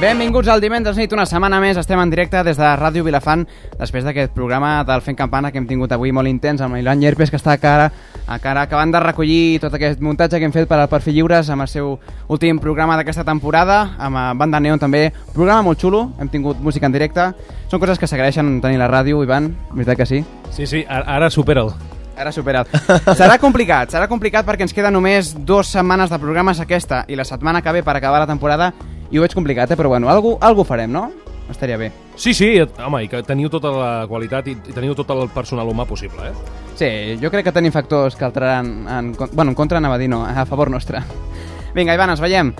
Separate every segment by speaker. Speaker 1: Benvinguts al Divendres Nit, una setmana més. Estem en directe des de Ràdio Vilafant, després d'aquest programa del Fent Campana que hem tingut avui molt intens amb l'Ilan Llerpes, que està a cara, a cara acabant de recollir tot aquest muntatge que hem fet per al Perfil Lliures amb el seu últim programa d'aquesta temporada, amb eh, Banda Neon també. Programa molt xulo, hem tingut música en directe. Són coses que s'agraeixen tenir la ràdio, Ivan, veritat que sí?
Speaker 2: Sí, sí, ara, ara supera'l.
Speaker 1: Ara superat. Serà complicat, serà complicat perquè ens queda només dues setmanes de programes aquesta i la setmana que ve per acabar la temporada i ho veig complicat, eh? però bueno, algú, algú farem, no? Estaria bé.
Speaker 2: Sí, sí, home, i que teniu tota la qualitat i i teniu tot el personal humà possible, eh?
Speaker 1: Sí, jo crec que tenim factors que alteraran... En, con- bueno, en contra anava a dir no, a favor nostre. Vinga, Ivan, ens veiem.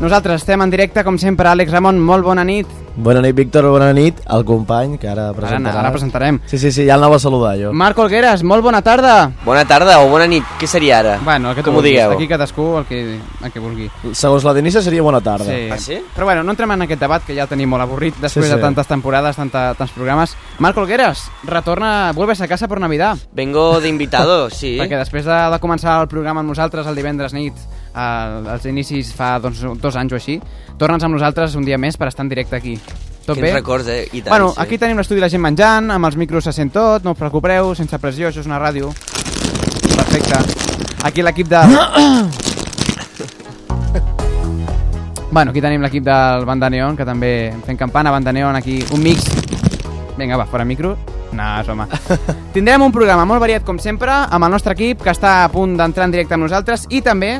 Speaker 1: Nosaltres estem en directe, com sempre, Àlex Ramon, molt bona nit.
Speaker 3: Bona nit, Víctor, bona nit. El company, que ara
Speaker 1: Ara,
Speaker 3: presentarà.
Speaker 1: ara presentarem.
Speaker 3: Sí, sí, sí, ja el anava a saludar, jo.
Speaker 1: Marc Olgueras, molt bona tarda.
Speaker 4: Bona tarda o bona nit, què seria ara?
Speaker 1: Bueno, el que tu
Speaker 4: Com ho
Speaker 1: vulguis.
Speaker 4: digueu?
Speaker 1: Aquí cadascú el que, el que vulgui.
Speaker 3: Segons la Denisa seria bona tarda.
Speaker 4: Ah, sí?
Speaker 1: Però bueno, no entrem en aquest debat, que ja el tenim molt avorrit després
Speaker 3: Sí, sí.
Speaker 1: de tantes temporades, tanta, tants programes. Marc Olgueras, retorna, vuelves a casa per Navidad.
Speaker 4: Vengo de invitado, sí.
Speaker 1: Perquè després de, de començar el programa amb nosaltres el divendres nit, al- als inicis fa doncs, dos anys o així, torna'ns amb nosaltres un dia més per estar en directe aquí. Tot
Speaker 4: Quins
Speaker 1: bé?
Speaker 4: records, eh? I tant,
Speaker 1: bueno,
Speaker 4: sí.
Speaker 1: aquí tenim l'estudi de la gent menjant, amb els micros se sent tot, no us preocupeu, sense pressió, això és una ràdio. Perfecte. Aquí l'equip de... bueno, aquí tenim l'equip del Banda Neon, que també fent campana, Banda Neon, aquí un mix. Vinga, va, fora micro. No, és home. Tindrem un programa molt variat, com sempre, amb el nostre equip, que està a punt d'entrar en directe amb nosaltres, i també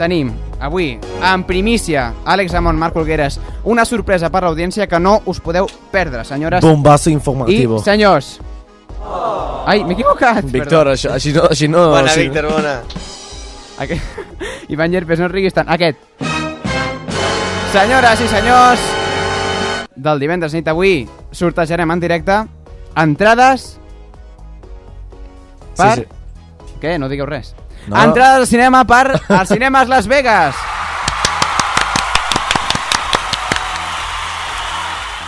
Speaker 1: tenim avui, en primícia, Àlex Amon, Marc Olgueres, una sorpresa per l'audiència que no us podeu perdre, senyores i
Speaker 3: Bombazo informativo.
Speaker 1: senyors. Ai, m'he equivocat.
Speaker 3: Víctor, això, així no... Així no
Speaker 4: Bona,
Speaker 3: així...
Speaker 4: Víctor, bona.
Speaker 1: Aquest... Ivan Llerpes, no riguis tant. Aquest. Senyores i senyors, del divendres nit avui sortejarem en directe entrades per...
Speaker 3: Sí,
Speaker 1: Què? No digueu res.
Speaker 3: No.
Speaker 1: No. Entrades al cinema per als cinemes Las Vegas.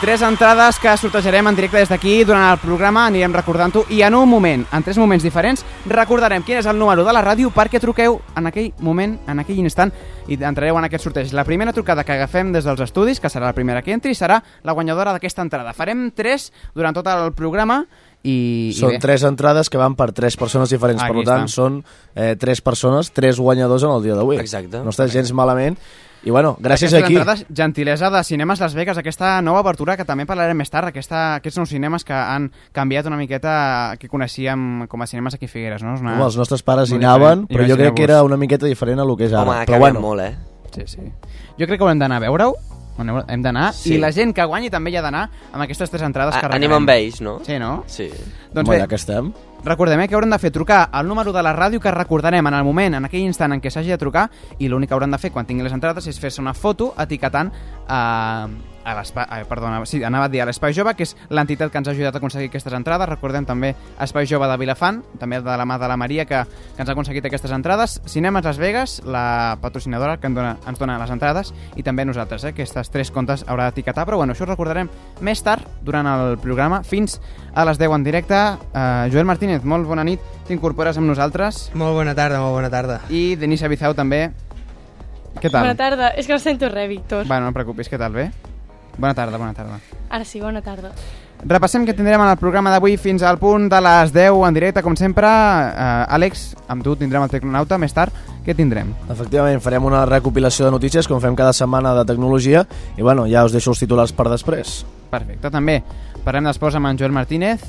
Speaker 1: Tres entrades que sortejarem en directe des d'aquí durant el programa, anirem recordant-ho i en un moment, en tres moments diferents, recordarem quin és el número de la ràdio perquè truqueu en aquell moment, en aquell instant i entrareu en aquest sorteig. La primera trucada que agafem des dels estudis, que serà la primera que entri, serà la guanyadora d'aquesta entrada. Farem tres durant tot el programa i... i
Speaker 3: sí. Són
Speaker 1: bé.
Speaker 3: tres entrades que van per tres persones diferents.
Speaker 1: Aquí
Speaker 3: per tant,
Speaker 1: està.
Speaker 3: són eh, tres persones, tres guanyadors en el dia d'avui.
Speaker 4: Exacte.
Speaker 3: No està gens malament. I bueno, gràcies
Speaker 1: Aquesta
Speaker 3: aquí.
Speaker 1: entrada, gentilesa de Cinemes Las Vegas, aquesta nova obertura que també parlarem més tard, aquesta, aquests nous cinemes que han canviat una miqueta que coneixíem com a cinemes aquí a Figueres, no? És una...
Speaker 3: Home, els nostres pares hi
Speaker 1: Molt
Speaker 3: anaven,
Speaker 1: diferent.
Speaker 3: però jo crec que
Speaker 1: Imagineu-vos.
Speaker 3: era una miqueta diferent a lo que és ara.
Speaker 4: Home, ha
Speaker 3: però
Speaker 4: canviat
Speaker 3: bueno,
Speaker 4: molt, eh?
Speaker 1: Sí, sí. Jo crec que haurem d'anar a veure-ho, on heu- hem d'anar,
Speaker 4: Sí.
Speaker 1: i la gent que guanyi també hi ha d'anar amb aquestes tres entrades que
Speaker 4: A- Anem amb ells, no?
Speaker 1: Sí, no?
Speaker 4: Sí.
Speaker 1: Doncs
Speaker 3: home,
Speaker 1: bé,
Speaker 3: ja que estem.
Speaker 1: recordem eh, que hauran de fer trucar al número de la ràdio que recordarem en el moment, en aquell instant en què s'hagi de trucar, i l'únic que hauran de fer quan tinguin les entrades és fer-se una foto etiquetant a... A l'espai, eh, perdona, sí, anava a dir a l'Espai Jove, que és l'entitat que ens ha ajudat a aconseguir aquestes entrades. Recordem també Espai Jove de Vilafant, també de la mà de la Maria, que, que ens ha aconseguit aquestes entrades. Cinemes Las Vegas, la patrocinadora que en dona, ens dona les entrades, i també nosaltres, eh, aquestes tres comptes haurà d'etiquetar. Però bueno, això ho recordarem més tard durant el programa, fins a les 10 en directe. Eh, Joel Martínez, molt bona nit, t'incorpores amb nosaltres.
Speaker 5: Molt bona tarda, molt bona tarda.
Speaker 1: I Denisa Bizau també. Què tal?
Speaker 6: Bona tarda. És que no sento res, Víctor.
Speaker 1: Bueno, no et preocupis, què tal, bé? Bona tarda, bona tarda.
Speaker 6: Ara sí, bona tarda.
Speaker 1: Repassem que tindrem en el programa d'avui fins al punt de les 10 en directe, com sempre. Eh, Àlex, amb tu tindrem el Tecnonauta més tard. Què tindrem?
Speaker 3: Efectivament, farem una recopilació de notícies com fem cada setmana de tecnologia i bueno, ja us deixo els titulars per després.
Speaker 1: Perfecte, també. Parlem d'esports amb en Joel Martínez.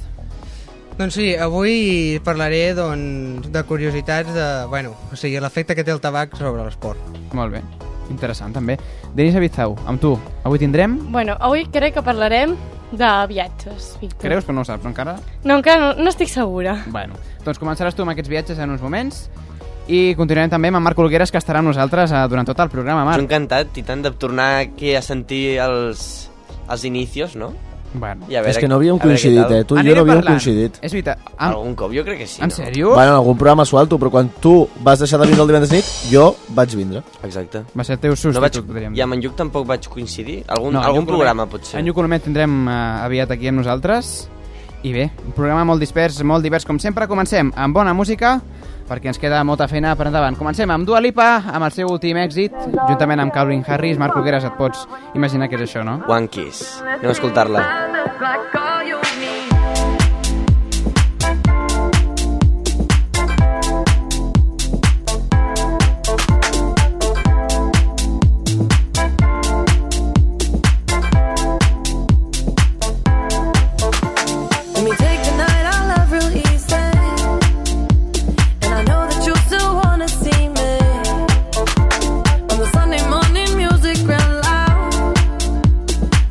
Speaker 5: Doncs sí, avui parlaré doncs, de curiositats de, bueno, o sigui, l'efecte que té el tabac sobre l'esport.
Speaker 1: Molt bé. Interessant, també. Denisa Bizau, amb tu. Avui tindrem...
Speaker 6: Bueno, avui crec que parlarem de viatges, Víctor.
Speaker 1: Creus, però no ho saps encara?
Speaker 6: No, encara no, no estic segura.
Speaker 1: Bueno, doncs començaràs tu amb aquests viatges en uns moments i continuarem també amb en Marc Olgueres, que estarà amb nosaltres eh, durant tot el programa,
Speaker 4: Jo
Speaker 1: Marc.
Speaker 4: encantat i tant de tornar aquí a sentir els, els inicios, no?
Speaker 1: Bueno.
Speaker 4: I a
Speaker 3: És
Speaker 4: veure,
Speaker 3: que no havíem
Speaker 4: a veure què
Speaker 3: coincidit,
Speaker 4: tal.
Speaker 3: eh? Tu i jo
Speaker 1: Anirem
Speaker 3: no havíem
Speaker 1: parlant.
Speaker 3: coincidit.
Speaker 1: És veritat. Am...
Speaker 4: Algun cop jo crec que sí,
Speaker 1: En
Speaker 4: no?
Speaker 1: sèrio?
Speaker 3: Bueno, en algun programa suelto, però quan tu vas deixar de vindre el divendres nit, jo vaig vindre.
Speaker 4: Exacte.
Speaker 1: Va ser el teu substitut,
Speaker 4: No vaig,
Speaker 1: podríem
Speaker 4: I
Speaker 1: dir.
Speaker 4: amb en Lluc tampoc vaig coincidir. Algun,
Speaker 1: No, en
Speaker 4: algun
Speaker 1: Lluc Colomer-
Speaker 4: programa, potser.
Speaker 1: En Lluc Colomer tindrem eh, aviat aquí amb nosaltres. I bé, un programa molt dispers, molt divers com sempre. Comencem amb bona música. perquè ens queda molta feina per endavant. Comencem amb Dua Lipa, amb el seu últim èxit, juntament amb Calvin Harris, Marc Brugueras, et pots imaginar què és això, no?
Speaker 4: One Kiss. Anem a escoltar-la.
Speaker 7: Like all you need. Let me take the night, I love real easy. And I know that you still wanna see me. On the Sunday morning, music real loud.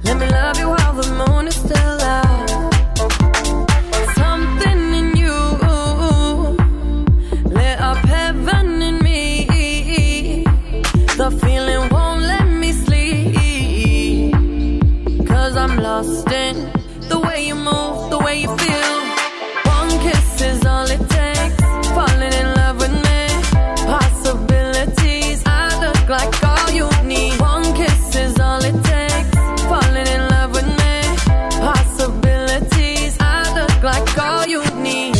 Speaker 7: Let me love you while the moon is still out. Something in you lit up heaven in me. The feeling won't let me sleep. Cause I'm lost in the way you move, the way you feel. One kiss is all it takes. Falling in love with me. Possibilities, I look like all you need. One kiss is all it takes. Falling in love with me. Possibilities, I look like all you need.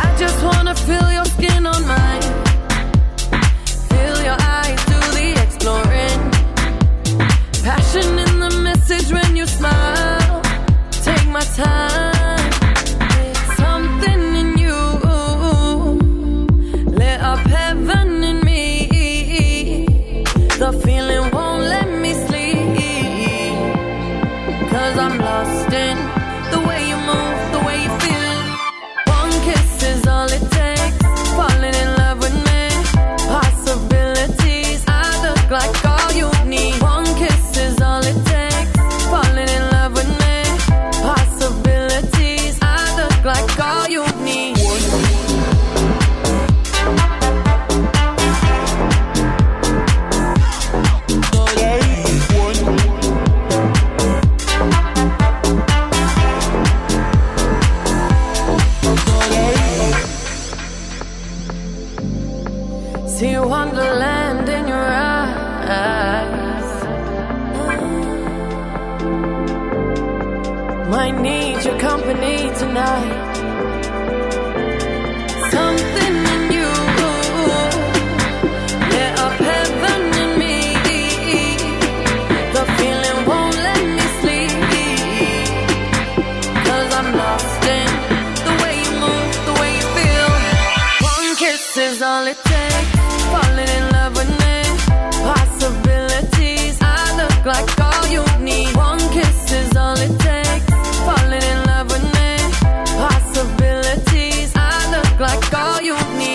Speaker 7: I just wanna feel your skin on mine. Feel your eyes do the exploring. Passion in the message when you smile. Take my time. Something in you lit up heaven in me. The feeling won't let me sleep. Cause I'm lost in the way you move, the way you feel. One kiss is all it takes. Falling in love with me. Possibilities, I look like all you need. One kiss is all it takes. Falling in love with me. Possibilities, I look like all you need. See wonderland in your eyes. Might need your company tonight. Something in you lit up heaven in me. The feeling won't let me sleep. Cause I'm lost in the way you move, the way you feel. One kiss is all it takes. Falling in love with me. Possibilities, I look like all you need. One kiss is all it takes. Falling in love with me. Possibilities, I look like all you need.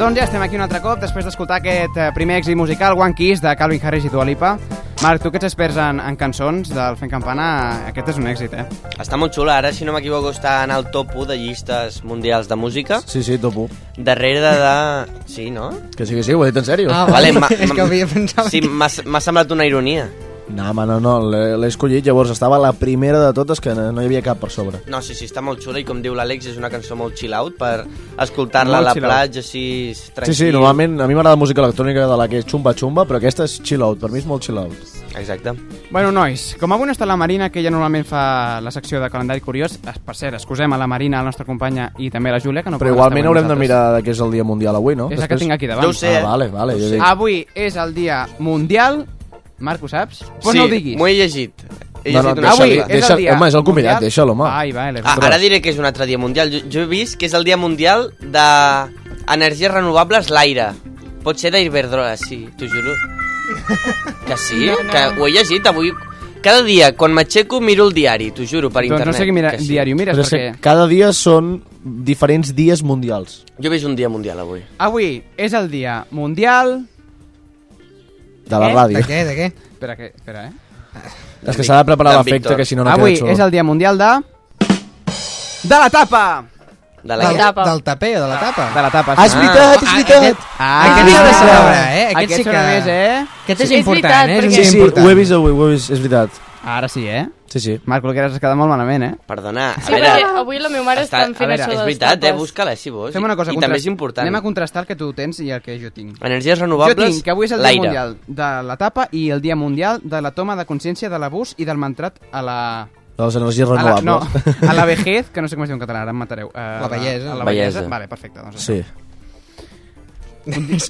Speaker 1: Doncs ja estem aquí un altre cop, després d'escoltar aquest eh, primer èxit musical, One Kiss, de Calvin Harris i Dua Lipa. Marc, tu que ets experts en, en cançons del Fent Campana, eh, aquest és un èxit, eh?
Speaker 4: Està molt xula, ara, si no m'equivoco, està en el top 1 de llistes mundials de música.
Speaker 3: Sí, sí, topo.
Speaker 4: Darrere de... Sí, no?
Speaker 3: Que sí, que sí, ho he dit en sèrio.
Speaker 5: Ah,
Speaker 4: Vale, ma-
Speaker 5: és que
Speaker 4: ma-
Speaker 5: havia pensat...
Speaker 4: Sí, m'ha m'ha semblat una ironia.
Speaker 3: No, home, no, no, l'he l'he escollit, llavors estava la primera de totes que no no hi havia cap per sobre.
Speaker 4: No, sí, sí, està molt xula i com diu l'Àlex és una cançó molt chill out per escoltar-la a
Speaker 1: Molt
Speaker 4: la
Speaker 1: chill out.
Speaker 4: platja així
Speaker 3: Sí,
Speaker 4: tranquil.
Speaker 3: sí, normalment a mi m'agrada la música electrònica de la que és xumba-xumba, però aquesta és chill-out, per mi és molt chill-out.
Speaker 4: Exacte.
Speaker 1: Bueno, nois, com avui no està la Marina, que ja normalment fa la secció de calendari curiós, es- per cert, excusem a la Marina, la nostra companya, i també a la Júlia, que no
Speaker 3: Però
Speaker 1: poden
Speaker 3: igualment
Speaker 1: estar amb
Speaker 3: haurem de
Speaker 1: nosaltres.
Speaker 3: mirar que és el dia mundial avui, no?
Speaker 1: És la que tinc aquí davant.
Speaker 4: eh? Jo ho sé.
Speaker 3: Ah, vale, vale. Jo dic,
Speaker 1: Avui és el dia mundial Marc, ho saps? Pues no ho diguis.
Speaker 4: m'ho he llegit. He
Speaker 3: No, no,
Speaker 4: llegit una
Speaker 3: deixa-
Speaker 1: Avui
Speaker 4: xerrada.
Speaker 1: és
Speaker 3: deixa-
Speaker 1: el dia...
Speaker 3: home, és el convidat,
Speaker 1: mundial.
Speaker 3: deixa'l, home.
Speaker 1: Ai, vale.
Speaker 4: Ah, ara diré que és un altre dia mundial. Jo, jo he vist que és el dia mundial d'energies renovables l'aire. Pot ser d'Iberdrola, sí, t'ho juro. Que sí,
Speaker 6: No, no.
Speaker 4: que ho he llegit avui. Cada dia, quan m'aixeco, miro el diari, t'ho juro, per
Speaker 1: Doncs
Speaker 4: internet.
Speaker 1: no sé quin mira,
Speaker 4: que sí.
Speaker 1: diari ho mires,
Speaker 3: Però és
Speaker 1: perquè...
Speaker 3: que cada dia són diferents dies mundials.
Speaker 4: Jo he vist un dia mundial avui.
Speaker 1: Avui és el dia mundial...
Speaker 3: De la
Speaker 1: Eh?
Speaker 5: De
Speaker 3: ràdio.
Speaker 5: què, de què?
Speaker 1: Espera, que... Espera, eh?
Speaker 3: És que s'ha de preparar
Speaker 4: D'en
Speaker 3: l'efecte,
Speaker 4: Víctor.
Speaker 3: que si no, no
Speaker 1: Ah, Avui
Speaker 3: queda xulo.
Speaker 1: és el dia mundial de... De la tapa!
Speaker 4: De la...
Speaker 5: Del,
Speaker 4: guerra.
Speaker 6: tapa.
Speaker 5: del taper o de la tapa?
Speaker 1: De la tapa,
Speaker 3: Ah, és veritat, és veritat!
Speaker 1: Ah,
Speaker 5: Aquest s'ha de celebrar, eh? Aquest
Speaker 1: Aquest
Speaker 5: sí que-
Speaker 1: sona més, eh?
Speaker 5: Aquest és
Speaker 6: Sí, és
Speaker 5: important,
Speaker 6: veritat,
Speaker 5: eh? És un
Speaker 3: Sí,
Speaker 6: perquè-
Speaker 5: dia
Speaker 3: sí,
Speaker 5: important.
Speaker 3: ho he vist avui, ho he vist, és veritat.
Speaker 1: Ara sí, eh?
Speaker 3: Sí, sí.
Speaker 1: Marc Olgueras has quedat molt malament, eh?
Speaker 4: Perdona, a
Speaker 6: Sí,
Speaker 4: veure...
Speaker 6: perquè avui la meva mare està,
Speaker 4: Està-
Speaker 6: estan fent
Speaker 1: a veure,
Speaker 6: això
Speaker 4: És
Speaker 6: de les
Speaker 4: veritat, eh?
Speaker 6: tapes.
Speaker 4: Busca-la així, vols.
Speaker 1: Fem una cosa.
Speaker 4: I
Speaker 1: contrast-
Speaker 4: també és important.
Speaker 1: Anem a contrastar el que tu tens i el que jo tinc.
Speaker 4: Energies
Speaker 1: Jo
Speaker 4: renovables,
Speaker 1: tinc que avui és el dia
Speaker 4: l'aire.
Speaker 1: mundial de la tapa i el dia mundial de la toma de consciència de l'abús i del mantrat a la...
Speaker 3: De les energies
Speaker 1: A la,
Speaker 3: renovables.
Speaker 1: no, a la vejez, que no sé com es diu en català, ara em matareu. Uh,
Speaker 5: La vellesa.
Speaker 1: A la bellesa.
Speaker 4: Vellesa.
Speaker 1: Vale, perfecte. Doncs
Speaker 3: Sí.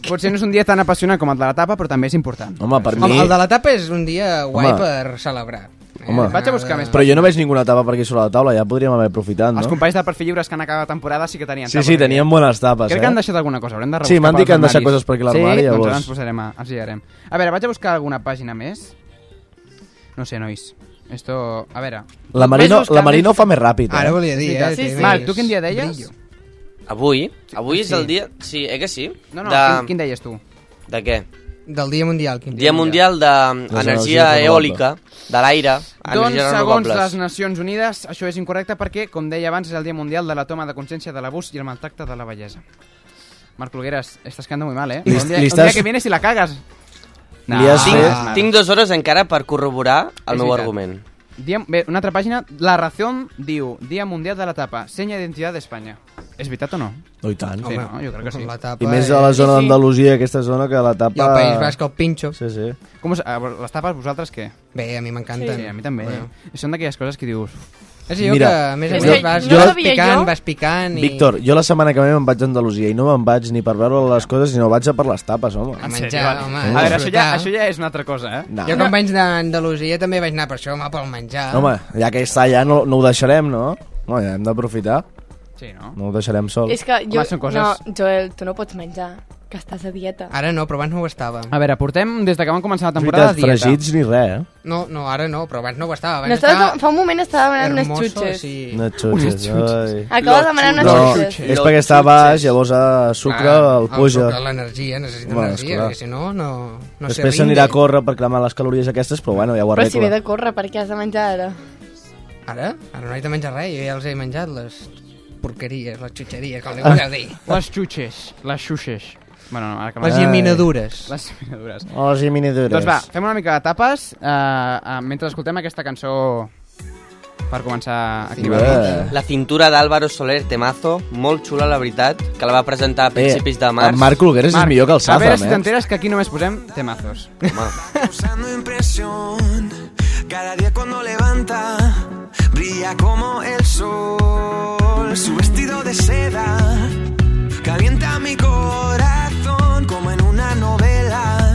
Speaker 1: Potser no és un dia tan apassionant com el de la tapa, però també és important.
Speaker 3: Home, per
Speaker 5: Home,
Speaker 3: mi...
Speaker 5: el de la tapa és un dia guai
Speaker 3: Home.
Speaker 5: per celebrar.
Speaker 3: Home.
Speaker 1: Vaig a buscar més.
Speaker 3: Però jo no veig ninguna tapa per aquí sobre la taula, ja podríem haver aprofitat,
Speaker 1: Els
Speaker 3: no?
Speaker 1: companys de Perfil Lliures que han acabat la temporada sí que tenien
Speaker 3: Sí, sí, teníem bones tapes,
Speaker 1: Crec
Speaker 3: eh?
Speaker 1: que han deixat alguna cosa, haurem de
Speaker 3: Sí,
Speaker 1: rebuscar
Speaker 3: m'han dit
Speaker 1: pels
Speaker 3: que han deixat
Speaker 1: armaris.
Speaker 3: coses per aquí a l'armari,
Speaker 1: sí?
Speaker 3: llavors.
Speaker 1: doncs ara ens posarem a, ens guiarem. A veure, vaig a buscar alguna pàgina més. No sé, nois. Esto... A veure.
Speaker 3: La Marino,
Speaker 1: Vaig buscar
Speaker 3: la Marino ho fa més ràpid,
Speaker 5: Ara
Speaker 3: eh?
Speaker 5: volia dir, eh?
Speaker 6: Sí, sí.
Speaker 5: té
Speaker 1: Marc,
Speaker 5: més
Speaker 1: tu quin dia deies?
Speaker 5: brillo.
Speaker 4: Avui? Avui és el dia... Sí, eh que sí?
Speaker 1: No, no,
Speaker 4: de...
Speaker 1: quin, quin deies tu?
Speaker 4: de què?
Speaker 5: Del dia mundial. Quin
Speaker 4: Dia Mundial
Speaker 3: Les
Speaker 4: d'Energia
Speaker 3: energies
Speaker 4: Eòlica, de l'aire,
Speaker 1: Doncs,
Speaker 4: energies
Speaker 1: segons les
Speaker 4: renovables.
Speaker 1: Nacions Unides, això és incorrecte perquè, com deia abans, és el Dia Mundial de la Toma de Consciència de l'Abús i el Maltracte de la Bellesa. Marc Clogueras, estás quedando muy mal, ¿eh?
Speaker 3: Li-
Speaker 1: un día,
Speaker 3: li
Speaker 1: un día
Speaker 3: estàs-
Speaker 1: que vienes y la cagas.
Speaker 3: Li
Speaker 1: no,
Speaker 3: has
Speaker 4: Tinc,
Speaker 3: fet-
Speaker 1: és mal.
Speaker 4: tinc dues hores encara per corroborar el
Speaker 1: És
Speaker 4: meu
Speaker 1: veritat.
Speaker 4: argument.
Speaker 1: Dia, bé, una altra pàgina. La Razón diu Dia Mundial de la Tapa, senya d'identitat d'Espanya. És veritat o no?
Speaker 3: No, i tant.
Speaker 1: Sí, no? Jo crec que sí.
Speaker 5: La tapa,
Speaker 3: I més a la
Speaker 5: eh?
Speaker 1: Sí,
Speaker 3: zona
Speaker 1: sí.
Speaker 3: d'Andalusia, aquesta zona, que la tapa...
Speaker 5: I al País Basc, el pinxo.
Speaker 3: Ah. Sí, sí.
Speaker 1: Com us, a veure, les tapes, vosaltres què?
Speaker 5: Bé, a mi m'encanten.
Speaker 1: Sí, a mi també.
Speaker 5: Bueno.
Speaker 1: Eh? Són d'aquelles coses que dius...
Speaker 5: És allò
Speaker 3: Mira,
Speaker 5: que, a més a
Speaker 3: És
Speaker 5: més,
Speaker 3: que
Speaker 5: vas,
Speaker 3: no
Speaker 5: vas
Speaker 6: sabia
Speaker 5: picant,
Speaker 6: jo.
Speaker 5: vas picant i...
Speaker 3: Víctor, jo la setmana que ve me'n vaig a Andalusia i no me'n vaig ni per veure les coses, sinó vaig a per les tapes, home.
Speaker 5: A menjar,
Speaker 1: vale.
Speaker 5: home.
Speaker 1: a veure, això ja,
Speaker 5: disfrutar.
Speaker 1: això ja és una altra cosa, eh?
Speaker 3: No.
Speaker 5: Jo quan vaig anar a Andalusia també vaig anar per això, home, pel menjar.
Speaker 6: Ah.
Speaker 3: Home, ja que està allà, no, no ho deixarem, no? No, ja hem d'aprofitar.
Speaker 1: Sí, no?
Speaker 3: No ho deixarem sol.
Speaker 6: És que jo...
Speaker 1: Home, són coses- Ah,
Speaker 6: No, Joel, tu no pots menjar, que estàs a dieta.
Speaker 5: Ara no, però abans no ho estava.
Speaker 1: A veure, portem des de que vam començar la
Speaker 3: És
Speaker 1: temporada dieta.
Speaker 3: fregits ni res, eh?
Speaker 5: No, no, ara no, però abans no ho estava. Abans
Speaker 6: No estava,
Speaker 5: estava
Speaker 6: fa un moment estava demanant unes
Speaker 5: hermoso,
Speaker 6: xutxes. Sí.
Speaker 5: Sí.
Speaker 3: No et xutxes, ai.
Speaker 6: Acaba de demanar unes
Speaker 3: No,
Speaker 6: xutxes.
Speaker 3: és perquè està baix, llavors a sucre el puja.
Speaker 5: sucre, L'energia, necessita
Speaker 3: Bueno,
Speaker 5: bueno, energia,
Speaker 3: esclar.
Speaker 5: perquè si no, no, no
Speaker 3: Després
Speaker 5: se rinde.
Speaker 3: s'anirà a córrer per cremar les calories aquestes, però bueno, ja ho
Speaker 6: Però si ve
Speaker 3: arregla.
Speaker 6: de córrer, per què has de menjar ara?
Speaker 5: Ara? Ara no he de menjar res, jo ja els he menjat, les porqueries, les xutxeries, com li
Speaker 3: Ah.
Speaker 5: vulgueu dir.
Speaker 1: Les xutxes, les xuxes. Bueno, no, ara que
Speaker 5: Les
Speaker 1: m'ha-
Speaker 5: llaminadures.
Speaker 1: Les llaminadures.
Speaker 3: Oh, les minidures.
Speaker 1: Doncs va, fem una mica de tapes eh, eh, mentre escoltem aquesta cançó per començar a activar.
Speaker 3: Eh.
Speaker 4: La cintura d'Álvaro Soler Temazo, molt xula, la veritat, que la va presentar a principis de març.
Speaker 3: En Eh, Marc Olgueres és
Speaker 1: Marc,
Speaker 3: millor que el
Speaker 1: A veure si
Speaker 3: Sazam, eh?
Speaker 1: t'enteres que aquí només posem temazos.
Speaker 8: causando impresión. Cada día cuando levanta, brilla como el sol. Su vestido de seda calienta mi corazón como en una novela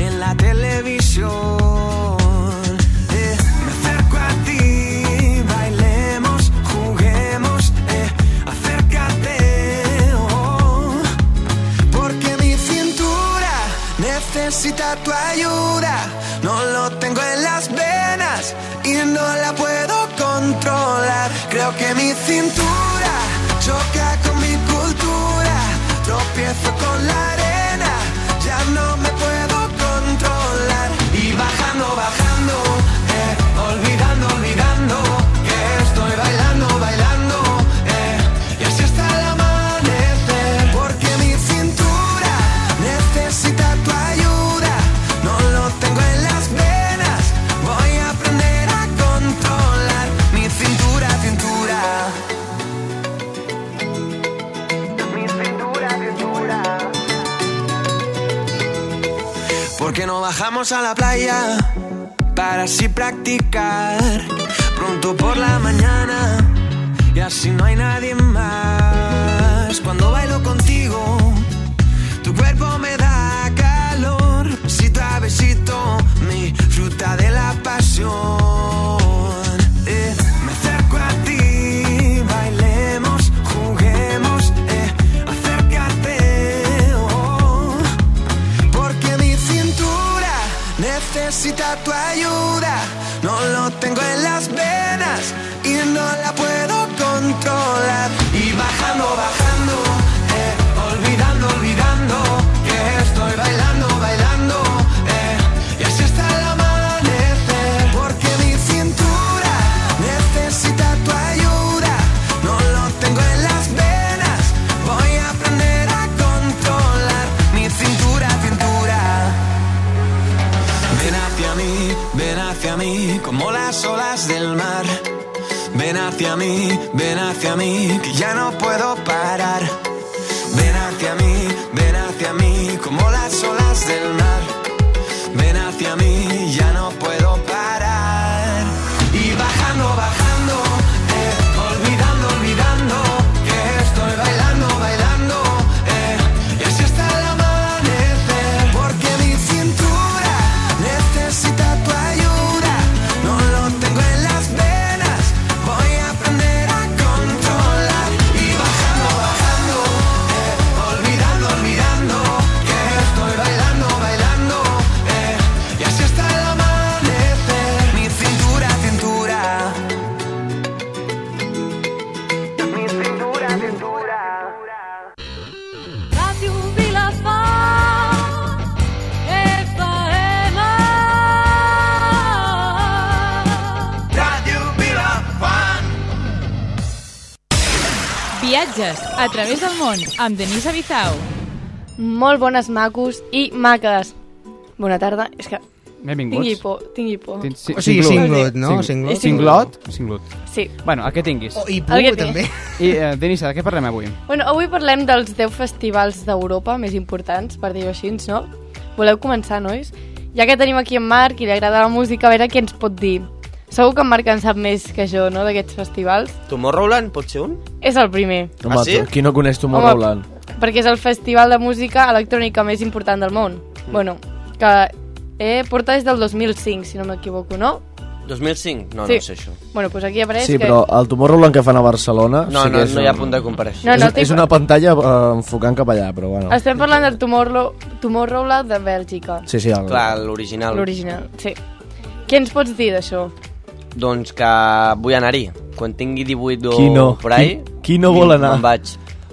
Speaker 8: en la televisión. Eh, me acerco a ti, bailemos, juguemos, eh, acércate. oh. Porque mi cintura necesita tu ayuda. No lo tengo en las venas y no la puedo controlar. Creo que mi cintura choca con mi cultura. Tropiezo con la arena, ya no me puedo controlar. Y bajando, bajando, eh, olvidando, olvidando que estoy bailando, bailando. eh, y así hasta el amanecer. Porque mi cintura necesita tu ayuda. No lo tengo en las venas. Voy a aprender a controlar mi cintura, cintura. Mi cintura, cintura. Porque no bajamos a la playa para así practicar pronto por la mañana y así no hay nadie más. Cuando bailo contigo, tu cuerpo me da calor, si tu necesito mi fruta de la pasión. Eh, me acerco a ti, bailemos, juguemos, eh, acércate. oh, porque mi cintura necesita tu ayuda. No lo tengo en las venas y no la puedo controlar. Y bajando, bajando, eh, olvidando, olvidando que estoy bailando, bailando. eh, y así hasta el amanecer. Porque mi cintura necesita tu ayuda. No lo tengo en las venas. Voy a aprender a controlar mi cintura, cintura. Ven hacia mí, ven hacia mí, como las olas del mar. Ven hacia mí, ven hacia mí, que ya no puedo parar. Ven hacia mí, ven hacia mí, como las olas del mar. Ven hacia mí, ya no puedo parar. Y bajando, bajando, eh, olvidando, olvidando, que estoy bailando, bailando, eh, y así hasta el amanecer. Porque mi cintura necesita tu ayuda, no lo tengo en las venas, voy a aprender a controlar. Y bajando, bajando, eh, olvidando, olvidando, que estoy bailando, bailando, eh, y así hasta el amanecer. Mi cintura, cintura.
Speaker 7: Ràdio Vilafant, FM.
Speaker 9: Viatges a través del món amb Denisa Bizau.
Speaker 6: Molt bones, macos i maques. Bona tarda. És que tingui
Speaker 1: Benvinguts.
Speaker 6: por, tingui por.
Speaker 1: Tin- si-
Speaker 5: O sigui,
Speaker 1: singlot.
Speaker 5: singlot, no? Singlot.
Speaker 6: Sí.
Speaker 1: Singlot. Singlot.
Speaker 6: Sí.
Speaker 1: Bueno, el que tinguis.
Speaker 5: Oh, I
Speaker 6: El que
Speaker 5: Pu,
Speaker 6: té.
Speaker 5: també.
Speaker 1: I, eh, Denisa, de què parlem avui?
Speaker 6: Bueno, avui parlem dels 10 festivals d'Europa més importants, per dir-ho així, no? Voleu començar, nois? Ja que tenim aquí en Marc i li agrada la música, a veure què ens pot dir. Segur que en Marc en sap més que jo, no?, d'aquests festivals.
Speaker 4: Tomorrowland pot ser un?
Speaker 6: És el primer,
Speaker 3: Home,
Speaker 4: Ah, sí?
Speaker 3: tu- qui no coneix Tomorrowland? Home.
Speaker 6: perquè és el festival de música electrònica més important del món.
Speaker 4: Mm.
Speaker 6: Bueno, que eh, porta des del 2005, si no m'equivoco, no?
Speaker 4: 2005? No,
Speaker 6: Sí.
Speaker 4: no sé això.
Speaker 6: Bueno, doncs aquí apareix
Speaker 3: Sí,
Speaker 6: que...
Speaker 3: però el Tomorrowland que fan a Barcelona...
Speaker 4: No,
Speaker 3: sí que
Speaker 4: no,
Speaker 3: és
Speaker 4: no hi ha
Speaker 3: un-
Speaker 4: punt de comparació.
Speaker 6: No, no,
Speaker 3: és, és una pantalla eh, enfocant cap allà, però bueno.
Speaker 6: Estem parlant del Tomorrow... Tomorrowland de Bèlgica,
Speaker 3: Sí, sí, el...
Speaker 4: Clar, l'original.
Speaker 6: l'original, sí. Què ens pots dir d'això?
Speaker 4: Doncs que vull anar-hi. Quan tingui 18 o
Speaker 3: Qui no?
Speaker 4: por ahí...
Speaker 3: Qui- qui no vol anar?
Speaker 4: Me'n vaig.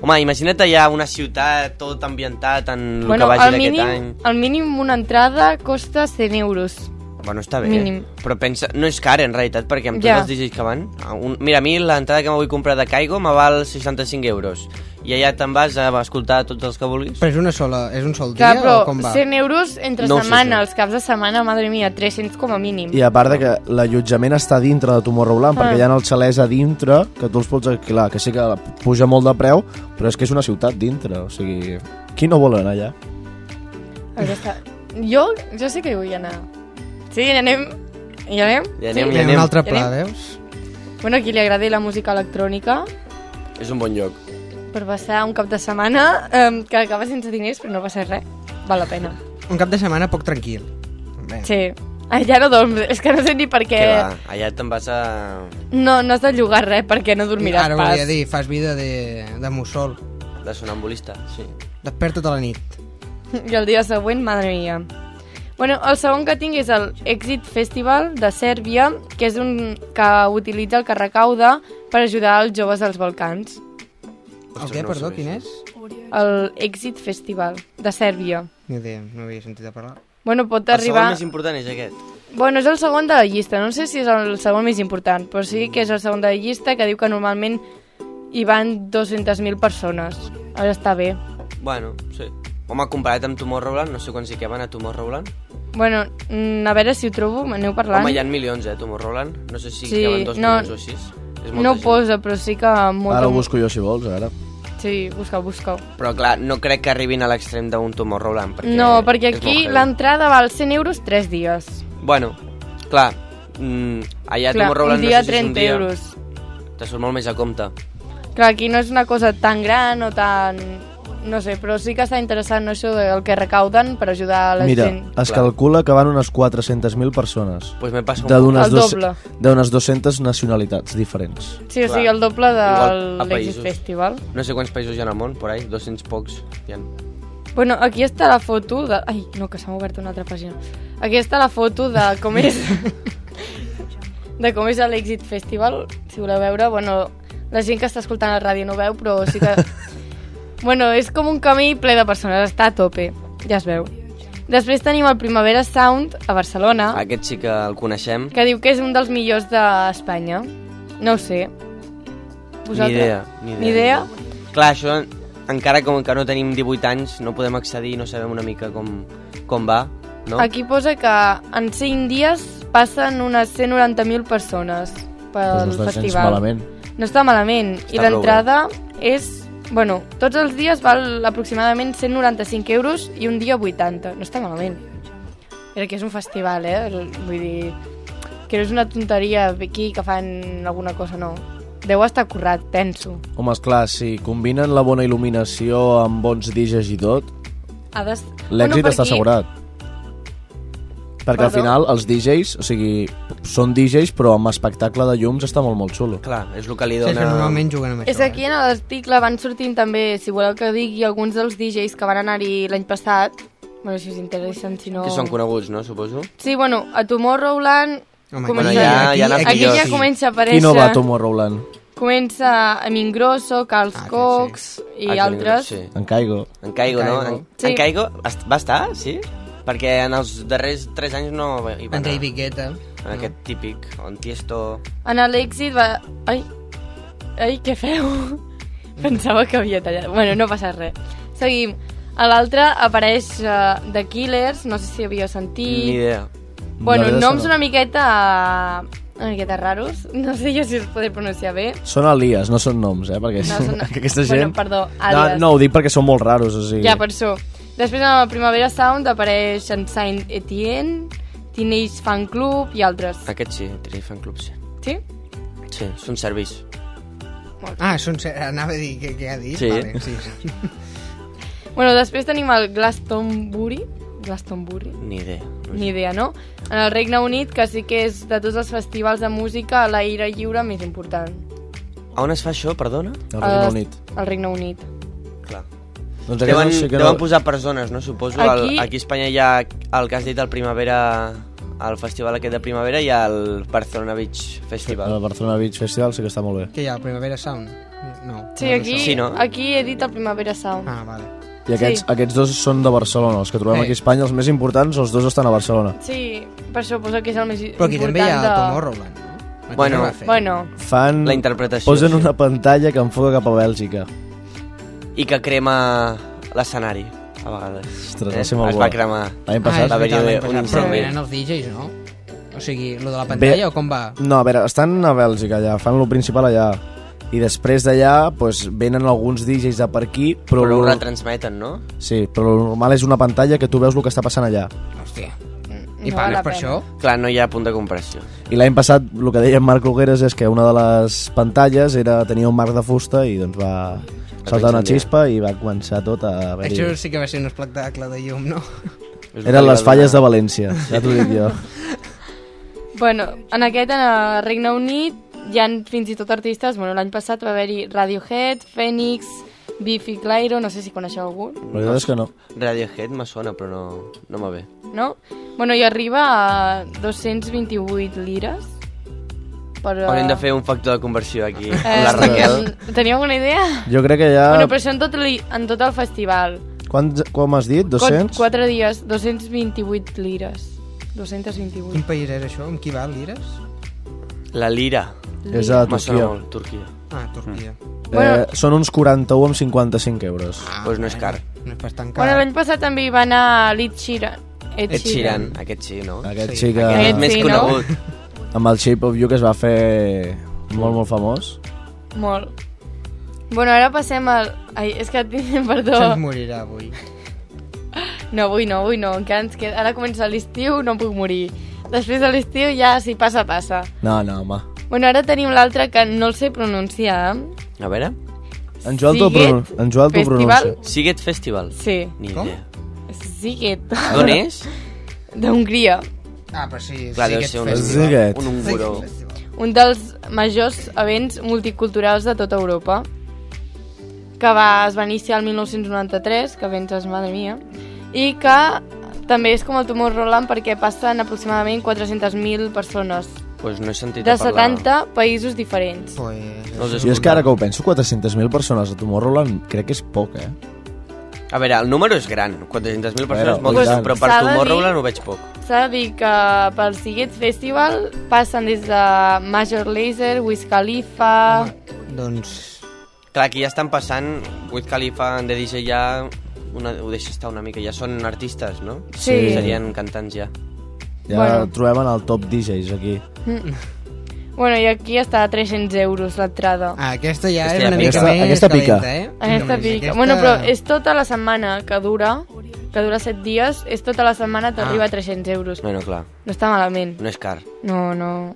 Speaker 4: Home, imagina't allà una ciutat tot ambientat en el Mm, que vagi
Speaker 6: al
Speaker 4: d'aquest
Speaker 6: mínim,
Speaker 4: any.
Speaker 6: al mínim una entrada costa 100 euros.
Speaker 4: Bueno, està bé.
Speaker 6: mínim.
Speaker 4: Però pensa... No és car, en realitat, perquè amb tots
Speaker 6: Ja.
Speaker 4: els DJs que van... a Un... Mira, a mi l'entrada que me vull comprar de Caigo me val 65 euros. I allà te'n vas a escoltar tots els que vulguis.
Speaker 5: Però és una sola, és un sol dia
Speaker 6: Clar,
Speaker 5: o com
Speaker 6: però
Speaker 5: va?
Speaker 6: 100 euros entre
Speaker 4: No ho
Speaker 6: no
Speaker 4: sé,
Speaker 6: setmana,
Speaker 4: sí.
Speaker 6: els caps de setmana, madre mia, 300 com a mínim.
Speaker 3: I a part de que l'allotjament està dintre de Tomorrowland, perquè hi ha els xalers a dintre, que tu els pots alquilar, que sí que puja molt de preu, però és que és una ciutat dintre, o sigui... Qui no vol anar allà?
Speaker 6: Has d'estar- Jo, jo sé que hi vull anar. Sí, hi anem... Hi anem?
Speaker 4: Hi anem,
Speaker 5: Hi
Speaker 4: hi
Speaker 5: ha
Speaker 4: anem.
Speaker 5: un altre
Speaker 6: Ja
Speaker 5: pla,
Speaker 6: anem.
Speaker 5: veus?
Speaker 6: Bueno, a qui li agradi la música electrònica
Speaker 4: És un bon lloc.
Speaker 6: per passar un cap de setmana eh, que acaba sense diners però no passa res. Val la pena.
Speaker 5: Un cap de setmana poc tranquil. Bé.
Speaker 6: Sí. Ai, ja no dorms. És que no sé ni per
Speaker 4: Que
Speaker 6: què...
Speaker 4: Eh. va, allà te'n vas a...
Speaker 6: No, no has de llogar res perquè no dormiràs
Speaker 5: Ara
Speaker 6: pas.
Speaker 5: volia dir, fas vida de, de mussol.
Speaker 4: de sonambulista, sí.
Speaker 5: Despert tota la nit.
Speaker 6: I el dia següent, madre mia. Bueno, el segon que tinc és el Exit Festival de Sèrbia, que és un que utilitza el que recauda per ajudar els joves dels Balcans.
Speaker 5: el què,
Speaker 4: no ho
Speaker 5: perdó,
Speaker 4: sabia,
Speaker 5: quin
Speaker 4: això.
Speaker 5: és?
Speaker 6: El Exit Festival de Sèrbia.
Speaker 5: Ni idea, no havia sentit a parlar.
Speaker 6: Bueno, pot
Speaker 4: El segon
Speaker 6: arribar...
Speaker 4: més important és aquest.
Speaker 6: Bueno, és el segon de la llista, no sé si és el segon més important, però sí que és el segon de la llista que diu que normalment hi van 200.000 persones. Ara està bé.
Speaker 4: Bueno, sí. Home, comparat amb Tomorrowland, no sé quan sí que van a Tomorrowland.
Speaker 6: Bueno, mm, a veure si ho trobo, m'aneu parlant.
Speaker 4: Home, hi ha milions, eh, Tomorrowland. No sé si
Speaker 6: Sí,
Speaker 4: sí, van dos
Speaker 6: no-
Speaker 4: milions o sis. És molta
Speaker 6: no ho
Speaker 4: gent.
Speaker 6: posa, però sí que... Molta...
Speaker 3: Ara ho busco jo, si vols, ara.
Speaker 6: Sí, busca, busca.
Speaker 4: Però clar, no crec que arribin a l'extrem d'un Tomorrowland. Perquè
Speaker 6: No, perquè
Speaker 4: és molt
Speaker 6: aquí
Speaker 4: heavy.
Speaker 6: l'entrada val 100 euros 3 dies.
Speaker 4: Bueno, clar, mm, allà a
Speaker 6: Clar, un
Speaker 4: Tomorrowland
Speaker 6: dia
Speaker 4: no sé si és
Speaker 6: 30
Speaker 4: un dia...
Speaker 6: euros.
Speaker 4: Te surt molt més a compte.
Speaker 6: Clar, aquí no és una cosa tan gran o tan... no sé, però sí que està interessant no, això del que recauden per ajudar a la
Speaker 3: Mira,
Speaker 6: gent.
Speaker 3: es
Speaker 4: Clar.
Speaker 3: calcula que van unes 400.000 persones.
Speaker 4: Pues me passa un
Speaker 3: de
Speaker 4: poc.
Speaker 3: d'unes
Speaker 6: El
Speaker 3: dos-
Speaker 6: doble.
Speaker 3: d'unes 200 nacionalitats diferents.
Speaker 6: Sí, o
Speaker 4: clar.
Speaker 6: sigui, el doble
Speaker 4: Igual a
Speaker 6: del Exit
Speaker 4: països.
Speaker 6: Festival.
Speaker 4: No sé quants països hi ha al món, por ahí, 200 pocs hi ha.
Speaker 6: Bueno, aquí està la foto de... Ai, no, que s'ha obert una altra pàgina. Aquí està la foto de com és... de com és l'Exit Festival, si voleu veure. Bueno, la gent que està escoltant la ràdio no ho veu, però sí que... bueno, és com un camí ple de persones, està a tope, ja es veu. Després tenim el Primavera Sound a Barcelona,
Speaker 4: Aquest sí que el coneixem.
Speaker 6: que diu que és un dels millors d'Espanya. No ho sé.
Speaker 4: Ni idea, ni idea.
Speaker 6: Ni idea?
Speaker 4: Clar, això, encara com que no tenim 18 anys, no podem accedir, no sabem una mica com, com va, no?
Speaker 6: Aquí posa que en 5 dies passen unes 190.000 persones pel
Speaker 3: Doncs no està gens
Speaker 6: festival.
Speaker 3: malament.
Speaker 6: No està malament. I
Speaker 4: prou bé.
Speaker 6: l'entrada és... Bueno, tots els dies val aproximadament 195 euros i un dia 80. No està malament. Però que és un festival, eh? Vull dir... Que no és una tonteria aquí que fan alguna cosa, no. Deu estar currat, penso.
Speaker 3: Home, esclar, si combinen la bona il·luminació amb bons diges i tot,
Speaker 6: Ha de...
Speaker 3: l'èxit
Speaker 6: per
Speaker 3: està
Speaker 6: aquí-
Speaker 3: assegurat. Perquè al
Speaker 6: Perdó?
Speaker 3: final els DJs, o sigui, són DJs però amb espectacle de llums està molt, molt xulo.
Speaker 4: Clar, és el que
Speaker 5: Sí,
Speaker 4: li dona...
Speaker 5: és que normalment juguen amb això.
Speaker 6: És que aquí en l'article van sortint també, si voleu que digui, alguns dels DJs que van anar-hi l'any passat. Bueno, si us interessen, si no...
Speaker 4: Que són coneguts, no, suposo?
Speaker 6: Sí, bueno, a Tomorrowland...
Speaker 5: Home,
Speaker 6: comença...
Speaker 4: Bueno, ja- ja n'ha
Speaker 6: aquí
Speaker 4: millor,
Speaker 6: ja
Speaker 4: sí.
Speaker 6: comença a aparèixer...
Speaker 3: Qui no va a Tomorrowland?
Speaker 6: Comença a Mingrosso, Carls
Speaker 5: Ah,
Speaker 6: ah,
Speaker 5: aquest
Speaker 6: Cox i
Speaker 4: Ah,
Speaker 6: altres.
Speaker 4: Sí.
Speaker 3: En Caigo.
Speaker 4: En Caigo, no?
Speaker 5: Caigo.
Speaker 4: En,
Speaker 6: Sí.
Speaker 4: en Caigo est- va estar, sí? Perquè en els darrers 3 anys no hi va
Speaker 5: En
Speaker 4: anar.
Speaker 5: David Guetta.
Speaker 4: En aquest típic, on Tiesto...
Speaker 6: En Alexis va... Ai, ai, què feu? Pensava que havia tallat. Bueno, no passa res. Seguim. A l'altre apareix uh, The Killers, no sé si havia sentit...
Speaker 4: Ni idea.
Speaker 6: Bueno,
Speaker 3: La veritat
Speaker 6: noms
Speaker 3: és que no.
Speaker 6: una miqueta... Una miqueta raros. No sé jo si els podré pronunciar bé.
Speaker 3: Són alies, no són noms, eh? Perquè
Speaker 6: No, són-
Speaker 3: aquesta
Speaker 6: Bueno,
Speaker 3: gent...
Speaker 6: perdó,
Speaker 3: No,
Speaker 6: àlies.
Speaker 3: no, ho dic perquè són molt raros, o sigui...
Speaker 6: Ja, per això. Després, a la Primavera Sound apareix en Saint Etienne, Teenage Fan Club i altres.
Speaker 4: Aquest sí, Trifan Club, sí.
Speaker 6: Sí?
Speaker 4: Sí, són servis.
Speaker 5: Ah, són... ser- anava a dir què, què ha dit.
Speaker 4: Sí.
Speaker 5: Vale, sí, sí.
Speaker 6: Bueno, després tenim el Glastonbury. Glastonbury?
Speaker 3: Mm.
Speaker 4: Ni idea.
Speaker 6: Ni idea, no? En el Regne Unit, que sí que és de tots els festivals de música a l'aire lliure més important.
Speaker 4: A on es fa això, perdona?
Speaker 3: El Regne
Speaker 6: Al-
Speaker 3: Unit.
Speaker 6: Al Regne Unit.
Speaker 4: Clar.
Speaker 3: Doncs aquest
Speaker 4: Deuen,
Speaker 3: no sé que
Speaker 4: deuen
Speaker 3: no...
Speaker 4: posar persones, no? Suposo.
Speaker 6: Aquí-
Speaker 4: Aquí, al, aquí a Espanya hi ha el que has dit, el Primavera... El festival aquest de Primavera i el Barcelona Beach
Speaker 3: El
Speaker 4: Festival.
Speaker 3: Barcelona Beach Festival sí que està molt bé.
Speaker 5: Què hi ha, el Primavera Sound? No.
Speaker 6: Sí,
Speaker 5: no és
Speaker 6: aquí,
Speaker 5: això.
Speaker 4: Sí, no?
Speaker 6: aquí he dit el Primavera Sound.
Speaker 5: Ah, vale.
Speaker 3: I aquests,
Speaker 6: Sí.
Speaker 3: aquests dos són de Barcelona, els que trobem
Speaker 5: Eh.
Speaker 3: aquí a Espanya, els més importants, els dos estan a Barcelona.
Speaker 6: Sí, per això poso que és el més
Speaker 5: Però aquí també
Speaker 6: important
Speaker 5: hi ha
Speaker 6: de...
Speaker 5: el Tomorrowland, no? Aquí
Speaker 4: Bueno.
Speaker 5: no va fer.
Speaker 6: Bueno,
Speaker 3: Fan...
Speaker 4: La interpretació,
Speaker 3: Posen
Speaker 4: sí.
Speaker 3: una pantalla que enfoca cap a Bèlgica.
Speaker 4: I que crema l'escenari, a vegades.
Speaker 3: Ostres, va
Speaker 4: eh?
Speaker 3: ser molt
Speaker 4: Es
Speaker 3: bo.
Speaker 4: va cremar.
Speaker 3: L'any
Speaker 5: Ah,
Speaker 3: passat...
Speaker 5: és
Speaker 4: va haver-hi
Speaker 5: veritat, l'any
Speaker 4: eh, un
Speaker 5: passat. Però
Speaker 4: incendi.
Speaker 5: venen els DJs, no? O sigui, lo de la pantalla o com va?
Speaker 3: No, a veure, estan a Bèlgica allà, fan lo principal allà. I després d'allà pues, venen alguns DJs de per aquí, però,
Speaker 4: Però ho
Speaker 3: lo-
Speaker 4: retransmeten, no?
Speaker 3: sí, però lo normal és una pantalla que tu veus el que està passant allà.
Speaker 5: Hòstia. I
Speaker 6: no val
Speaker 5: pagues
Speaker 6: la
Speaker 5: per
Speaker 6: pena.
Speaker 5: això?
Speaker 4: Clar, no hi ha punt de comparació.
Speaker 3: I l'any passat el que deia en Marc Nogueres és que una de les pantalles era tenia un marc de fusta i doncs va saltar una
Speaker 4: incendiar.
Speaker 3: xispa i va començar tot a
Speaker 5: Això
Speaker 3: haver-hi...
Speaker 5: sí que va ser un espectacle de llum, no?
Speaker 4: És el que li
Speaker 3: Eren
Speaker 4: va
Speaker 3: les falles de
Speaker 4: donar.
Speaker 3: València, ja t'ho dic jo.
Speaker 6: Bueno, en aquest, en el Regne Unit, hi han fins i tot artistes... Bueno, l'any passat va haver-hi Radiohead, Phoenix, Biffy Clyro, no sé si coneixeu algú,
Speaker 3: La veritat és que no.
Speaker 4: Radiohead me sona, però no, no me ve.
Speaker 6: no? Bueno, i arriba a 228 lires. Per, eh,
Speaker 4: Hauríem de fer un factor de conversió aquí,
Speaker 6: eh,
Speaker 4: amb la Raquel.
Speaker 6: Teníeu alguna idea?
Speaker 3: Jo crec que ja...
Speaker 6: Bueno, però això en tot, li, en tot el festival.
Speaker 3: Quants, com has dit? 200?
Speaker 6: 4 dies, 228 lires. 228.
Speaker 5: Quin país és això? Amb qui va, l'Ires?
Speaker 4: La lira.
Speaker 3: És a
Speaker 4: Me sona
Speaker 3: Turquia.
Speaker 4: molt, Turquia.
Speaker 5: Ah, Turquia.
Speaker 3: Eh,
Speaker 6: Bueno.
Speaker 3: són uns 41 amb 55 euros.
Speaker 5: Ah,
Speaker 4: Doncs no és car.
Speaker 5: No és pas tan car.
Speaker 6: Bueno, l'any passat també hi va anar l'Ed Sheeran. Ed
Speaker 4: Ed Sheeran, aquest sí, no?
Speaker 3: Aquest
Speaker 5: Sí,
Speaker 3: sí, que...
Speaker 4: Aquest
Speaker 6: sí,
Speaker 4: més
Speaker 6: no?
Speaker 4: conegut.
Speaker 3: Amb el Shape of You que es va fer molt, molt famós.
Speaker 6: Molt. Bueno, ara passem al... Ai, és que tinc... Perdó.
Speaker 5: Se'ns morirà avui.
Speaker 6: No, avui no, avui no. Encara ens queda... Ara comença l'estiu, no em puc morir. Després de l'estiu ja, si passa, passa.
Speaker 3: No, no, home.
Speaker 6: Bueno, ara tenim l'altre que no el sé pronunciar.
Speaker 4: A veure,
Speaker 3: En Joel t'ho
Speaker 6: Siget
Speaker 3: pronuncia. En Joel t'ho
Speaker 6: Festival.
Speaker 3: pronuncia.
Speaker 4: Siget Festival.
Speaker 6: Sí.
Speaker 4: Ni
Speaker 5: Com?
Speaker 4: idea.
Speaker 6: Siget.
Speaker 4: D'on és?
Speaker 6: D'Hongria.
Speaker 5: Ah, però sí,
Speaker 4: Clar,
Speaker 5: sí
Speaker 4: deu
Speaker 5: que et
Speaker 4: ser un,
Speaker 5: fes.
Speaker 3: festival. Siget.
Speaker 4: un húngaro.
Speaker 6: Un dels majors events multiculturals de tota Europa que va, es va iniciar el 1993, que vens, madre mia, i que també és com el Tomorrowland perquè passen aproximadament 400.000 persones
Speaker 4: Pues no he sentit
Speaker 6: de
Speaker 4: a parlar.
Speaker 6: 70 països diferents.
Speaker 5: Pues...
Speaker 4: No us he
Speaker 3: Jo és que ara
Speaker 4: escoltat.
Speaker 3: que ho penso, 400.000 persones a Tomorrowland crec que és poc, eh?
Speaker 4: A veure, el número és gran. 400.000 persones,
Speaker 3: Bueno,
Speaker 4: moltes,
Speaker 3: doncs-
Speaker 4: però per
Speaker 6: S'ha de
Speaker 4: Tomorrowland
Speaker 6: dir-
Speaker 4: ho veig poc.
Speaker 6: S'ha de dir que pel Siget Festival passen des de Major Lazer, Wiz Khalifa...
Speaker 5: Doncs...
Speaker 4: Clar, aquí ja estan passant Wiz Khalifa, en The DJ ja... Una, ho deixa estar una mica, ja són artistes, no?
Speaker 6: Sí.
Speaker 4: Serien cantants ja.
Speaker 3: Ja
Speaker 6: Bueno.
Speaker 3: trobem en el top DJs aquí.
Speaker 6: Bueno, i aquí està a 300 euros l'entrada.
Speaker 5: Ah, aquesta ja
Speaker 4: Aquesta
Speaker 5: és
Speaker 4: ja
Speaker 5: una
Speaker 4: pica.
Speaker 5: mica més
Speaker 3: Aquesta- aquesta pica.
Speaker 5: calenta, eh?
Speaker 6: Aquesta
Speaker 5: Només
Speaker 6: pica.
Speaker 5: aquesta-
Speaker 6: Bueno, però és tota la setmana que dura, que dura 7 dies, és tota la setmana t'arriba a 300 euros.
Speaker 4: Ah. Bueno, clar,
Speaker 6: No està malament.
Speaker 4: no és car.
Speaker 6: No, no,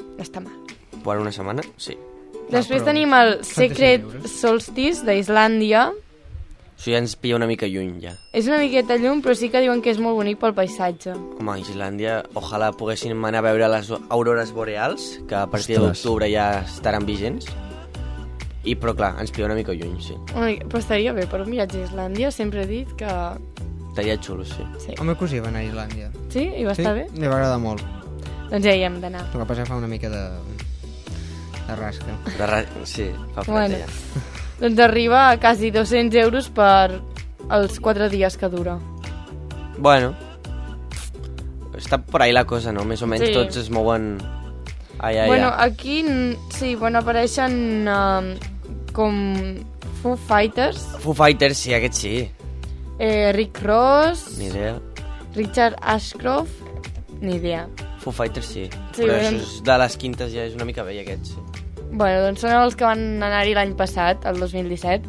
Speaker 6: no està mal.
Speaker 4: Per una setmana, sí.
Speaker 6: Després
Speaker 5: Ah, però
Speaker 6: tenim el Secret
Speaker 5: euros.
Speaker 6: Solstice d'Islàndia.
Speaker 4: Això ja ens pilla una mica lluny, ja.
Speaker 6: És una miqueta llum, però sí que diuen que és molt bonic pel paisatge.
Speaker 4: Home, a Islàndia, ojalà poguessin anar a veure les aurores boreals, que a partir
Speaker 3: Ostres.
Speaker 4: d'octubre ja estaran vigents. I, però clar, ens pilla una mica lluny, sí.
Speaker 6: Una mica- Però estaria bé per un viatge a Islàndia. Sempre he dit que... doncs
Speaker 4: Estaria xulo, sí.
Speaker 6: Sí,
Speaker 5: El meu cosí va anar a Islàndia.
Speaker 6: sí i va estar bé.
Speaker 5: Li va agradar molt.
Speaker 6: Doncs ja hi hem d'anar.
Speaker 5: El que passa fa una mica de... de rasca.
Speaker 4: De ra... Sí, fa fred
Speaker 6: Bueno.
Speaker 4: allà.
Speaker 6: Doncs arriba a quasi 200 euros per els 4 dies que dura.
Speaker 4: Bueno. Està por ahí la cosa, no? Més o menys
Speaker 6: Sí.
Speaker 4: tots es mouen allà,
Speaker 6: bueno,
Speaker 4: allà.
Speaker 6: aquí mm, sí, bueno, apareixen um, com Foo Fighters,
Speaker 4: Foo Fighters, sí, aquest sí.
Speaker 6: eh, Rick Ross,
Speaker 4: Ni idea.
Speaker 6: Richard Ashcroft, ni idea.
Speaker 4: Foo Fighters, sí.
Speaker 6: Sí,
Speaker 4: Però
Speaker 6: eren-
Speaker 4: això és de les quintes ja és una mica vell, aquest, sí.
Speaker 6: Bueno, doncs són els que van anar-hi l'any passat, el 2017.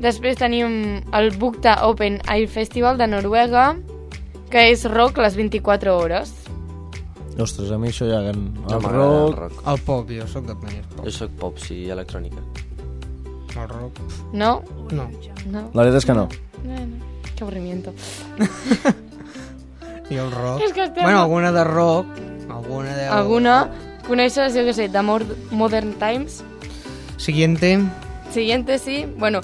Speaker 6: Després tenim el Bukta Open Air Festival de Noruega, que és rock les 24 hores.
Speaker 3: Ostres, a mi això ja... El
Speaker 4: No
Speaker 3: no
Speaker 4: m'agrada el
Speaker 3: rock...
Speaker 4: rock.
Speaker 5: El pop, jo sóc de players pop.
Speaker 4: Jo sóc pop, sí, i electrònica.
Speaker 5: El rock, pf,
Speaker 6: No?
Speaker 5: no.
Speaker 6: No?
Speaker 3: La veritat és que no.
Speaker 6: Bueno, que avorrimiento.
Speaker 5: I el rock...
Speaker 6: És que estem-
Speaker 5: Bueno, alguna de rock, alguna de...
Speaker 6: Alguna? Coneixes, jo què sé, de Mor- Modern Times?
Speaker 5: Siguiente.
Speaker 6: Siguiente, sí. Bueno,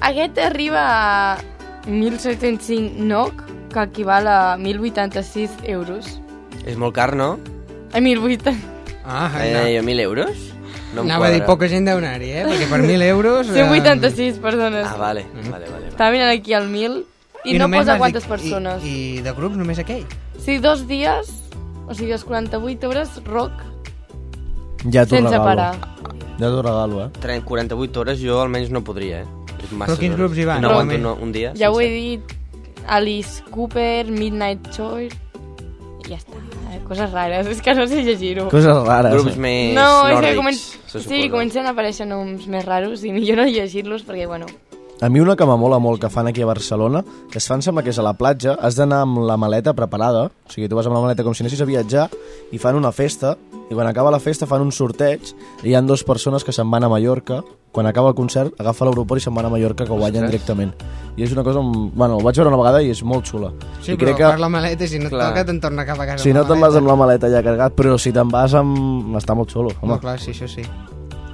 Speaker 6: aquest arriba a 1.705 NOC, que equival a 1.086 euros.
Speaker 4: És molt car, no?
Speaker 6: Ai, 1.080.
Speaker 5: Ah,
Speaker 4: Eh, jo, 1.000 euros? No em
Speaker 5: Anava a dir,
Speaker 4: quadra.
Speaker 5: poca gent deu anar-hi, eh? Perquè per 1.000 euros... eh,
Speaker 6: 186 persones.
Speaker 4: Ah, vale, vale, vale. vale.
Speaker 6: Estava mirant aquí el 1.000 i, no
Speaker 5: Mm. només
Speaker 6: posa
Speaker 5: vas
Speaker 6: quantes
Speaker 5: dir-
Speaker 6: persones.
Speaker 5: I,
Speaker 6: I,
Speaker 5: I de grups només aquell.
Speaker 6: Sí, dos dies, o sigui, les 48 hores, rock,
Speaker 3: Ja t'ho
Speaker 6: sense
Speaker 3: regalo.
Speaker 6: parar.
Speaker 3: Ja t'ho regalo, eh?
Speaker 4: 30, 48 hores jo almenys no podria, eh? És massa
Speaker 5: quins grups hi van?
Speaker 4: No aguanto
Speaker 5: Rock.
Speaker 4: no, un dia.
Speaker 6: Ja ho he
Speaker 4: sencer.
Speaker 6: dit, Alice Cooper, Midnight Choir, i ja està. eh, Coses rares, és que no sé llegir-ho.
Speaker 3: Coses
Speaker 6: Ah,
Speaker 3: rares.
Speaker 4: Grups
Speaker 3: eh?
Speaker 4: més
Speaker 6: No, és que
Speaker 4: nòrdics,
Speaker 6: comen...
Speaker 4: se
Speaker 6: sí,
Speaker 4: suposa.
Speaker 6: comencen a aparèixer noms més raros i millor no llegir-los perquè, bueno...
Speaker 3: A mi una que m'amola molt que fan aquí a Barcelona, que es fan sembla que és a la platja, has d'anar amb la maleta preparada, o sigui, tu vas amb la maleta com si anessis a viatjar, i fan una festa, i quan acaba la festa fan un sorteig, i hi han dues persones que se'n van a Mallorca, quan acaba el concert agafa l'aeroport i se'n van a Mallorca, que guanyen directament. I és una cosa... amb- Bueno, ho vaig veure una vegada i és molt xula.
Speaker 5: Sí,
Speaker 3: I
Speaker 5: però
Speaker 3: crec
Speaker 5: que...
Speaker 3: que...
Speaker 5: per la maleta, si no et
Speaker 4: Clar.
Speaker 5: toca, te'n torna cap a casa.
Speaker 3: Si
Speaker 5: amb
Speaker 3: no
Speaker 5: la
Speaker 3: te'n vas
Speaker 5: maleta.
Speaker 3: amb la maleta ja cargat, però si te'n vas amb... Està molt xulo,
Speaker 5: Home,
Speaker 3: home.
Speaker 5: clar, sí, això sí.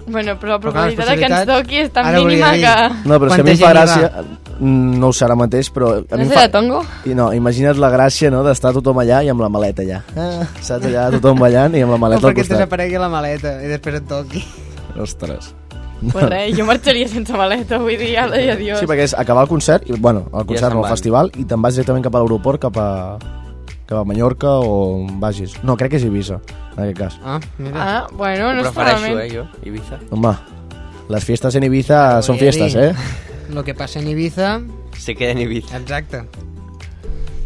Speaker 6: Bueno, però la
Speaker 5: Però clar, les
Speaker 6: probabilitat de que ens
Speaker 5: possibilitats-
Speaker 6: toqui és tan
Speaker 5: Ara volia
Speaker 6: mínima
Speaker 5: dir.
Speaker 6: que...
Speaker 3: No, però és que a
Speaker 5: Quanta
Speaker 3: mi em
Speaker 5: gent hi
Speaker 3: fa
Speaker 5: va?
Speaker 3: gràcia... mm, No ho sé ara mateix, però... A
Speaker 6: No
Speaker 3: mi em
Speaker 6: sé,
Speaker 3: fa...
Speaker 6: de tongo?
Speaker 3: I no, imagina't la gràcia, no?, d'estar tothom allà i amb la maleta allà. Ah, saps, allà tothom ballant i amb la
Speaker 5: Com
Speaker 3: maleta al
Speaker 5: perquè et
Speaker 3: costat.
Speaker 5: desaparegui la maleta i després et toqui.
Speaker 3: Ostres.
Speaker 6: Pues res, jo marxaria sense maleta, vull dir, ala i adiós.
Speaker 3: Sí, perquè és acabar el concert, i, bueno, el concert
Speaker 4: se'n
Speaker 3: no,
Speaker 4: van.
Speaker 3: el festival, i te'n vas directament cap a l'aeroport, cap a cap a Mallorca o on vagis. No, crec que és Ibiza, en aquest cas.
Speaker 5: Ah, mira.
Speaker 6: Ah, bueno, no
Speaker 4: Ho
Speaker 6: està
Speaker 4: prefereixo, eh,
Speaker 6: malament.
Speaker 4: jo, Ibiza.
Speaker 3: Home, les fiestes en Ibiza
Speaker 6: Ah,
Speaker 3: són
Speaker 5: voy a
Speaker 3: fiestes,
Speaker 5: dir.
Speaker 3: eh?
Speaker 5: Lo que passa en Ibiza...
Speaker 4: Se queda en Ibiza.
Speaker 5: Exacte.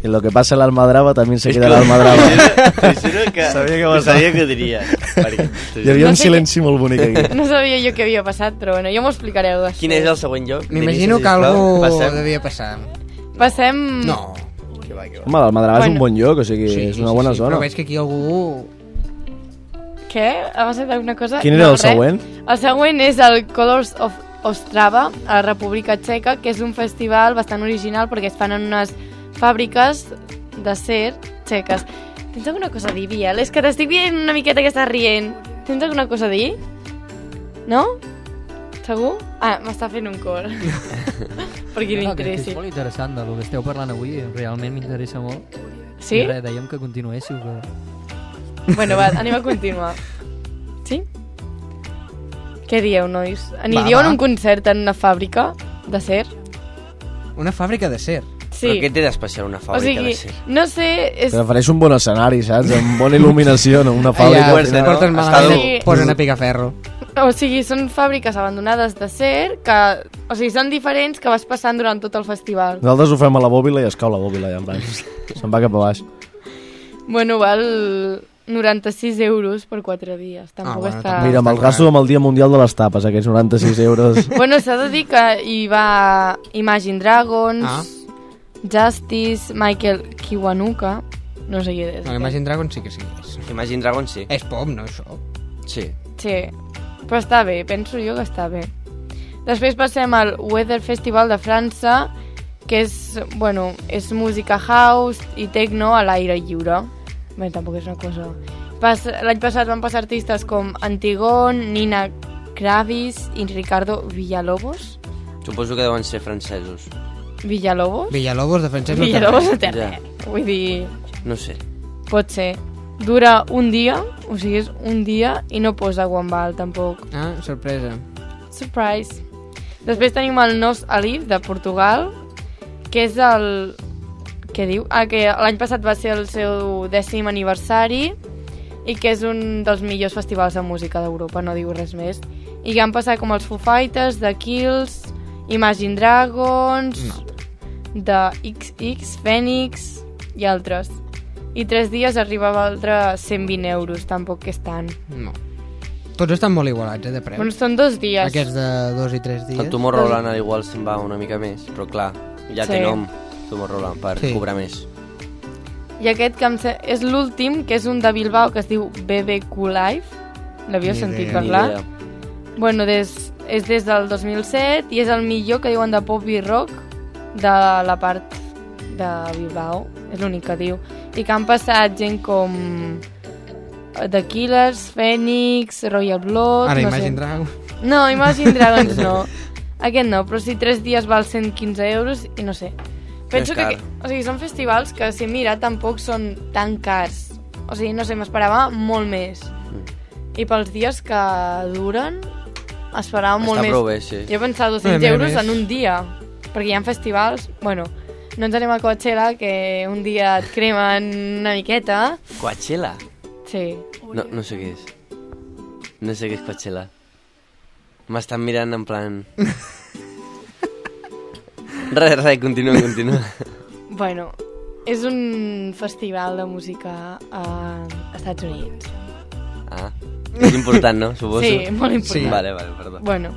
Speaker 3: I lo que passa a l'Almadrava també se
Speaker 4: És
Speaker 3: queda a
Speaker 4: que-
Speaker 3: l'Almadrava.
Speaker 4: T'ho juro que...
Speaker 3: Sabia que
Speaker 4: ho
Speaker 3: vas-
Speaker 4: sabia que ho diria. Perquè... t'ho
Speaker 3: Hi
Speaker 4: juro.
Speaker 3: havia
Speaker 6: No
Speaker 3: un
Speaker 6: sé
Speaker 3: silenci molt bonic aquí.
Speaker 6: No sabia jo què havia passat, però bueno, ja m'ho explicareu després.
Speaker 4: Quin és el següent lloc?
Speaker 5: M'imagino
Speaker 4: Digues,
Speaker 5: que
Speaker 4: sisplau.
Speaker 5: algú
Speaker 4: Passem.
Speaker 5: devia passar.
Speaker 6: Passem...
Speaker 5: No.
Speaker 3: Home, l'Almadrava és
Speaker 6: Bueno.
Speaker 3: un bon lloc, o sigui, és una bona zona.
Speaker 5: Però veig que aquí algú...
Speaker 6: Què? Ha passat alguna cosa?
Speaker 3: Quin era
Speaker 6: No,
Speaker 3: el següent?
Speaker 6: Res. El següent és el Colors of Ostrava a la República Txeca, que és un festival bastant original perquè es fan en unes fàbriques d'acer txeques. Tens alguna cosa a dir, Biel? És que t'estic veient una miqueta que estàs rient. Tens alguna cosa a dir? No? Segur? Ah, m'està fent un cor. perquè li
Speaker 10: No, crec que
Speaker 6: interessi.
Speaker 10: és molt interessant del que esteu parlant avui, realment m'interessa molt.
Speaker 6: Sí?
Speaker 10: I res, dèiem que continuéssiu, però...
Speaker 6: Bueno, va, anem a continuar. Sí? Què dieu, nois? Aniríeu
Speaker 5: Va, va.
Speaker 6: en un concert en una fàbrica de ser?
Speaker 5: Una fàbrica de ser.
Speaker 6: Sí.
Speaker 4: Però què té d'especial una
Speaker 6: o
Speaker 4: fàbrica
Speaker 6: sigui,
Speaker 4: de ser?
Speaker 6: no sé... És...
Speaker 3: Prefereix un bon escenari, saps? Amb bona il·luminació, no? Una fàbrica.
Speaker 4: ja,
Speaker 3: al final.
Speaker 4: no?
Speaker 5: portes
Speaker 4: Està
Speaker 5: malament,
Speaker 6: dur.
Speaker 5: sí. posen a picaferro.
Speaker 6: O sigui, són fàbriques abandonades de ser que... O sigui, són diferents que vas passant durant tot el festival.
Speaker 3: Nosaltres ho fem a la bòbila i es cau la bòbila, ja, en plan. Se'n va cap a baix.
Speaker 6: Bueno, val 96 euros per 4 dies. Tampoc
Speaker 5: Ah, bueno,
Speaker 6: està...
Speaker 5: tampoc.
Speaker 3: Mira, amb el gasto amb el Dia Mundial de les Tapes, aquests 96 euros.
Speaker 6: Bueno, s'ha de dir que hi va Imagine Dragons,
Speaker 5: Ah.
Speaker 6: Justice, Michael Kiwanuka... No sé qui és.
Speaker 5: No, l'Imagine Dragons sí que sí. És,
Speaker 4: Imagine Dragons sí.
Speaker 5: és pop, no, això?
Speaker 4: Sí.
Speaker 6: Sí, però està bé, penso jo que està bé. Després passem al Weather Festival de França, que és, bueno, és música house i techno a l'aire lliure. Bé, tampoc és una cosa... Pas- L'any passat van passar artistes com Antigón, Nina Kravis i Ricardo Villalobos.
Speaker 4: Suposo que deuen ser francesos.
Speaker 6: Villalobos?
Speaker 5: Villalobos, defensem
Speaker 6: Villalobos no té
Speaker 4: Ja.
Speaker 6: res. Vull dir,
Speaker 4: No sé.
Speaker 6: pot ser. Dura un dia, o sigui, és un dia i no posa quan val, tampoc.
Speaker 5: Ah, sorpresa.
Speaker 6: Surprise. Després tenim el Nos Alif, de Portugal, que és el... Què diu? Ah, que l'any passat va ser el seu dècim aniversari i que és un dels millors festivals de música d'Europa, no diu res més. I que han passat com els Foo Fighters, The Kills, Imagine Dragons, no. de XX, Phoenix i altres. I tres dies arriba a valdre 120 euros, tampoc que és tant.
Speaker 5: No. Tots estan molt igualats, eh, de preu.
Speaker 6: Bueno, són dos dies.
Speaker 5: Aquests de dos i tres dies.
Speaker 4: El Tomorrowland al igual se'n va una mica més, però clar, ja
Speaker 6: Sí.
Speaker 4: té nom Tomorrowland per
Speaker 5: Sí.
Speaker 4: cobrar més.
Speaker 6: I aquest que em se- és l'últim, que és un de Bilbao que es diu BBQ Live. L'havíeu
Speaker 5: Ni
Speaker 6: sentit
Speaker 5: idea.
Speaker 4: Ni
Speaker 6: parlar?
Speaker 4: idea.
Speaker 6: Bueno, des, és des del 2007 i és el millor que diuen de pop i rock de la part de Bilbao. És l'únic que diu. I que han passat gent com eh, The Killers, Phoenix, Royal Blood...
Speaker 5: Ara
Speaker 6: no
Speaker 5: Imagine
Speaker 6: sé.
Speaker 5: Dragons.
Speaker 6: No, Imagine Dragons no. Aquest no, però si 3 dies val 115 euros i no sé. Penso
Speaker 4: és
Speaker 6: que,
Speaker 4: car.
Speaker 6: o sigui, són festivals que, si mira, tampoc són tan cars. O sigui, no sé, m'esperava molt més.
Speaker 4: Mm.
Speaker 6: I pels dies que duren, esperava
Speaker 4: Està
Speaker 6: molt més.
Speaker 4: prou bé, sí.
Speaker 6: Jo pensava 200
Speaker 5: Una mica
Speaker 6: euros
Speaker 5: més.
Speaker 6: en un dia, perquè hi ha festivals... Bueno, no ens anem a Coachella, que un dia et cremen una miqueta.
Speaker 4: Coachella?
Speaker 6: Sí.
Speaker 4: No, no sé què és. No sé què és Coachella. M'estan mirant en plan... Res, res, continua, continua.
Speaker 6: Bueno, és un festival de música a Estats Units.
Speaker 4: Ah, és important, no? Suposo.
Speaker 6: Sí, molt important.
Speaker 5: Sí.
Speaker 4: Vale, vale, perdó.
Speaker 6: Bueno,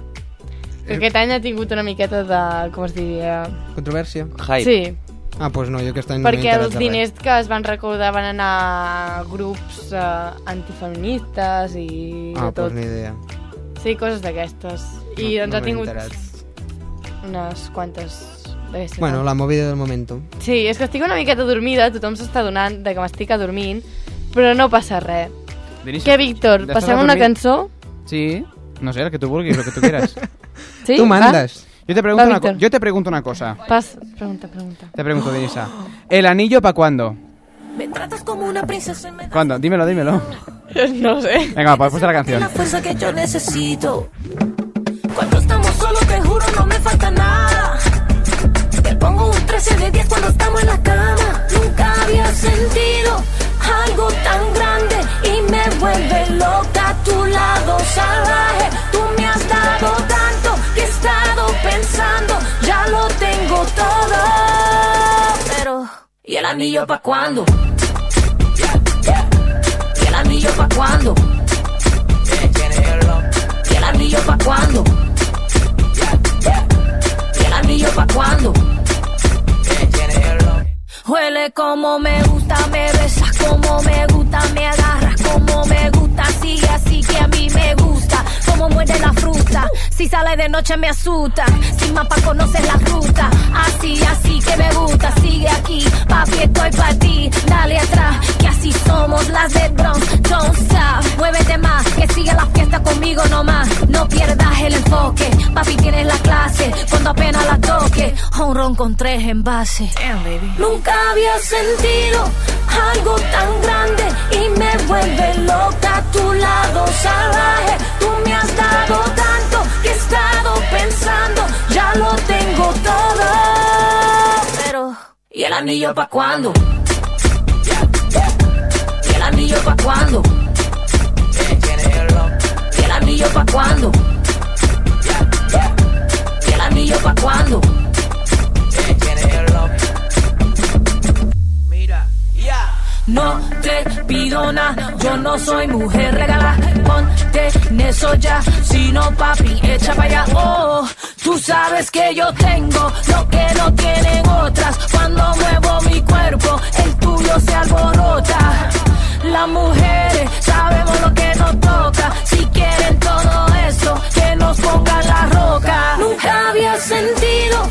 Speaker 6: que aquest any ha tingut una miqueta de, com es diria...
Speaker 5: Controvèrsia.
Speaker 4: Hype.
Speaker 6: Sí,
Speaker 5: Ah, doncs no, jo aquest any no m'he
Speaker 6: perquè
Speaker 5: enterat
Speaker 6: els
Speaker 5: de res.
Speaker 6: diners que es van recordar van anar a grups eh, antifeministes i
Speaker 5: Ah,
Speaker 6: de
Speaker 5: doncs
Speaker 6: tot.
Speaker 5: ni idea.
Speaker 6: Sí, coses d'aquestes. I
Speaker 5: No-
Speaker 6: doncs
Speaker 5: no
Speaker 6: ha
Speaker 5: m'he
Speaker 6: tingut
Speaker 5: enterat.
Speaker 6: unes quantes d'aquestes.
Speaker 5: Bueno, la movida del momento.
Speaker 6: Sí, és que estic una miqueta dormida, tothom s'està donant de que m'estic adormint, però no passa res.
Speaker 1: Denis,
Speaker 6: Què, Víctor,
Speaker 1: Estàs
Speaker 6: passem una
Speaker 1: adormit?
Speaker 6: cançó?
Speaker 1: Sí, no sé, el que tu vulguis, el que tu quieras.
Speaker 6: Sí?
Speaker 5: tu
Speaker 6: va?
Speaker 5: mandes.
Speaker 1: Yo te pregunto,
Speaker 6: Va,
Speaker 1: una, co-
Speaker 6: Víctor.
Speaker 1: yo te pregunto una cosa.
Speaker 6: Pas, pregunta, pregunta.
Speaker 1: Te pregunto, Denisa. ¿El anillo para cuándo?
Speaker 7: Me tratas como una princesa y me das
Speaker 1: ¿Cuándo? Dímelo, dímelo.
Speaker 6: No sé.
Speaker 1: Venga, va, pues ponte la canción.
Speaker 7: la fuerza que yo necesito. Cuando estamos solos, te juro, no me falta nada. Te pongo un 13 de 10 cuando estamos en la cama. Nunca había sentido algo tan grande y me vuelve loca a tu lado salvaje. Tú me has dado tanto que he estado pensando, ya lo tengo todo. Pero, ¿y el anillo pa' cuándo? ¿Y el anillo pa' cuándo? ¿Y el anillo pa' cuándo? ¿Y el anillo pa' cuándo? Huele como me gusta, me besas como me gusta, me agarras como me gusta, sigue así que a mí me gusta, como muere la fruta, si sale
Speaker 11: que de noche me asusta. Sin mapa conoces la ruta. Así, así que me gusta. Sigue aquí, papi, estoy para ti. Dale atrás, que así somos las de Bronx. Don't stop, muévete más. Que siga la fiesta conmigo nomás. No pierdas el enfoque. Papi, tienes la clase. Cuando apenas la toque, un ron con tres envases. Nunca había sentido algo tan grande y me vuelve loca a tu lado salvaje. Tú me has dado tanto que he estado pensando, ya lo tengo todo. Pero, ¿y el anillo pa' cuándo? ¿Y el anillo pa' cuándo? ¿Y el anillo pa' cuándo? ¿Y el anillo pa' cuándo? No te pido nada, yo no soy mujer regala. Ponte en eso ya, si no papi, echa para allá. Oh, tú sabes que yo tengo lo que no tienen otras. Cuando muevo mi cuerpo, el tuyo se alborota. Las mujeres sabemos lo que nos toca. Si quieren todo eso, que nos pongan la roca. Nunca había sentido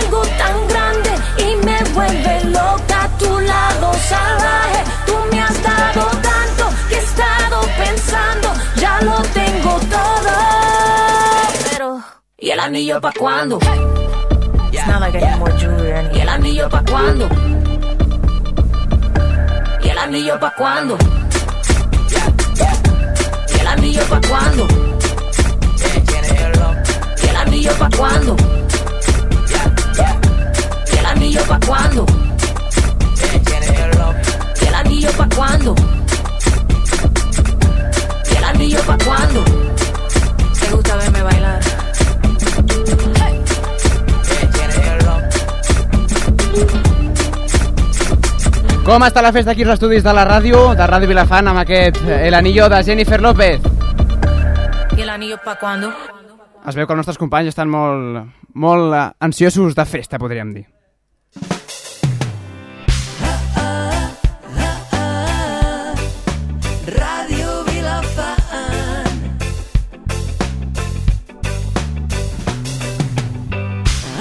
Speaker 11: algo tan grande y me vuelve loca tu lado salvaje. Tú me has dado tanto que he estado pensando, ya lo tengo todo. Pero, ¿y el anillo pa' cuándo? It's not like I need more jewelry anyway. ¿Y el anillo pa' cuándo? ¿Y el anillo pa' cuándo? ¿Y el anillo pa' cuándo? ¿Y el anillo pa' cuándo? ¿Y el anillo pa' cuándo? ¿Y el anillo pa' cuándo? ¿Y el anillo pa' cuándo? Te gusta verme bailar.
Speaker 1: Com està la festa aquí als estudis de la ràdio, de Ràdio Vilafant, amb aquest eh, El Anillo de Jennifer López?
Speaker 11: ¿Y el anillo pa' cuándo?
Speaker 1: Es veu que els nostres companys estan molt, molt eh, ansiosos de festa, podríem dir.
Speaker 9: Ràdio Vilafant.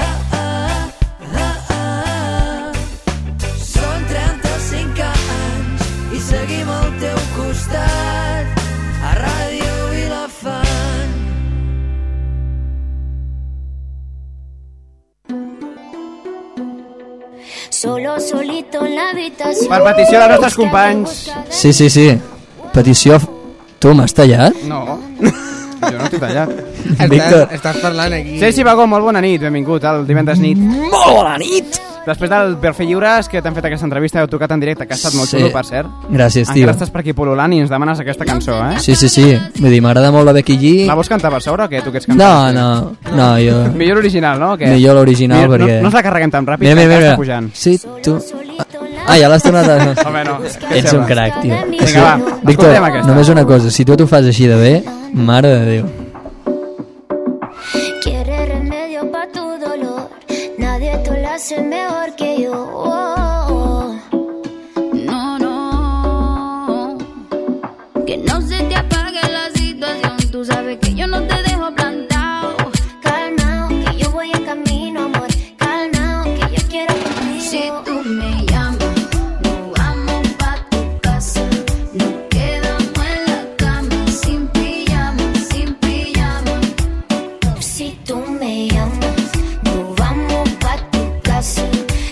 Speaker 9: Ah, ah, ah, ah. Són 35 anys i seguim al teu costat a Ràdio Vilafant.
Speaker 12: Solo, solito en la habitación.
Speaker 1: Per petició dels nostres companys...
Speaker 13: Sí, sí, sí. Petició... f- Tu m'has tallat?
Speaker 1: No. Jo no t'he tallat.
Speaker 13: Víctor.
Speaker 1: estàs parlant aquí. Ceci Bagó, molt bona nit, benvingut al divendres nit. Molt bona nit! Després del Perfil Lliure, és que t'han fet aquesta entrevista, heu tocat en directe, que ha estat molt
Speaker 13: Sí.
Speaker 1: xulo, per cert.
Speaker 13: Gràcies, tio.
Speaker 1: Encara estàs per aquí pol·lulant i ens demanes aquesta cançó, eh?
Speaker 13: Sí, sí, sí. Vull dir, m'agrada molt la Becky G.
Speaker 1: La vols cantar per sobre o què? Tu que ets cantant?
Speaker 13: No, no, no, jo...
Speaker 1: Millor l'original, no? o Què?
Speaker 13: Millor l'original,
Speaker 1: Millor-
Speaker 13: perquè...
Speaker 1: No, no ens la carreguem tan ràpid,
Speaker 13: Mira, mira,
Speaker 1: encara
Speaker 13: mira.
Speaker 1: està pujant.
Speaker 13: Sí, tu... Ah, ja l'has tornat a...
Speaker 1: Home, no. Què
Speaker 13: Ets
Speaker 1: sembla?
Speaker 13: un crac, tio.
Speaker 1: Vinga,
Speaker 13: Sí.
Speaker 1: va,
Speaker 13: Víctor,
Speaker 1: escoltem aquesta.
Speaker 13: només una cosa, si tu t'ho fas així de bé, mare de Déu.
Speaker 12: Quiere remedio pa' tu dolor. Nadie te lo hace mejor que yo. Oh, oh.
Speaker 14: No, no. Que no se te apague la situación. Tú sabes que yo no te dejo plantado.
Speaker 12: Calmao, que yo voy en camino, amor. Calmao, que yo quiero contigo.
Speaker 14: Si tú me llamas, nos vamos pa' tu casa. Nos quedamos en la cama. Sin pijama, sin pijama.
Speaker 12: Si tú me llamas, nos vamos pa' tu casa.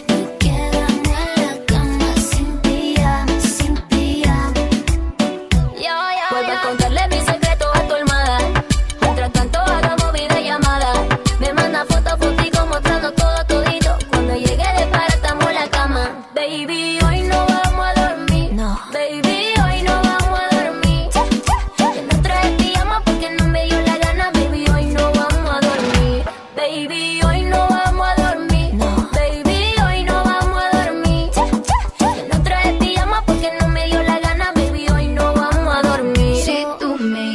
Speaker 12: Nos quedamos en la cama sin pijama, sin pijama.
Speaker 14: Vuelvo a contarle mi secreto a tu almohada. Mientras tanto hagamos videollamada. Me manda fotos, fotico mostrando todo todito. Cuando llegue de paratamos la cama. Baby, hoy no vamos a dormir. No. Baby, hoy no vamos a dormir.
Speaker 12: ah.
Speaker 14: Que no traes pijama porque no me dio la gana. Baby, hoy no vamos a dormir. Baby, hoy no vamos a dormir. No. Baby, hoy no vamos a dormir. Que no traes pijama porque no me dio la gana. Baby, hoy no vamos a dormir. Si tú me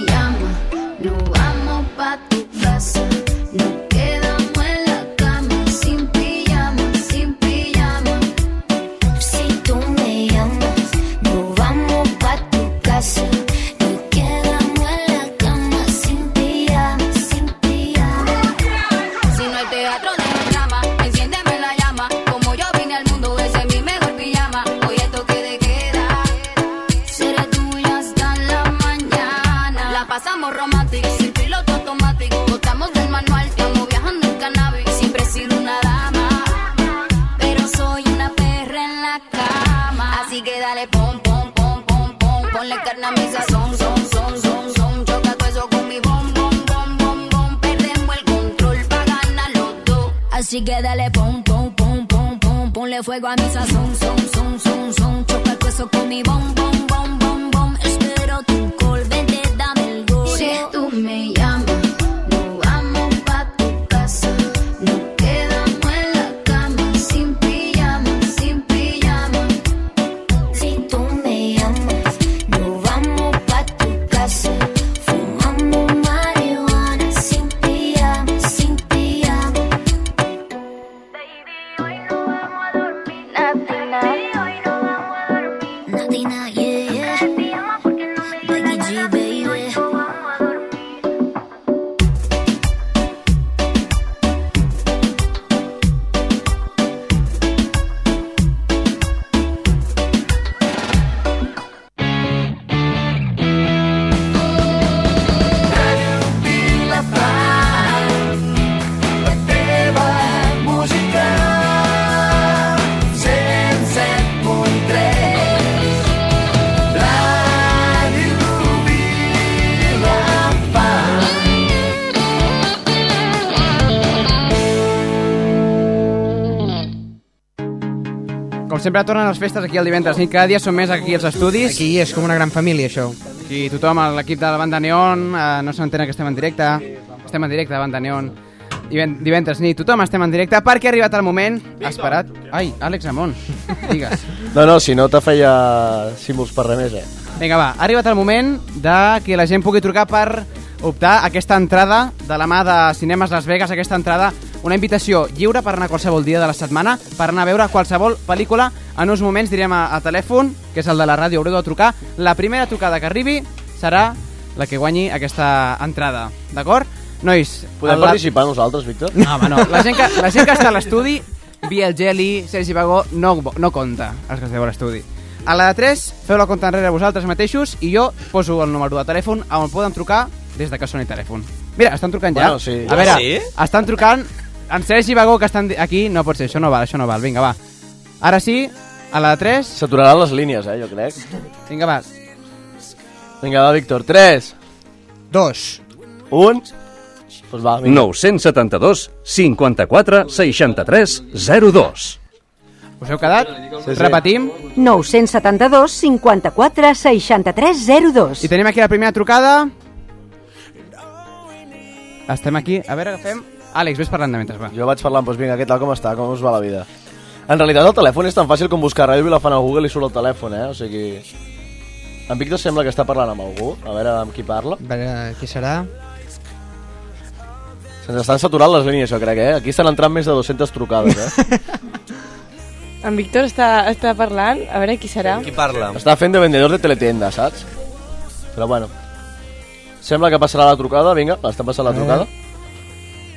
Speaker 14: pasamos romantic, sin piloto automático, botamos del manual, estamos viajando en cannabis. Siempre he sido una dama, pero soy una perra en la cama. Así que dale pom, pom, pom, pom, pom, ponle carne a mi sazón, son, son, son, son, choca todo eso con mi bom, bom, bom, bom, bom, perdemos el control pa' ganar los dos. Así que dale pom, pom, pom, pom, pom, ponle fuego a mi sazón, son, son, son, son, choca todo eso con mi bom, bom, bom, bom, bom, espero tu call, vente, dame el gol. Si tú me llamas. Nos vamos pa' tu casa, nos quedamos en la cama, sin pijama, sin pijama.
Speaker 12: Si tú me amas, nos vamos pa' tu casa. Fumamos marihuana sin pijama, sin pijama. Nadina, yeah, yeah. Becky G, baby.
Speaker 9: la paz, la teva música. 107.3 Ràdio
Speaker 1: Com sempre tornen les festes aquí el divendres nit, cada dia som més aquí als estudis.
Speaker 5: Aquí és com una gran família, això.
Speaker 1: Aquí tothom, l'equip de la banda Neon, eh, no s'entén que estem en directe. Estem en directe, banda Neon. Diven- Divendres nit, tothom estem en directe perquè ha arribat el moment esperat. Ai, Àlex Amon, digues.
Speaker 3: No, no, si no te feia símbols per res més, eh?
Speaker 1: Vinga, va, ha arribat el moment de que la gent pugui trucar per optar a aquesta entrada de la mà de Cinemes Las Vegas, aquesta entrada, una invitació lliure per anar qualsevol dia de la setmana, per anar a veure qualsevol pel·lícula. En uns moments direm a, a telèfon, que és el de la ràdio, haureu de trucar. La primera trucada que arribi serà la que guanyi aquesta entrada, d'acord? Nois,
Speaker 3: Podem
Speaker 1: el-
Speaker 3: participar nosaltres, Víctor?
Speaker 1: No, home, no. La gent que, la gent que està a l'estudi, Biel Geli, Sergi Bagó, no, no compta, els que esteu a l'estudi. A la de 3, feu la compta enrere vosaltres mateixos i jo poso el número de telèfon on poden trucar des de que soni telèfon. Mira, estan trucant ja.
Speaker 3: Bueno, sí.
Speaker 1: A
Speaker 15: Ah,
Speaker 1: veure,
Speaker 3: Sí?
Speaker 1: estan trucant en Sergi Bagó, que estan di- aquí. No pot ser, això no val, això no val. Vinga, va. Ara sí, a la de 3...
Speaker 3: S'aturaran les línies, eh, jo crec.
Speaker 1: Vinga, va.
Speaker 3: Vinga, va, Víctor. 3.
Speaker 5: 2.
Speaker 3: 1. Pues Doncs va, vinga.
Speaker 15: 972 54 63 02.
Speaker 1: Us heu quedat?
Speaker 15: sí.
Speaker 1: Repetim.
Speaker 16: 972 54 63 02.
Speaker 1: I tenim aquí la primera trucada. Estem aquí. A veure, agafem... Àlex, vés parlant de mentre, va.
Speaker 3: Jo vaig parlant, doncs vinga, què tal, com està, com us va la vida? En realitat el telèfon és tan fàcil com buscar Ràdio Vilafant a Google i surt el telèfon, eh? O sigui... En Víctor sembla que està parlant amb algú. A veure amb qui parla.
Speaker 5: A veure, qui serà?
Speaker 3: Se'ns estan saturant les línies, jo crec, eh? Aquí estan entrant més de 200 trucades, eh?
Speaker 6: En Víctor està, està parlant, a veure qui serà.
Speaker 3: parla? Està fent de vendedor de teletienda, saps? Però bueno. Sembla que passarà la trucada, vinga, està passant la trucada.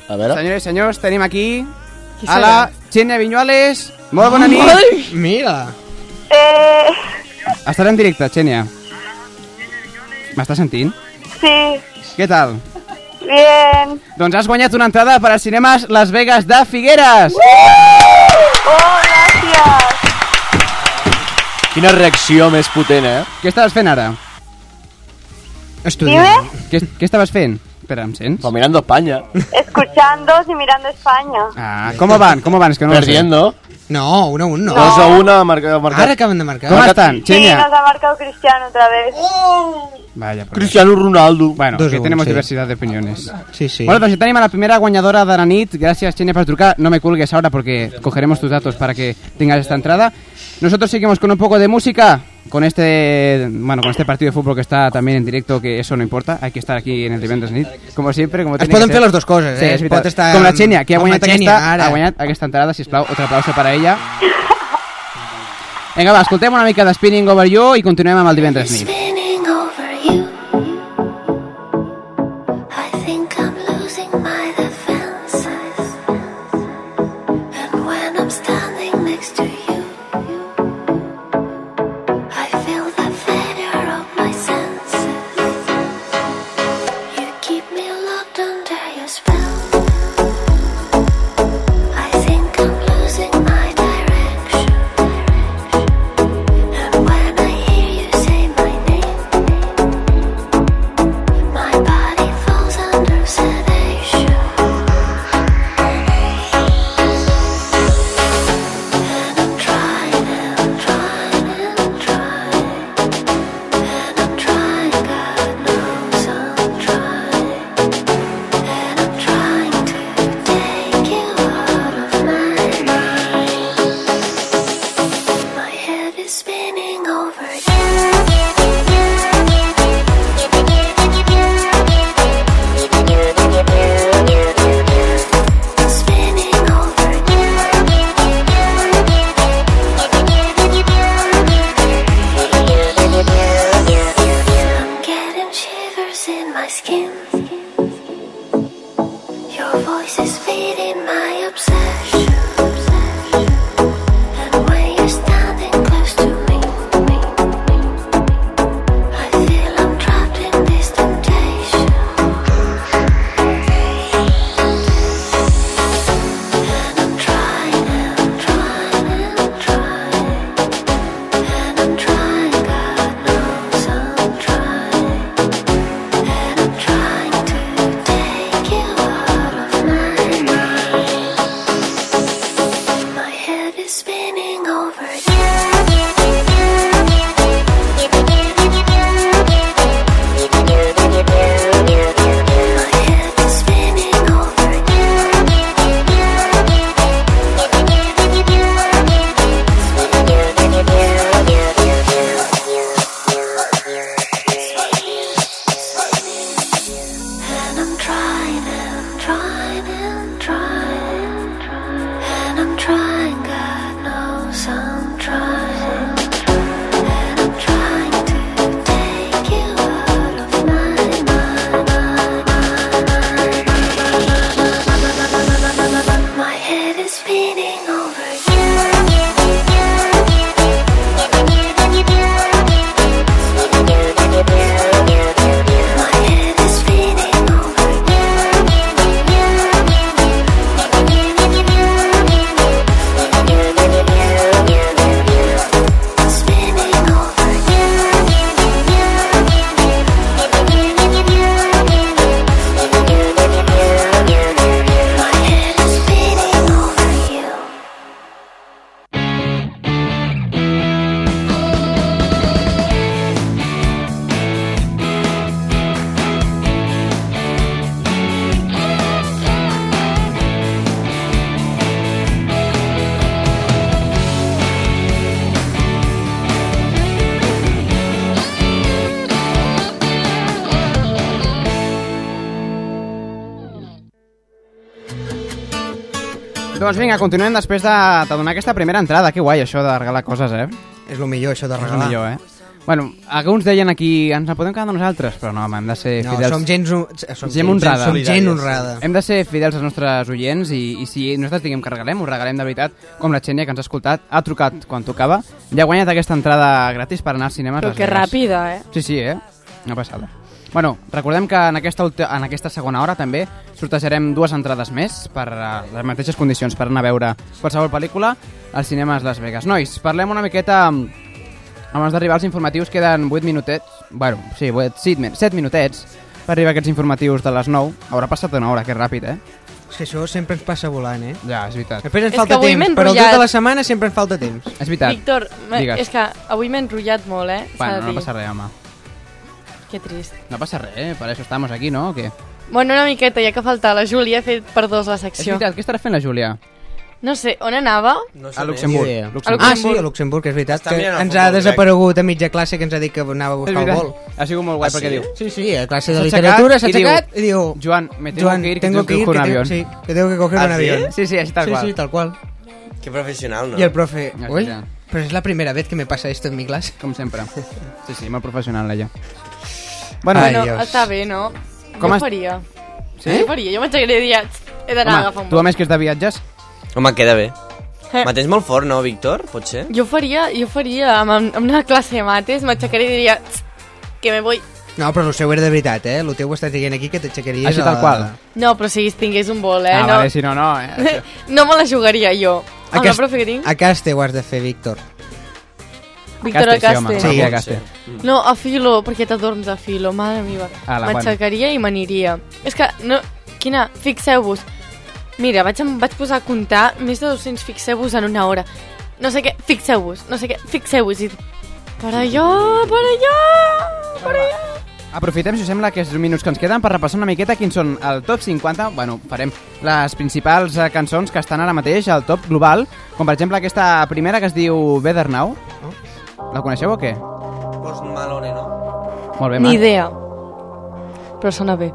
Speaker 3: A veure.
Speaker 1: Senyores i senyors, tenim aquí
Speaker 3: Qui
Speaker 1: a
Speaker 3: serà?
Speaker 1: la Xenia Vinyuales. Molt bona nit.
Speaker 5: Ai! Mira!
Speaker 17: Eh,
Speaker 1: Estàs en directe, Xenia. M'estàs sentint?
Speaker 17: sí,
Speaker 1: Què tal?
Speaker 17: bien.
Speaker 1: Doncs has guanyat una entrada per a Cinemes Las Vegas de Figueres.
Speaker 17: Oh, gracias.
Speaker 3: Quina reacció més potent, eh?
Speaker 1: Què estaves fent ara?
Speaker 17: Estudiant.
Speaker 1: Què, què estaves fent? Espera, em sents?
Speaker 3: Però mirando Espanya.
Speaker 17: Escuchando y mirando España.
Speaker 1: Ah, com van? Com van? És que no ho sé.
Speaker 3: Perdiendo.
Speaker 5: No, 1 a 1 no.
Speaker 3: Dos a una, marca, marca.
Speaker 5: Ara acaben de marcar.
Speaker 1: Com estan,
Speaker 17: Sí,
Speaker 1: Xenia?
Speaker 17: nos ha marcado Cristiano otra vez.
Speaker 8: Oh.
Speaker 1: Vaya, por
Speaker 3: Cristiano Ronaldo.
Speaker 1: Bueno,
Speaker 5: Dos
Speaker 1: aquí
Speaker 5: a un,
Speaker 1: tenemos
Speaker 5: sí.
Speaker 1: diversidad de opiniones.
Speaker 5: Sí, sí.
Speaker 1: Bueno, doncs ja tenim a la primera guanyadora de la nit. Gracias, Chenia, por trucar. No me cuelgues ahora porque cogeremos tus datos para que tengas esta entrada. Nosotros seguimos con un poco de música. Con este, bueno, con este partido de fútbol que está también en directo, que eso no importa, hay que estar aquí en el Divendres Nit, como siempre. Com
Speaker 5: Es
Speaker 1: tiene
Speaker 5: poden
Speaker 1: que
Speaker 5: fer
Speaker 1: ser.
Speaker 5: les dues coses,
Speaker 1: sí,
Speaker 5: eh?
Speaker 1: és
Speaker 5: Es
Speaker 1: veritat.
Speaker 5: pot estar
Speaker 1: Com la
Speaker 5: amb-
Speaker 1: Xenia, que ha
Speaker 5: amb la
Speaker 1: guanyat,
Speaker 5: Xenia,
Speaker 1: aquesta,
Speaker 5: ara.
Speaker 1: ha guanyat aquesta entrada, sisplau, otro aplauso para ella. Vinga, va, escoltem una mica de Spinning Over You i continuem amb el Divendres Nit.
Speaker 12: Spinning over you. I think I'm losing my defenses. And when I'm standing next to you, I feel the failure of my senses.
Speaker 18: my skin. Your voice is feeding my obsession. And when you're standing close to me, I feel I'm trapped in this temptation. And I'm trying and I'm trying and I'm trying. And I'm trying, God knows I'm trying. And I'm trying to take you out of my mind. My head is spinning over you. My head is spinning over you. And I'm trying and trying and trying. And I'm trying, God knows I'm trying. And I'm trying to take you out of my mind. My head is spinning over you. My head is spinning.
Speaker 1: Doncs vinga, continuem després de, de donar aquesta primera entrada. Que guai, això de regalar coses, eh?
Speaker 5: És el millor, això de
Speaker 1: És el
Speaker 5: regalar.
Speaker 1: millor, eh? Bueno, alguns deien aquí, ens la podem quedar nosaltres, però no, home, hem de ser
Speaker 5: No,
Speaker 1: fidels.
Speaker 5: som gens hu- som
Speaker 1: Som
Speaker 5: gent
Speaker 1: gent honrada.
Speaker 5: som gent honrada.
Speaker 1: Hem de ser fidels als nostres oients i, i si nosaltres diguem que regalem, ho regalem de veritat, com la Xènia que ens ha escoltat, ha trucat quan tocava, ja ha guanyat aquesta entrada gratis per anar al cinema. a
Speaker 6: Però
Speaker 1: Las
Speaker 6: que
Speaker 1: Vegas.
Speaker 6: ràpida, eh?
Speaker 1: Sí, sí, eh? Una passada. Bueno, recordem que en aquesta, ulti- en aquesta segona hora també sortejarem dues entrades més per a les mateixes condicions per anar a veure qualsevol pel·lícula als cinemes Las Vegas. Nois, parlem una miqueta amb- abans d'arribar als informatius queden 8 minutets, bueno, sí, 8, 7, min- 7 minutets per arribar a aquests informatius de les 9. Haurà passat una hora, que ràpid, eh?
Speaker 5: És que això sempre ens passa volant, eh?
Speaker 1: Ja, és veritat.
Speaker 5: Després ens
Speaker 6: És
Speaker 5: falta
Speaker 6: que avui m'he
Speaker 5: temps, però el
Speaker 6: enrotllat.
Speaker 5: dia de la setmana sempre ens falta temps.
Speaker 1: És veritat.
Speaker 6: Víctor, me-
Speaker 1: Digues.
Speaker 6: és que avui m'he enrotllat molt, eh? S'ha
Speaker 1: Bueno,
Speaker 6: de
Speaker 1: no
Speaker 6: dir.
Speaker 1: passa res, home.
Speaker 6: Que trist.
Speaker 1: No passa res, eh? Per això estamos aquí, no? O què?
Speaker 6: Bueno, una miqueta, ja que falta la Júlia, he fet per dos la
Speaker 1: És
Speaker 6: secció.
Speaker 1: veritat, què estarà fent la Júlia?
Speaker 6: No sé, on anava?
Speaker 5: No
Speaker 1: sé A Luxemburg.
Speaker 5: Ni idea.
Speaker 1: Luxemburg.
Speaker 5: Ah, sí, a Luxemburg, és veritat.
Speaker 1: Està
Speaker 5: Que
Speaker 1: mirant el
Speaker 5: ens
Speaker 1: futbol,
Speaker 5: ha
Speaker 1: crec.
Speaker 5: desaparegut a mitja classe que ens ha dit que anava a buscar el vol.
Speaker 1: Ha sigut molt guai
Speaker 5: Ah,
Speaker 1: perquè
Speaker 5: sí?
Speaker 1: diu...
Speaker 5: Sí, sí, a classe de
Speaker 1: S'ha
Speaker 5: literatura s'ha
Speaker 1: aixecat i diu,
Speaker 5: aixecat i diu...
Speaker 1: Joan, me tengo que ir, que tengo que ir,
Speaker 5: que
Speaker 1: un
Speaker 5: tengo-
Speaker 1: avión.
Speaker 5: Sí, que tengo que coger
Speaker 4: Ah,
Speaker 5: un
Speaker 4: sí?
Speaker 5: avión.
Speaker 4: Sí, sí, així tal
Speaker 5: sí,
Speaker 4: qual.
Speaker 5: Sí, tal qual.
Speaker 4: Que professional, no?
Speaker 5: I el profe,
Speaker 1: Ja,
Speaker 5: ui,
Speaker 1: ja.
Speaker 5: però és la primera vegada que me passa esto en mi classe.
Speaker 1: Com sempre. Sí, sí, molt professional, ella.
Speaker 5: Bueno,
Speaker 1: eh,
Speaker 6: bueno,
Speaker 5: Dios.
Speaker 6: està bé, no?
Speaker 1: Com
Speaker 6: jo
Speaker 1: es-
Speaker 6: faria.
Speaker 1: Sí?
Speaker 6: Jo faria, jo m'aixecaré i diria, "Tsk, he d'anar a agafar un
Speaker 1: tu
Speaker 6: vol.
Speaker 1: a més que és de viatges...
Speaker 4: Home, queda bé.
Speaker 6: Eh.
Speaker 4: Me tens molt fort, no, Víctor? Potser?
Speaker 6: Jo faria, jo faria amb, amb una classe de mates, m'aixecaré i diria, "Tsk, que me voy.
Speaker 5: No, però el seu era de veritat, eh? El teu ho estàs dient aquí que t'aixecaries...
Speaker 1: Així
Speaker 5: a
Speaker 1: tal
Speaker 5: la-
Speaker 1: qual.
Speaker 6: No, però si tingués un vol, eh?
Speaker 5: Ah,
Speaker 6: no.
Speaker 5: vale, si no, no, eh, això.
Speaker 6: no me la jugaria jo. Amb la
Speaker 5: Aquest-
Speaker 6: profe que tinc,
Speaker 5: A Caste ho has de fer, Víctor. Caste,
Speaker 6: Víctor
Speaker 5: sí,
Speaker 6: Acaste.
Speaker 5: home, Sí, a Caste.
Speaker 6: No, a filo, perquè t'adorms a filo, mare meva.
Speaker 5: Ala, bueno.
Speaker 6: M'aixecaria i m'aniria. És que, no, quina, fixeu-vos. Mira, vaig, em vaig posar a comptar més de 200 fixeu-vos en una hora. No sé què, fixeu-vos, no sé què, fixeu-vos. I... Per allò, per allò, per allò.
Speaker 1: Aprofitem, si us sembla, aquests minuts que ens queden per repassar una miqueta quins són el top 50. Bueno, farem les principals eh, cançons que estan ara mateix al top global, com per exemple aquesta primera que es diu Better Now. La coneixeu o què?
Speaker 4: Post Malone, no?
Speaker 1: Molt bé,
Speaker 6: Ni
Speaker 1: Marc.
Speaker 6: idea. Però sona bé.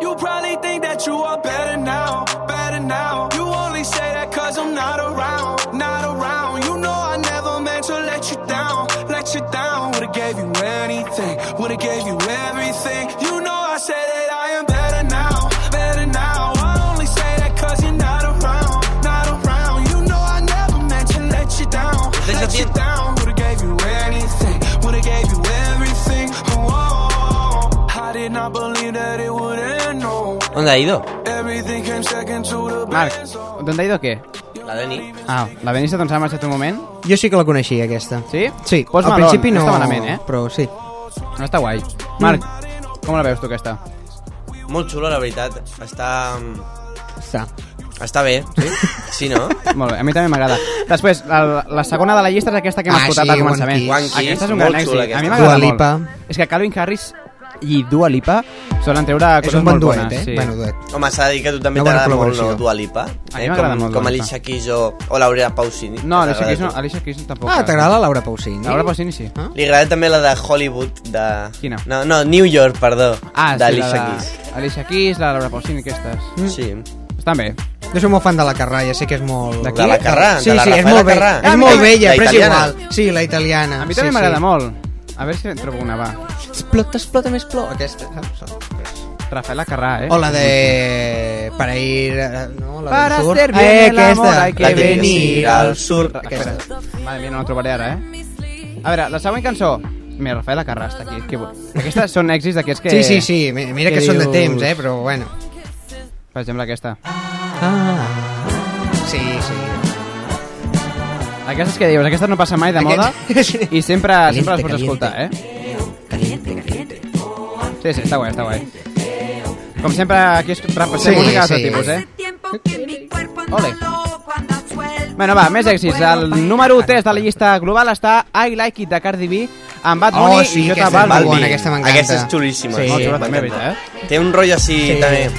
Speaker 8: You probably think that you are better now, better now. You only say that cause I'm not around, not around. You know I never meant to let you thought I gave you everything. You know I said that I am better now, better now. I only say that cause you're not around, not around. You know I never meant to let you down,
Speaker 4: Desde
Speaker 8: let you
Speaker 4: tiempo.
Speaker 8: down. Would've gave you anything, would've gave you everything. Oh, I did not believe that it would end, no.
Speaker 4: ¿Dónde ha ido?
Speaker 8: Everything came second to the
Speaker 1: Marc, on t'ha ido què?
Speaker 4: La Dani.
Speaker 1: Ah, la Benissa doncs ha marxat un moment.
Speaker 5: Jo sí que la coneixia, aquesta.
Speaker 1: Sí?
Speaker 5: Sí.
Speaker 1: Post
Speaker 5: Al
Speaker 1: Malone,
Speaker 5: principi
Speaker 1: no
Speaker 5: no,
Speaker 1: està malament, eh?
Speaker 5: però sí.
Speaker 1: No està guai. Marc, com la veus tu aquesta?
Speaker 4: Molt xula, la veritat. Està... mm,
Speaker 5: Està.
Speaker 4: Està bé, sí? Sí, no?
Speaker 1: Molt bé, a mi també m'agrada. Després, la, la segona de la llista és aquesta que hem
Speaker 4: Ah,
Speaker 1: escoltat
Speaker 4: sí,
Speaker 1: al començament.
Speaker 4: One Kiss. One Kiss,
Speaker 1: Aquesta és un
Speaker 4: molt
Speaker 1: gran èxit.
Speaker 4: xula,
Speaker 1: A mi
Speaker 4: aquesta.
Speaker 1: m'agrada
Speaker 4: Dua
Speaker 1: molt. És que Calvin Harris i Dua Lipa solen treure
Speaker 5: És
Speaker 1: coses
Speaker 5: un bon
Speaker 1: molt
Speaker 5: duet, eh?
Speaker 1: bones. Sí.
Speaker 5: Bueno, duet.
Speaker 4: Home, s'ha de dir que a tu també
Speaker 1: Una bona
Speaker 4: t'agrada molt,
Speaker 1: col·laboració.
Speaker 4: no, Dua Lipa? eh?
Speaker 1: A mi m'agrada molt
Speaker 4: Com
Speaker 1: Dua Lipa.
Speaker 4: Alicia Keys o, o Laura Pausini.
Speaker 1: No, Alicia
Speaker 4: T'agrada
Speaker 1: Keys no,
Speaker 4: tu?
Speaker 1: Alicia Keys tampoc.
Speaker 5: Ah, t'agrada la Laura Pausini?
Speaker 1: Laura Pausini sí. Ah?
Speaker 4: Li agrada també la de Hollywood, de...
Speaker 1: Quina?
Speaker 4: No, no, New York, perdó,
Speaker 1: Ah, sí, la
Speaker 4: d'Alicia
Speaker 1: de-
Speaker 4: Keys. Mm.
Speaker 1: Alicia Keys, la Laura Pausini, aquestes.
Speaker 4: Sí.
Speaker 1: Estan bé.
Speaker 5: Jo soc molt fan de la Carrà, ja sé que és molt...
Speaker 1: De qui? De la Carrà,
Speaker 5: Sí,
Speaker 1: de la
Speaker 5: sí, és
Speaker 1: Rafaela
Speaker 5: molt, bella,
Speaker 1: Carrà.
Speaker 5: és
Speaker 1: Ah,
Speaker 5: molt
Speaker 1: mira,
Speaker 5: bella,
Speaker 1: la
Speaker 5: però és
Speaker 1: italiana.
Speaker 5: igual. Sí, la italiana.
Speaker 1: A mi també
Speaker 5: sí,
Speaker 1: m'agrada
Speaker 5: sí.
Speaker 1: molt. A veure si en trobo una, va.
Speaker 5: Explota, explota, més plor. Aquesta, saps?
Speaker 1: Rafaela Carrà, eh?
Speaker 5: O la de... Para ir... eh, No, la
Speaker 1: Para
Speaker 5: del sur.
Speaker 1: ser bien el
Speaker 5: aquesta.
Speaker 1: amor hay que
Speaker 5: La de
Speaker 1: venir
Speaker 5: al sur.
Speaker 1: Espera, madre mía, no la trobaré ara, eh? A veure, la següent cançó. Mira, Rafaela Carrà està aquí. Que bo. Aquestes són èxits d'aquests que...
Speaker 5: Sí, sí, sí, mi- mira que són de temps, eh, però bueno.
Speaker 1: Per exemple, aquesta.
Speaker 5: Ah. Sí, sí.
Speaker 1: Aquestes que dius, aquestes no passa mai de moda i sempre, sempre les
Speaker 5: Caliente,
Speaker 1: pots escoltar, eh? Sí, sí, està guai, està guai. Com sempre, aquí es repassem
Speaker 5: Sí,
Speaker 1: música d'altre
Speaker 5: sí.
Speaker 1: tipus, eh? Ole. Bueno, va, més èxits. El número 3 de la llista global està I Like It de Cardi B amb Bad Bunny
Speaker 5: Oh, sí,
Speaker 1: Ah, i J
Speaker 5: aquesta és
Speaker 1: Balvin.
Speaker 5: molt bona, aquesta m'encanta.
Speaker 4: Aquesta és xulíssima.
Speaker 5: Sí,
Speaker 1: Molt xula
Speaker 4: m'encanta.
Speaker 1: també, veritat, eh?
Speaker 4: Té un rotllo així,
Speaker 5: Sí.
Speaker 4: també...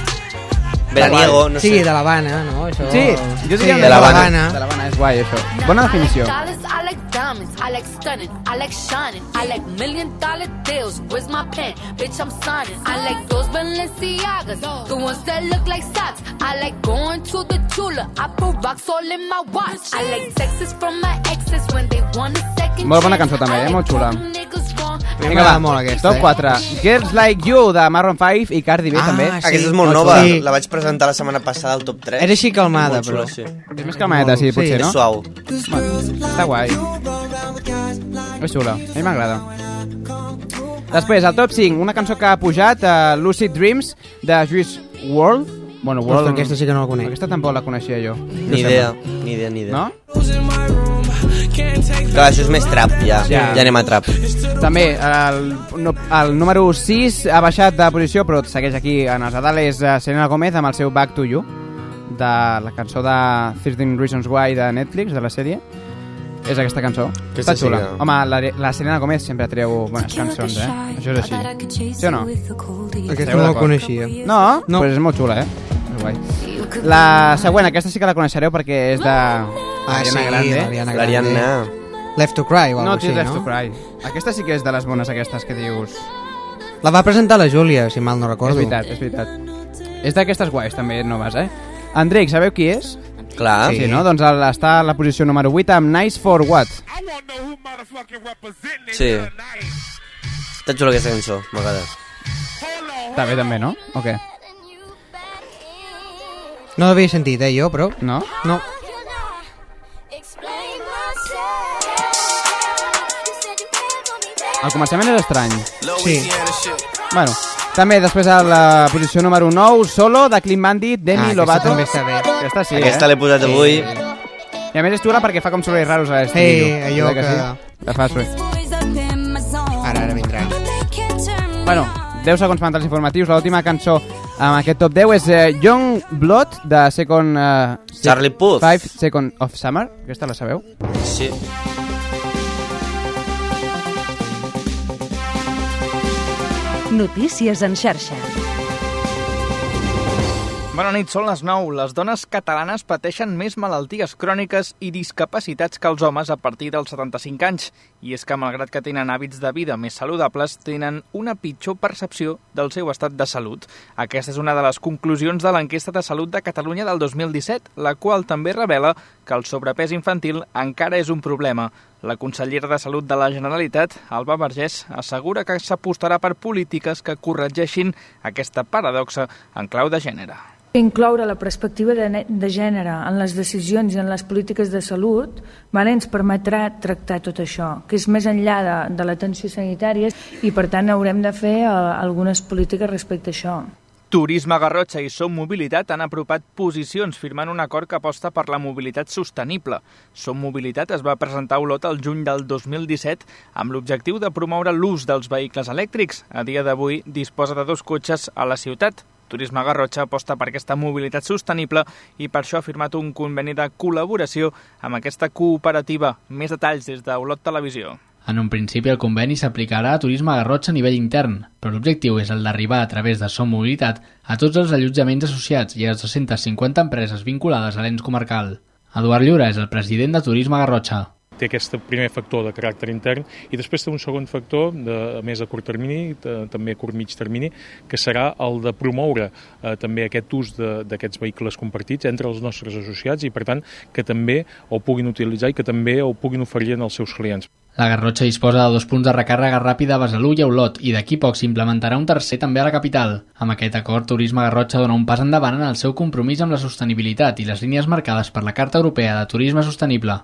Speaker 4: Veraniego, no
Speaker 5: sí,
Speaker 4: sé.
Speaker 5: de l'Havana, no? Això...
Speaker 1: Sí, jo diria
Speaker 5: sí,
Speaker 1: una
Speaker 5: de l'Havana.
Speaker 1: Habana. De l'Havana, és guai, això. Bona definició.
Speaker 19: Dollars, I like diamonds, I like stunning, I like shining, I like million dollar deals. Where's my pen? Bitch, I'm signing. I like those Balenciagas, the ones that look like socks. I like going to the Tula, I put rocks all in my watch. I like texts from my exes when they want a second
Speaker 1: Molt bona
Speaker 19: chance.
Speaker 1: cançó també, eh? Molt xula.
Speaker 19: Niggas wrong.
Speaker 1: Vinga, va, molt aquesta,
Speaker 5: eh?
Speaker 1: top 4. Girls Like You, de Maroon 5 i Cardi B,
Speaker 5: Ah,
Speaker 1: també.
Speaker 4: Aquesta és molt nova, la vaig presentar la setmana passada al top 3.
Speaker 1: Era així calmada,
Speaker 4: Molt xula,
Speaker 1: però.
Speaker 4: Sí.
Speaker 1: És més calmadeta, sí, potser, no?
Speaker 4: És suau.
Speaker 1: Està guai. És xula, a mi m'agrada. Després, al top 5, una cançó que ha pujat, uh, Lucid Dreams, de Juice WRLD. Bueno,
Speaker 5: Ostres,
Speaker 1: WRLD...
Speaker 5: aquesta sí que no la conec.
Speaker 1: Aquesta tampoc la coneixia jo.
Speaker 4: Ni idea, ni idea, ni idea.
Speaker 1: No?
Speaker 4: Clar, això és més trap, ja. Ja,
Speaker 1: Ja.
Speaker 4: ja anem a trap.
Speaker 1: També, el, no- el número 6 ha baixat de posició, però segueix aquí en els Adales eh, Selena Gomez amb el seu Back to You, de la cançó de 13 Reasons Why de Netflix, de la sèrie. És aquesta cançó.
Speaker 4: Aquesta
Speaker 1: Està
Speaker 4: sí
Speaker 1: xula.
Speaker 4: que-
Speaker 1: Home, la, la Selena Gomez sempre treu bones cançons, eh? Això és així. Sí o no?
Speaker 5: Aquesta
Speaker 1: Esteu
Speaker 5: no la
Speaker 1: d'acord?
Speaker 5: coneixia.
Speaker 1: No? No. Pues és molt xula, eh? És guai. La següent, aquesta sí que la coneixereu perquè és de...
Speaker 5: Ah,
Speaker 1: Ariana
Speaker 5: sí,
Speaker 1: Grande.
Speaker 5: l'Ariana Grande. L'Ariana. Left to Cry o
Speaker 1: No,
Speaker 5: alguna
Speaker 1: tio,
Speaker 5: cosa
Speaker 1: Left
Speaker 5: així,
Speaker 1: to
Speaker 5: no?
Speaker 1: Cry. Aquesta sí que és de les bones aquestes que dius...
Speaker 5: La va presentar la Júlia, si mal no recordo.
Speaker 1: És veritat, és veritat. És d'aquestes guais, també, noves, eh? Andrei, sabeu qui és?
Speaker 4: Clar.
Speaker 1: Sí, no? Doncs el- està a la posició número 8 amb Nice for What.
Speaker 4: Sí. Està xula aquesta cançó, m'agrada.
Speaker 1: Està bé, també, no? O què?
Speaker 5: No l'havia sentit, eh, jo, però...
Speaker 1: No?
Speaker 5: No.
Speaker 1: El començament és estrany.
Speaker 5: Sí.
Speaker 1: Bueno, també després a la posició número 9, Solo, de Clean Bandit,
Speaker 5: Ah,
Speaker 1: Demi
Speaker 5: aquesta
Speaker 1: Lovato.
Speaker 5: també està bé.
Speaker 1: Aquesta sí,
Speaker 4: Aquesta
Speaker 1: eh?
Speaker 4: l'he posat avui.
Speaker 1: I a més és xula perquè fa com sorolls raros a l'estiu.
Speaker 5: Ei, allò que...
Speaker 1: La fa soroll.
Speaker 5: Ara, ara vindrà.
Speaker 1: Bueno, 10 segons per entrar als informatius. L'última cançó amb aquest top 10 és eh, Young Blood de Second... Eh,
Speaker 4: Charlie Puth.
Speaker 1: 5 Second of Summer. Aquesta la sabeu?
Speaker 4: Sí.
Speaker 16: Notícies en xarxa.
Speaker 20: Bona nit, són les 9. Les dones catalanes pateixen més malalties cròniques i discapacitats que els homes a partir dels 75 anys. I és que, malgrat que tenen hàbits de vida més saludables, tenen una pitjor percepció del seu estat de salut. Aquesta és una de les conclusions de l'enquesta de salut de Catalunya del 2017, la qual també revela que el sobrepès infantil encara és un problema. La consellera de Salut de la Generalitat, Alba Vergés, assegura que s'apostarà per polítiques que corregeixin aquesta paradoxa en clau de gènere.
Speaker 21: Incloure la perspectiva de, ne- de gènere en les decisions i en les polítiques de salut vale, ens permetrà tractar tot això, que és més enllà de, de l'atenció sanitària i, per tant, haurem de fer eh, algunes polítiques respecte a això.
Speaker 20: Turisme Garrotxa i Som Mobilitat han apropat posicions firmant un acord que aposta per la mobilitat sostenible. Som Mobilitat es va presentar a Olot el juny del 2017 amb l'objectiu de promoure l'ús dels vehicles elèctrics. A dia d'avui disposa de dos cotxes a la ciutat. Turisme Garrotxa aposta per aquesta mobilitat sostenible i per això ha firmat un conveni de col·laboració amb aquesta cooperativa. Més detalls des d'Olot Televisió.
Speaker 22: En un principi, el conveni s'aplicarà a turisme a Garrotxa a nivell intern, però l'objectiu és el d'arribar a través de Som Mobilitat a tots els allotjaments associats i a les 250 empreses vinculades a l'ens comarcal. Eduard Llora és el president de Turisme Garrotxa.
Speaker 23: té aquest primer factor de caràcter intern i després té un segon factor de, a més a curt termini, de, també a curt mig termini, que serà el de promoure eh, també aquest ús de- d'aquests vehicles compartits entre els nostres associats i per tant que també ho puguin utilitzar i que també ho puguin oferir als seus clients.
Speaker 22: La Garrotxa disposa de dos punts de recàrrega ràpida a Besalú i a Olot i d'aquí poc s'implementarà un tercer també a la capital. Amb aquest acord, Turisme Garrotxa dona un pas endavant en el seu compromís amb la sostenibilitat i les línies marcades per la Carta Europea de Turisme Sostenible.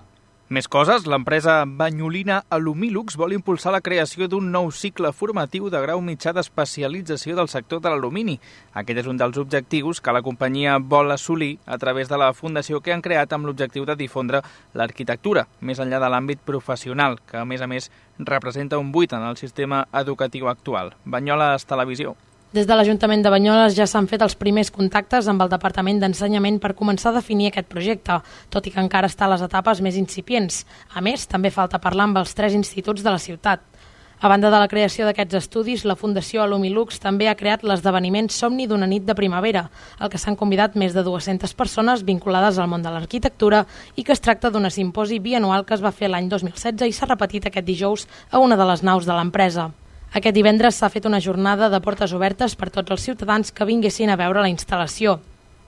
Speaker 20: Més coses, l'empresa banyolina Alumilux vol impulsar la creació d'un nou cicle formatiu de grau mitjà d'especialització del sector de l'alumini. Aquest és un dels objectius que la companyia vol assolir a través de la fundació que han creat amb l'objectiu de difondre l'arquitectura, més enllà de l'àmbit professional, que a més a més representa un buit en el sistema educatiu actual. Banyoles Televisió.
Speaker 24: Des de l'Ajuntament de Banyoles ja s'han fet els primers contactes amb el Departament d'Ensenyament per començar a definir aquest projecte, tot i que encara està a les etapes més incipients. A més, també falta parlar amb els tres instituts de la ciutat. A banda de la creació d'aquests estudis, la Fundació Alumilux també ha creat l'esdeveniment Somni d'una nit de primavera, al que s'han convidat més de 200 persones vinculades al món de l'arquitectura i que es tracta d'un simposi bianual que es va fer l'any 2016 i s'ha repetit aquest dijous a una de les naus de l'empresa. Aquest divendres s'ha fet una jornada de portes obertes per tots els ciutadans que vinguessin a veure la instal·lació.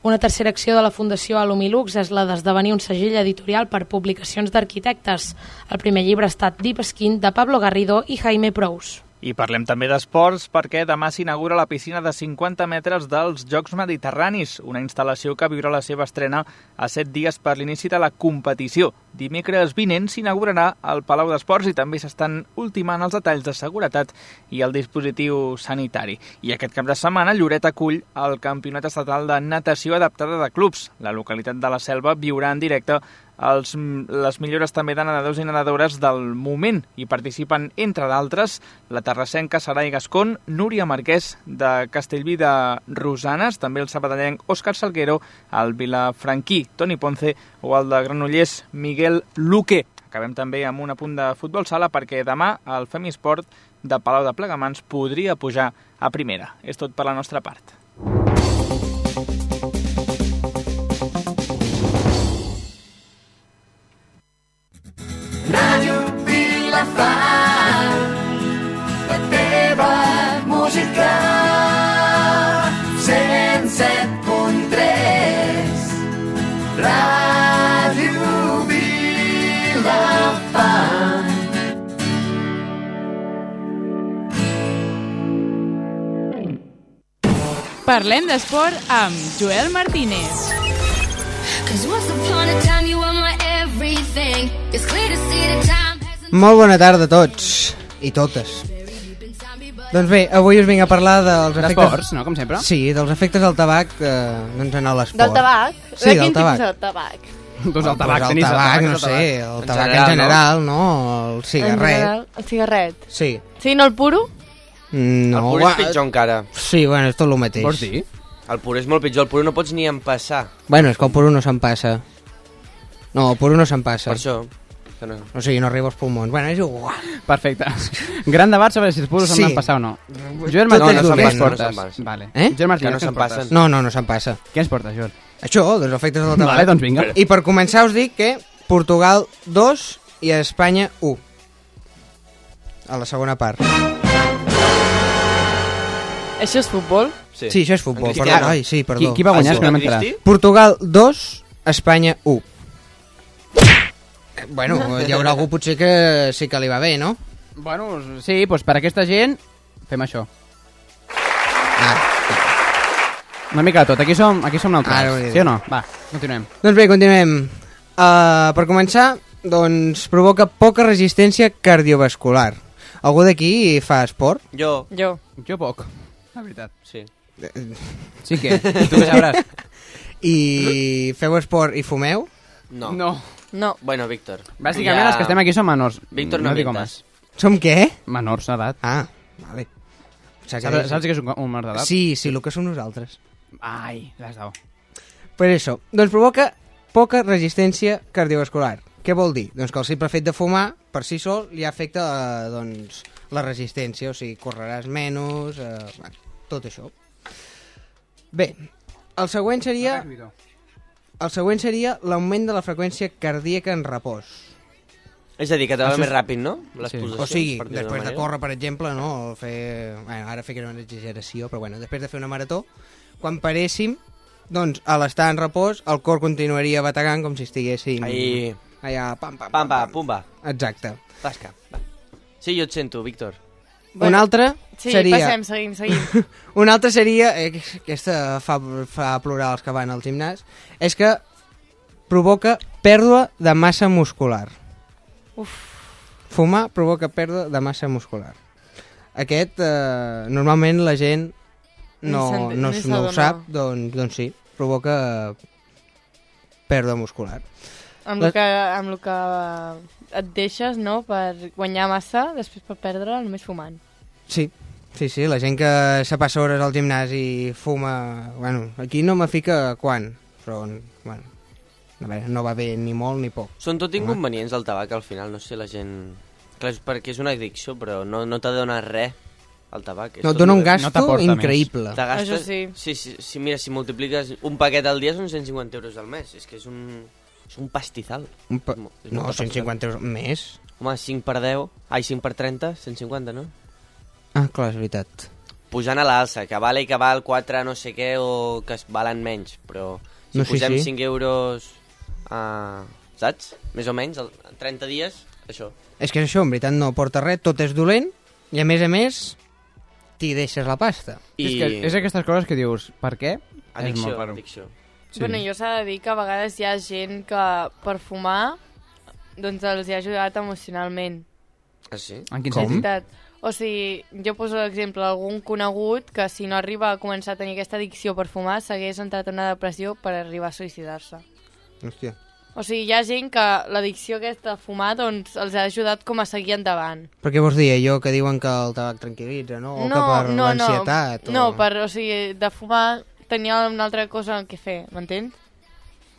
Speaker 24: Una tercera acció de la Fundació Alumilux és la d'esdevenir un segell editorial per publicacions d'arquitectes. El primer llibre ha estat Deep Skin de Pablo Garrido i Jaime Prous.
Speaker 20: I parlem també d'esports perquè demà s'inaugura la piscina de 50 metres dels Jocs Mediterranis, una instal·lació que viurà la seva estrena a 7 dies per l'inici de la competició. Dimecres vinent s'inaugurarà al Palau d'Esports i també s'estan ultimant els detalls de seguretat i el dispositiu sanitari. I aquest cap de setmana Lloret acull el Campionat Estatal de Natació Adaptada de Clubs. La localitat de la Selva viurà en directe els, les millores també de nedadors i nedadores del moment. Hi participen, entre d'altres, la terrassenca Sarai Gascon, Núria Marquès de Castellví de Rosanes, també el sabadellenc Òscar Salguero, el vilafranquí Toni Ponce o el de Granollers Miguel Luque. Acabem també amb un apunt de futbol sala perquè demà el Femisport de Palau de Plegamans podria pujar a primera. És tot per la nostra part.
Speaker 7: Ràdio Vilafant, la teva música. 107.3, Ràdio Vilafant.
Speaker 9: Parlem d'esport amb Joel Martínez.
Speaker 7: Cause once upon a time you were my everything. It's clear to see the time.
Speaker 5: Molt bona tarda a tots i totes. Doncs bé, avui us vinc a parlar dels efectes...
Speaker 1: D'esports, no? Com sempre.
Speaker 5: Sí, dels efectes del tabac, eh, doncs en l'esport.
Speaker 25: Del tabac?
Speaker 5: Sí,
Speaker 25: de
Speaker 5: del
Speaker 25: quin
Speaker 5: tabac.
Speaker 25: tipus de tabac?
Speaker 1: Doncs el tabac,
Speaker 5: el
Speaker 1: Denís, el
Speaker 5: tabac,
Speaker 1: tabac
Speaker 5: no
Speaker 1: és el
Speaker 5: sé,
Speaker 1: tabac.
Speaker 5: el
Speaker 1: En
Speaker 5: tabac en
Speaker 1: general,
Speaker 5: general,
Speaker 1: no?
Speaker 5: no? El
Speaker 25: En
Speaker 5: cigarret,
Speaker 25: general, El cigarret.
Speaker 5: sí.
Speaker 25: Sí, no el puro?
Speaker 5: Mm, No,
Speaker 4: el pur és
Speaker 5: va-
Speaker 4: pitjor encara.
Speaker 5: Sí, bueno, és tot el mateix.
Speaker 4: El pur és molt pitjor, el pur no pots ni empassar.
Speaker 5: Bueno, és que el puro no se'n passa. No, el puro no se'n passa. Per
Speaker 4: això. No.
Speaker 5: O sigui, no arriba als pulmons. Bueno, és igual.
Speaker 1: Perfecte. Gran debat sobre si els puros
Speaker 5: Sí.
Speaker 1: se'n van passar o no.
Speaker 5: Tot
Speaker 1: Joel Martínez,
Speaker 5: és
Speaker 1: no,
Speaker 5: dolent.
Speaker 1: no què ens
Speaker 5: No, no se'n
Speaker 1: portes?
Speaker 5: passen.
Speaker 1: vale.
Speaker 5: Eh?
Speaker 1: Joel Martínez,
Speaker 5: Que no
Speaker 1: què
Speaker 5: se'n
Speaker 1: ens portes?
Speaker 5: passen. No, no, no se'n passa.
Speaker 1: Què ens portes, Joel?
Speaker 5: Això, doncs efectes del tabac.
Speaker 1: Vale, doncs vinga.
Speaker 5: I per començar us dic que Portugal 2 i Espanya 1. A la segona part.
Speaker 25: Això és futbol?
Speaker 5: Sí, això és futbol. Perdó,
Speaker 1: Cristiano.
Speaker 5: ai, sí, perdó.
Speaker 1: Qui- qui va guanyar? Ah, sí, És que no m'he
Speaker 5: Portugal
Speaker 1: enterat. Cristi?
Speaker 5: Portugal 2, Espanya 1. Eh, Bueno, hi haurà algú potser que sí que li va bé, no?
Speaker 1: Bueno, sí, doncs per aquesta gent fem això.
Speaker 5: Ah.
Speaker 1: Una mica de tot, aquí som, aquí som nosaltres,
Speaker 5: Ara ho diré.
Speaker 1: sí o no? Va, continuem.
Speaker 5: Doncs bé, continuem. Uh, per començar, doncs provoca poca resistència cardiovascular. Algú d'aquí fa esport?
Speaker 4: Jo.
Speaker 6: Jo.
Speaker 1: Jo poc, la veritat.
Speaker 4: Sí.
Speaker 1: Sí que, tu què sabràs.
Speaker 5: I feu esport i fumeu?
Speaker 4: No.
Speaker 1: No.
Speaker 6: No.
Speaker 4: Bueno, Víctor.
Speaker 1: Bàsicament els que estem aquí som menors.
Speaker 4: Víctor, no,
Speaker 1: dic com
Speaker 4: mintes.
Speaker 5: Som què?
Speaker 1: Menors d'edat.
Speaker 5: Ah, vale. Saps,
Speaker 1: saps, saps què és un, un menor d'edat?
Speaker 5: Sí, sí, el que som nosaltres.
Speaker 1: Ai, l'has dado.
Speaker 5: Per això, doncs provoca poca resistència cardiovascular. Què vol dir? Doncs que el simple fet de fumar per si sol li afecta eh, doncs, la resistència, o sigui, correràs menys, eh, bueno, tot això. Bé, el següent seria... El següent seria l'augment de la freqüència cardíaca en repòs.
Speaker 4: És a dir, que te va
Speaker 5: Això és-
Speaker 4: més ràpid, no? Les
Speaker 5: O
Speaker 4: pulsacions,
Speaker 5: sigui,
Speaker 4: per dir-ho d'una
Speaker 5: després de
Speaker 4: manera.
Speaker 5: córrer, per exemple, no? o fer... Bueno, ara fer una exageració, però bueno, després de fer una marató, quan paréssim, doncs, a l'estar en repòs, el cor continuaria bategant com si estiguéssim...
Speaker 4: Ahí.
Speaker 5: Allà, pam, pam,
Speaker 4: Pam, pam, pumba.
Speaker 5: Exacte.
Speaker 4: Tasca. Va. Sí, jo et sento, Víctor.
Speaker 5: Bueno, un altre
Speaker 6: Sí,
Speaker 5: seria...
Speaker 6: passem, seguim, seguim.
Speaker 5: un altre seria... eh, Aquesta fa, fa plorar els que van al gimnàs. És que provoca pèrdua de massa muscular.
Speaker 6: Uf.
Speaker 5: Fumar provoca pèrdua de massa muscular. Aquest, eh, normalment la gent
Speaker 6: Ni
Speaker 5: no,
Speaker 6: se'n-
Speaker 5: no,
Speaker 6: ni
Speaker 5: s- no ho
Speaker 6: s'adona.
Speaker 5: sap, doncs, doncs sí, provoca pèrdua muscular.
Speaker 6: Amb
Speaker 5: La-
Speaker 6: el, que, amb el que et deixes, no?, per guanyar massa, després per perdre, només fumant.
Speaker 5: Sí, sí, sí, la gent que se passa hores al gimnàs i fuma... Bueno, aquí no me fica quan, però, bueno, a veure, no va bé ni molt ni poc.
Speaker 4: Són tot inconvenients del tabac, al final, no sé, la gent... Clar, és perquè és una addicció, però no, no te dona res el tabac. És
Speaker 5: No,
Speaker 4: tot
Speaker 5: dona un
Speaker 4: una-
Speaker 5: gasto No t'aporta més. increïble.
Speaker 4: Te gastes...
Speaker 6: Això sí.
Speaker 4: Sí, sí, sí, mira, si multipliques un paquet al dia són 150 euros al mes. És que és un, és un pastizal.
Speaker 5: Un pa...
Speaker 4: Mo- és
Speaker 5: No,
Speaker 4: molta
Speaker 5: 150 euros més.
Speaker 4: pasta. Home, 5 per 10, ai, 5 per 30, 150, no?
Speaker 5: Ah, clar, és veritat.
Speaker 4: Pujant a l'alça, que vale i que val 4 no sé què o que es valen menys, però si
Speaker 5: No, sí,
Speaker 4: posem
Speaker 5: sí.
Speaker 4: 5 euros, uh, saps? Més o menys, el- en 30 dies, això.
Speaker 5: És que és això, en veritat no porta res, tot és dolent, i a més a més, t'hi deixes la pasta.
Speaker 1: I... És, que és aquestes coses que dius, per què?
Speaker 4: Addicció,
Speaker 1: és molt raro.
Speaker 4: addicció.
Speaker 6: Sí. Bueno, jo s'ha de dir que a vegades hi ha gent que per fumar doncs els hi ha ajudat emocionalment.
Speaker 4: Ah, sí?
Speaker 1: En quin
Speaker 6: És
Speaker 1: sentit?
Speaker 6: veritat. O sigui, jo poso l'exemple d'algun conegut que si no arriba a començar a tenir aquesta addicció per fumar s'hagués entrat en una depressió per arribar a suïcidar-se.
Speaker 5: Hòstia.
Speaker 6: O sigui, hi ha gent que l'addicció aquesta de fumar doncs els ha ajudat com a seguir endavant.
Speaker 5: Però què vols dir, allò que diuen que el tabac tranquil·litza, no? O que per l'ansietat?
Speaker 6: No,
Speaker 5: o...
Speaker 6: no, per, o sigui, de fumar tenia una altra cosa que fer, m'entens?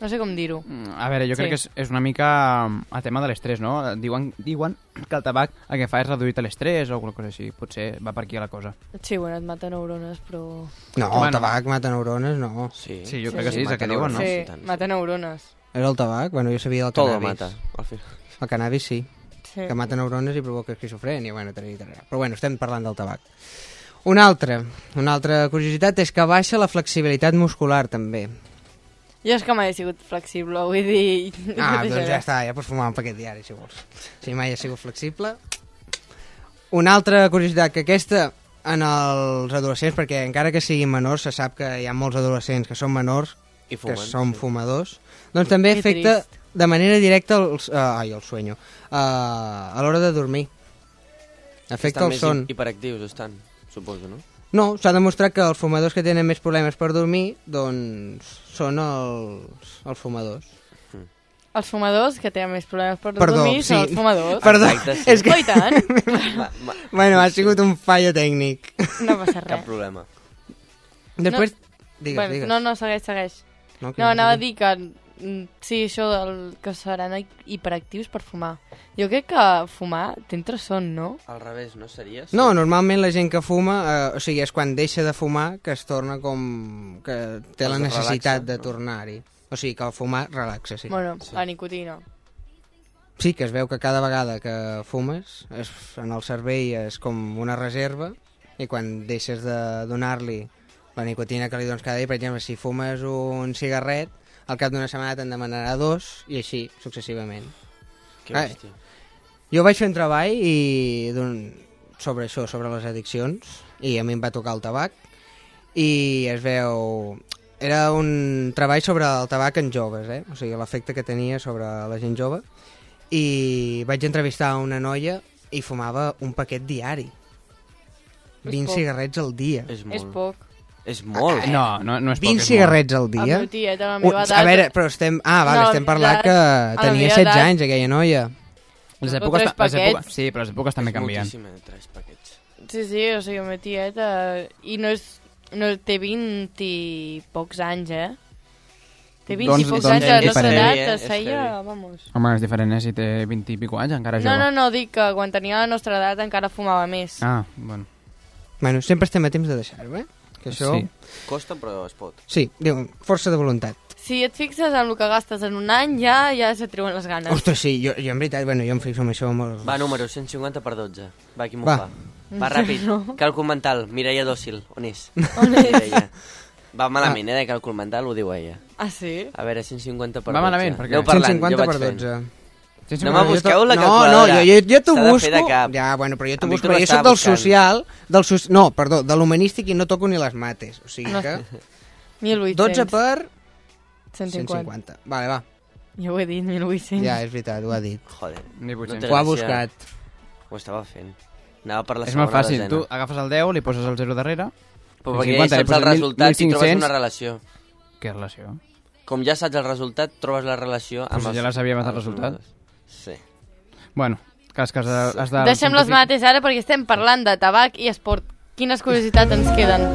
Speaker 6: No sé com dir-ho.
Speaker 5: Mm.
Speaker 1: A veure, jo sí. crec que és, és una mica mm, el tema de l'estrès, no? Diuen, diuen que el tabac el que fa és reduir l'estrès o alguna cosa així. Potser va per aquí la cosa.
Speaker 6: Sí, bueno, et mata neurones, però...
Speaker 5: No, el
Speaker 1: Bueno.
Speaker 5: tabac mata neurones, no.
Speaker 4: Sí,
Speaker 1: Sí, jo crec que sí, és el que diuen, no?
Speaker 6: Sí, mata neurones.
Speaker 5: Era el tabac? Bueno, jo sabia del
Speaker 4: Todo
Speaker 5: cannabis.
Speaker 4: mata, al final.
Speaker 5: El cannabis sí.
Speaker 6: Sí.
Speaker 5: Que mata neurones i provoca esquizofrènia, bueno, tarà, tarà. Però bueno, estem parlant del tabac. Una altra, una altra curiositat és que baixa la flexibilitat muscular, també.
Speaker 6: Jo és que mai he sigut flexible, vull dir...
Speaker 5: Ah,
Speaker 6: deixaré.
Speaker 5: doncs ja està, ja pots fumar un paquet diari, si vols. Si mai has sigut flexible. Una altra curiositat, que aquesta en els adolescents, perquè encara que siguin menors, se sap que hi ha molts adolescents que són menors,
Speaker 4: I fumen,
Speaker 5: que són fumadors, doncs també
Speaker 6: Que
Speaker 5: afecta
Speaker 6: trist.
Speaker 5: de manera directa els, eh, ai, el sueño, eh, a l'hora de dormir. Afecta
Speaker 4: estan
Speaker 5: el
Speaker 4: més
Speaker 5: son.
Speaker 4: hi- hiperactius, estan, suposo, no?
Speaker 5: No, s'ha demostrat que els fumadors que tenen més problemes per dormir, doncs, són els, els fumadors.
Speaker 4: Mm.
Speaker 6: Els fumadors, que tenen més problemes per
Speaker 5: Perdó,
Speaker 6: dormir,
Speaker 5: sí.
Speaker 6: són els fumadors.
Speaker 5: Perdó, Exacte, sí. és que-
Speaker 6: Oh, i tant.
Speaker 5: Bueno, ha sigut un fallo tècnic.
Speaker 6: No passa res.
Speaker 4: Cap problema.
Speaker 5: Després...
Speaker 6: No...
Speaker 5: Digues,
Speaker 6: bueno,
Speaker 5: digues.
Speaker 6: No, no, segueix, segueix.
Speaker 5: No,
Speaker 6: No,
Speaker 5: que
Speaker 6: no
Speaker 5: no
Speaker 6: anava a dir que... mm, Sí, això del que seran hi- hiperactius per fumar. Jo crec que fumar t'entra son, no?
Speaker 4: Al revés, no seria?
Speaker 5: No, normalment la gent que fuma, eh, o sigui, és quan deixa de fumar que es torna com... que té
Speaker 4: Es
Speaker 5: la
Speaker 4: relaxa,
Speaker 5: necessitat de
Speaker 4: no?
Speaker 5: tornar-hi. O sigui, que el fumar relaxa, sí.
Speaker 6: Bueno, sí. la nicotina.
Speaker 5: Sí, que es veu que cada vegada que fumes es, en el cervell és com una reserva i quan deixes de donar-li la nicotina que li dones cada dia, per exemple, si fumes un cigarret, al cap d'una setmana te'n demanarà dos i així successivament.
Speaker 4: Que
Speaker 5: Ai.
Speaker 4: bèstia.
Speaker 5: Jo vaig fer un treball i d'un- sobre això, sobre les addiccions, i a mi em va tocar el tabac, i es veu... Era un treball sobre el tabac en joves, eh? o sigui, l'efecte que tenia sobre la gent jove, i vaig entrevistar una noia i fumava un paquet diari.
Speaker 6: És
Speaker 5: 20
Speaker 6: poc.
Speaker 5: cigarrets al dia.
Speaker 4: És
Speaker 6: És poc.
Speaker 4: És molt.
Speaker 1: No, no, no és
Speaker 5: 20
Speaker 1: poc, és molt.
Speaker 5: cigarrets al dia?
Speaker 6: El meu tiet, a la meva
Speaker 5: Un-
Speaker 6: edat...
Speaker 5: A veure, però estem... Ah,
Speaker 6: No,
Speaker 5: vale,
Speaker 6: a la
Speaker 5: estem
Speaker 6: meva
Speaker 5: parlant
Speaker 6: edat-
Speaker 5: que
Speaker 6: a la
Speaker 5: tenia
Speaker 6: meva
Speaker 5: 16
Speaker 6: edat-
Speaker 5: anys, aquella noia.
Speaker 1: Les
Speaker 6: Dos o
Speaker 1: èpoques,
Speaker 6: tres
Speaker 1: les èpoques,
Speaker 6: paquets.
Speaker 1: sí, però les èpoques també
Speaker 4: és
Speaker 1: canvien.
Speaker 4: moltíssim, eh, tres paquets.
Speaker 6: Sí, sí, o sigui, ma tieta... I no és... No, té 20 i pocs anys, eh? Té 20
Speaker 1: Doncs-
Speaker 6: i pocs
Speaker 1: doncs
Speaker 6: anys, a la
Speaker 1: és
Speaker 6: nostra
Speaker 1: diferent.
Speaker 6: edat es
Speaker 4: És
Speaker 6: feia...
Speaker 4: heavy.
Speaker 6: Ah, Vamos.
Speaker 1: Home, és diferent, eh? Si té 20 i pico anys, encara
Speaker 6: No,
Speaker 1: jove.
Speaker 6: no, no, dic que quan tenia la nostra edat encara fumava més.
Speaker 1: Ah, bueno.
Speaker 5: Bueno, sempre estem a temps de deixar-ho, eh? Que això...
Speaker 1: Sí.
Speaker 4: Costa, però es pot.
Speaker 5: Sí, diu, força de voluntat.
Speaker 6: Si et fixes en el que gastes en un any, ja ja se treuen les ganes.
Speaker 5: Ostres, sí, jo, jo en veritat, bueno, jo em fixo en això molt...
Speaker 4: Eh. Va, número 150 per 12. Va, qui m'ho
Speaker 5: Va.
Speaker 4: fa? Va, ràpid.
Speaker 6: No.
Speaker 4: Càlcul mental. Mireia Dòcil. On és?
Speaker 6: On és?
Speaker 4: Mireia. Va malament, eh, de càlcul mental, ho diu ella.
Speaker 6: Ah, sí?
Speaker 4: A veure, 150 per 12.
Speaker 1: Va malament, per què?
Speaker 4: Aneu parlant,
Speaker 5: 150
Speaker 4: jo vaig
Speaker 5: per 12.
Speaker 4: fent.
Speaker 1: Sí,
Speaker 4: No
Speaker 1: però
Speaker 4: me
Speaker 1: jo
Speaker 4: busqueu
Speaker 1: to-
Speaker 4: la
Speaker 5: no,
Speaker 4: calculadora.
Speaker 5: no, jo, jo, jo t'ho
Speaker 4: S'ha de fer
Speaker 5: busco...
Speaker 4: de cap.
Speaker 5: Ja, Ah, bueno, però jo t'ho
Speaker 4: En
Speaker 5: busco,
Speaker 4: Víctor
Speaker 5: però jo soc
Speaker 4: l'estava
Speaker 5: del
Speaker 4: buscant.
Speaker 5: social, del so... no, perdó, de l'humanístic i no toco ni les mates, o sigui
Speaker 6: No.
Speaker 5: que...
Speaker 6: 1.800.
Speaker 5: 12 per...
Speaker 6: 150.
Speaker 5: 150. Vale, va,
Speaker 6: Jo ho he dit, 1.800.
Speaker 5: ja, és veritat, ho ha dit.
Speaker 4: Joder.
Speaker 1: Ni vuit-cents.
Speaker 4: té
Speaker 5: Ho ha
Speaker 4: gràcia.
Speaker 5: buscat.
Speaker 4: Ho estava fent. Anava per la
Speaker 1: És
Speaker 4: segona
Speaker 1: molt fàcil,
Speaker 4: desena.
Speaker 1: tu eh, agafes el 10, li poses el 0 darrere...
Speaker 4: Però
Speaker 1: el 50,
Speaker 4: perquè ja
Speaker 1: li
Speaker 4: saps el
Speaker 1: poses
Speaker 4: resultat i trobes
Speaker 1: 1.500.
Speaker 4: una relació.
Speaker 1: Què relació?
Speaker 4: Com ja saps el resultat, trobes la relació amb
Speaker 1: Però si
Speaker 4: els...
Speaker 1: ja la sabíem abans
Speaker 4: amb
Speaker 1: el
Speaker 4: els
Speaker 1: resultat.
Speaker 4: números. Sí.
Speaker 1: Bueno, cas que has de... Has de
Speaker 6: Deixem les mates ara perquè estem parlant de tabac i esport. Quines curiositats ens queden?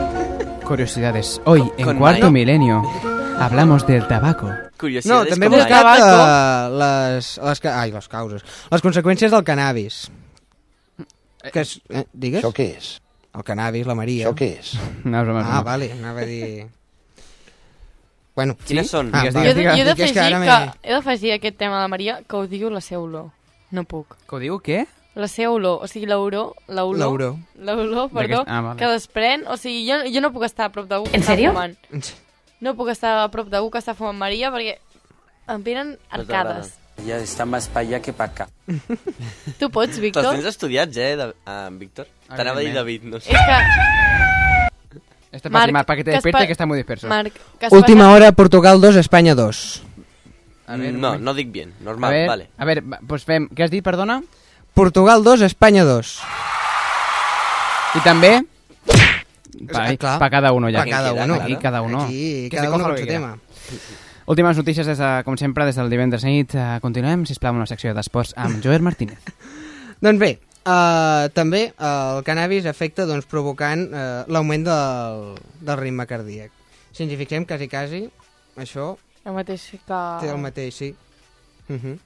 Speaker 1: Curiosidades. Hoy, en
Speaker 4: Con
Speaker 1: Cuarto
Speaker 4: Mike.
Speaker 1: Milenio, hablamos del tabaco.
Speaker 5: No,
Speaker 4: Curiositat.
Speaker 5: també he
Speaker 6: com
Speaker 5: buscat
Speaker 6: la-
Speaker 5: eh, les, les, ca- ai, les causes. Les conseqüències del cannabis. Que és, eh, digues?
Speaker 2: Això què és?
Speaker 5: El cannabis, la Maria.
Speaker 2: Això què és?
Speaker 1: No, és broma, és
Speaker 5: Ah,
Speaker 1: broma.
Speaker 5: vale, anava a dir... Bueno,
Speaker 4: Quines
Speaker 5: sí?
Speaker 4: són?
Speaker 5: Ah,
Speaker 1: Digues,
Speaker 5: va.
Speaker 1: digues, digues.
Speaker 6: Jo he
Speaker 5: Dic, és
Speaker 6: d'afegir
Speaker 5: que ara
Speaker 6: que,
Speaker 5: m'he-
Speaker 6: he d'afegir aquest tema a la Maria que ho diu la seva olor. No puc.
Speaker 1: Que ho diu, què?
Speaker 6: La seva olor, o sigui, l'olor...
Speaker 5: L'auró.
Speaker 6: L'olor, l'olor, perdó,
Speaker 1: D'aquest- ah, vale.
Speaker 6: que desprèn... O sigui, jo, jo no puc estar a prop d'algú que
Speaker 16: En
Speaker 6: està
Speaker 16: serio?
Speaker 6: fumant. No puc estar a prop d'algú que està fumant Maria perquè em venen arcades.
Speaker 10: Ya está más para allá que para acá.
Speaker 6: Tu
Speaker 4: Te'ls
Speaker 6: pots, Doncs, Víctor?
Speaker 4: tens estudiats, eh, de... ah, Víctor? T'anava a dir David, no sé.
Speaker 6: És que,
Speaker 1: Este
Speaker 6: Marc,
Speaker 1: fácil, Marc, para que te
Speaker 6: que es
Speaker 1: despierte
Speaker 6: pa-
Speaker 1: que está muy disperso.
Speaker 6: Marc, que es
Speaker 5: Última
Speaker 6: passa...
Speaker 5: hora, Portugal 2, Espanya 2.
Speaker 1: A ver,
Speaker 4: no,
Speaker 1: un-
Speaker 4: no dic bien,
Speaker 1: a
Speaker 4: normal,
Speaker 1: ver,
Speaker 4: vale.
Speaker 1: a ver, va, pues fem, què has dit, perdona?
Speaker 5: Portugal 2, Espanya 2.
Speaker 1: I també... Pa,
Speaker 5: Ah, clar.
Speaker 1: pa cada uno, ja.
Speaker 5: Pa cada uno.
Speaker 1: Aquí cada uno.
Speaker 5: Aquí,
Speaker 1: Que
Speaker 5: cada
Speaker 1: se
Speaker 5: uno
Speaker 1: coja
Speaker 5: con
Speaker 1: lo que
Speaker 5: su
Speaker 1: quiera.
Speaker 5: tema.
Speaker 1: Últimes notícies, des de, com sempre, des del divendres nit. Eh, Continuem, sisplau, amb la secció d'esports amb Joel Martínez.
Speaker 5: Doncs bé, uh, també eh, el cannabis afecta doncs, provocant uh, l'augment del, del ritme cardíac. Si ens hi fixem, quasi, quasi, això
Speaker 6: El mateix que...
Speaker 5: té el mateix, sí. Uh -huh.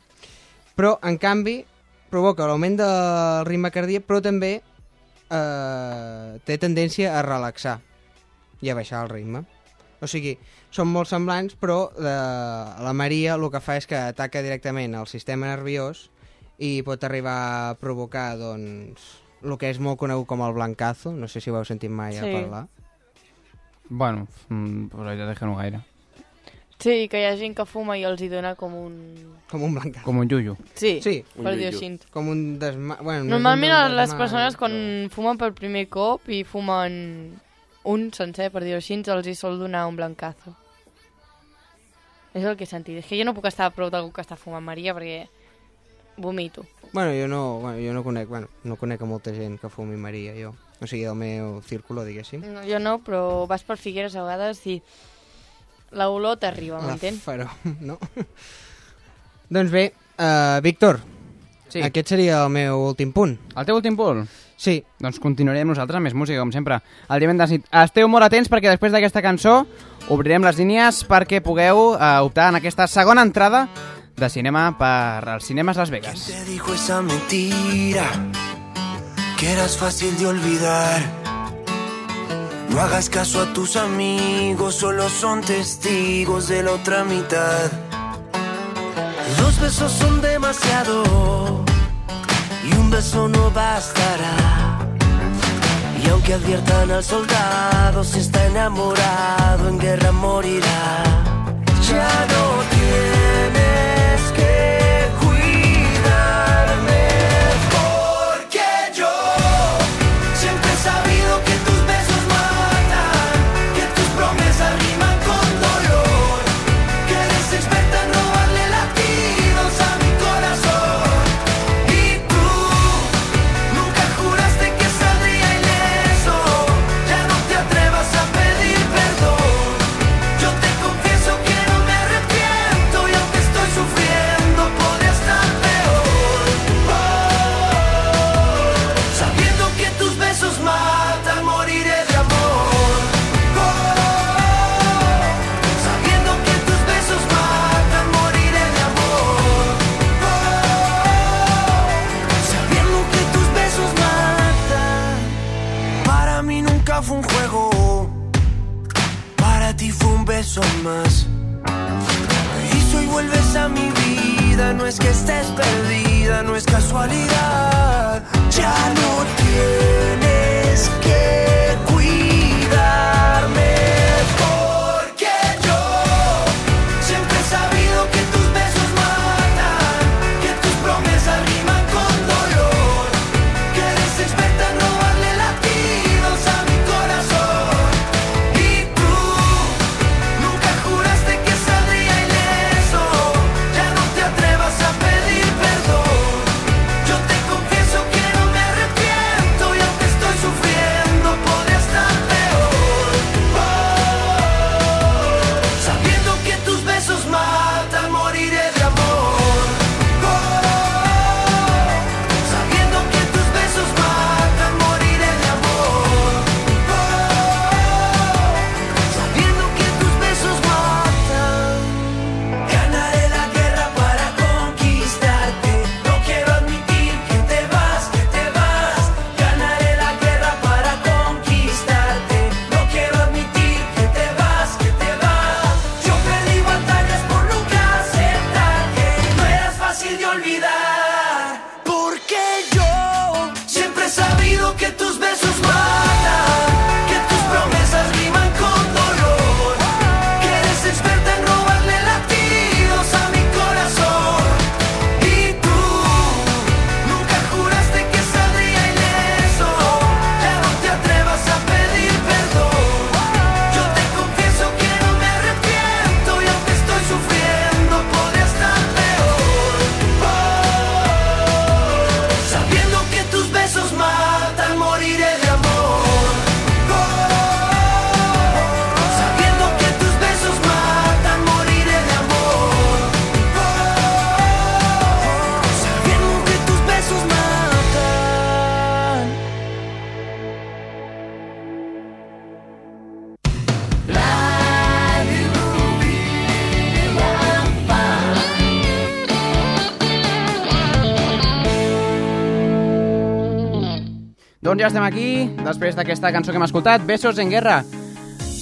Speaker 5: Però, en canvi, provoca l'augment del ritme cardíac, però també eh, té tendència a relaxar i a baixar el ritme. O sigui, són molt semblants, però eh, la Maria el que fa és que ataca directament el sistema nerviós i pot arribar a provocar, doncs, el que és molt conegut com el blancazo. No sé si ho heu sentit mai a
Speaker 6: Sí.
Speaker 5: parlar.
Speaker 1: Bueno, mm, però ja deixem-ho gaire.
Speaker 6: Sí, que hi ha gent que fuma i els hi dona com un...
Speaker 5: Com un blancazo.
Speaker 1: Com un yuyu.
Speaker 6: Sí,
Speaker 5: Sí.
Speaker 6: per dir-ho així.
Speaker 5: Com un desma... Bueno, no és un
Speaker 6: Normalment les
Speaker 5: desmai,
Speaker 6: persones quan
Speaker 5: eh, però-
Speaker 6: fumen per primer cop i fumen un sencer, per dir-ho així, els hi sol donar un blancazo. És el que he sentit. És que jo no puc estar a prop d'algú que està fumant Maria perquè vomito.
Speaker 5: Bueno, jo no, bueno, jo no conec, bueno, no conec a molta gent que fumi Maria, jo. O sigui, del meu círculo, diguéssim.
Speaker 6: No, jo no, però vas per Figueres a vegades i l'olor t'arriba, m'entens?
Speaker 5: faró, no? doncs bé, uh, Víctor,
Speaker 1: Sí.
Speaker 5: sí. aquest seria el meu últim punt.
Speaker 1: El teu últim punt?
Speaker 5: Sí.
Speaker 1: Doncs continuarem nosaltres amb més música, com sempre. El divendres nit. Esteu molt atents perquè després d'aquesta cançó obrirem les línies perquè pugueu eh, optar en aquesta segona entrada de cinema per als cinemes Las Vegas.
Speaker 8: Te dijo esa mentira que eras fácil de olvidar. No hagas caso a tus amigos, solo son testigos de la otra mitad. Dos besos son demasiado y un beso no bastará. Y aunque adviertan al soldado, si está enamorado, en guerra morirá. Ya no tienes que cuidar.
Speaker 9: Oh, son más. Regreso y vuelves a mi vida, no es que estés perdida, no es casualidad. Ya no tienes que cuidarme porque yo siempre he sabido que tus besos matan, que tus promesas riman con dolor, que eres experta en robarle latidos a mi corazón. Y tú nunca juraste que saldría ileso, ya no te atrevas a pedir perdón. Yo te confieso que no me arrepiento y aunque estoy sufriendo podría estar peor. Oh, sabiendo que tus besos matan, moriré de amor. Oh, sabiendo que tus besos matan, moriré de amor. Oh, Sabiendo que tus besos matan, ganaré la guerra para conquistarte. No quiero admitir que te vas, que te vas. Ganaré la guerra para conquistarte. No quiero admitir que te vas, que te vas. Yo perdí batallas por nunca aceptar que no eras fácil de olvidar. Porque yo siempre he sabido que tus besos matan. Que tus promesas riman con dolor Que eres experta en robarle latidos a mi corazón Y tú nunca juraste que saldría ileso Ya no te atrevas a pedir perdón Yo te confieso que no me arrepiento Y aunque estoy sufriendo podría estar peor Oh, Sabiendo que tus besos matan moriré de amor Sabiendo que tus besos matan, moriré de amor. Oh, sabiendo que tus besos matan.
Speaker 1: Doncs ja estem aquí, després d'aquesta cançó que hem escoltat, Besos en Guerra,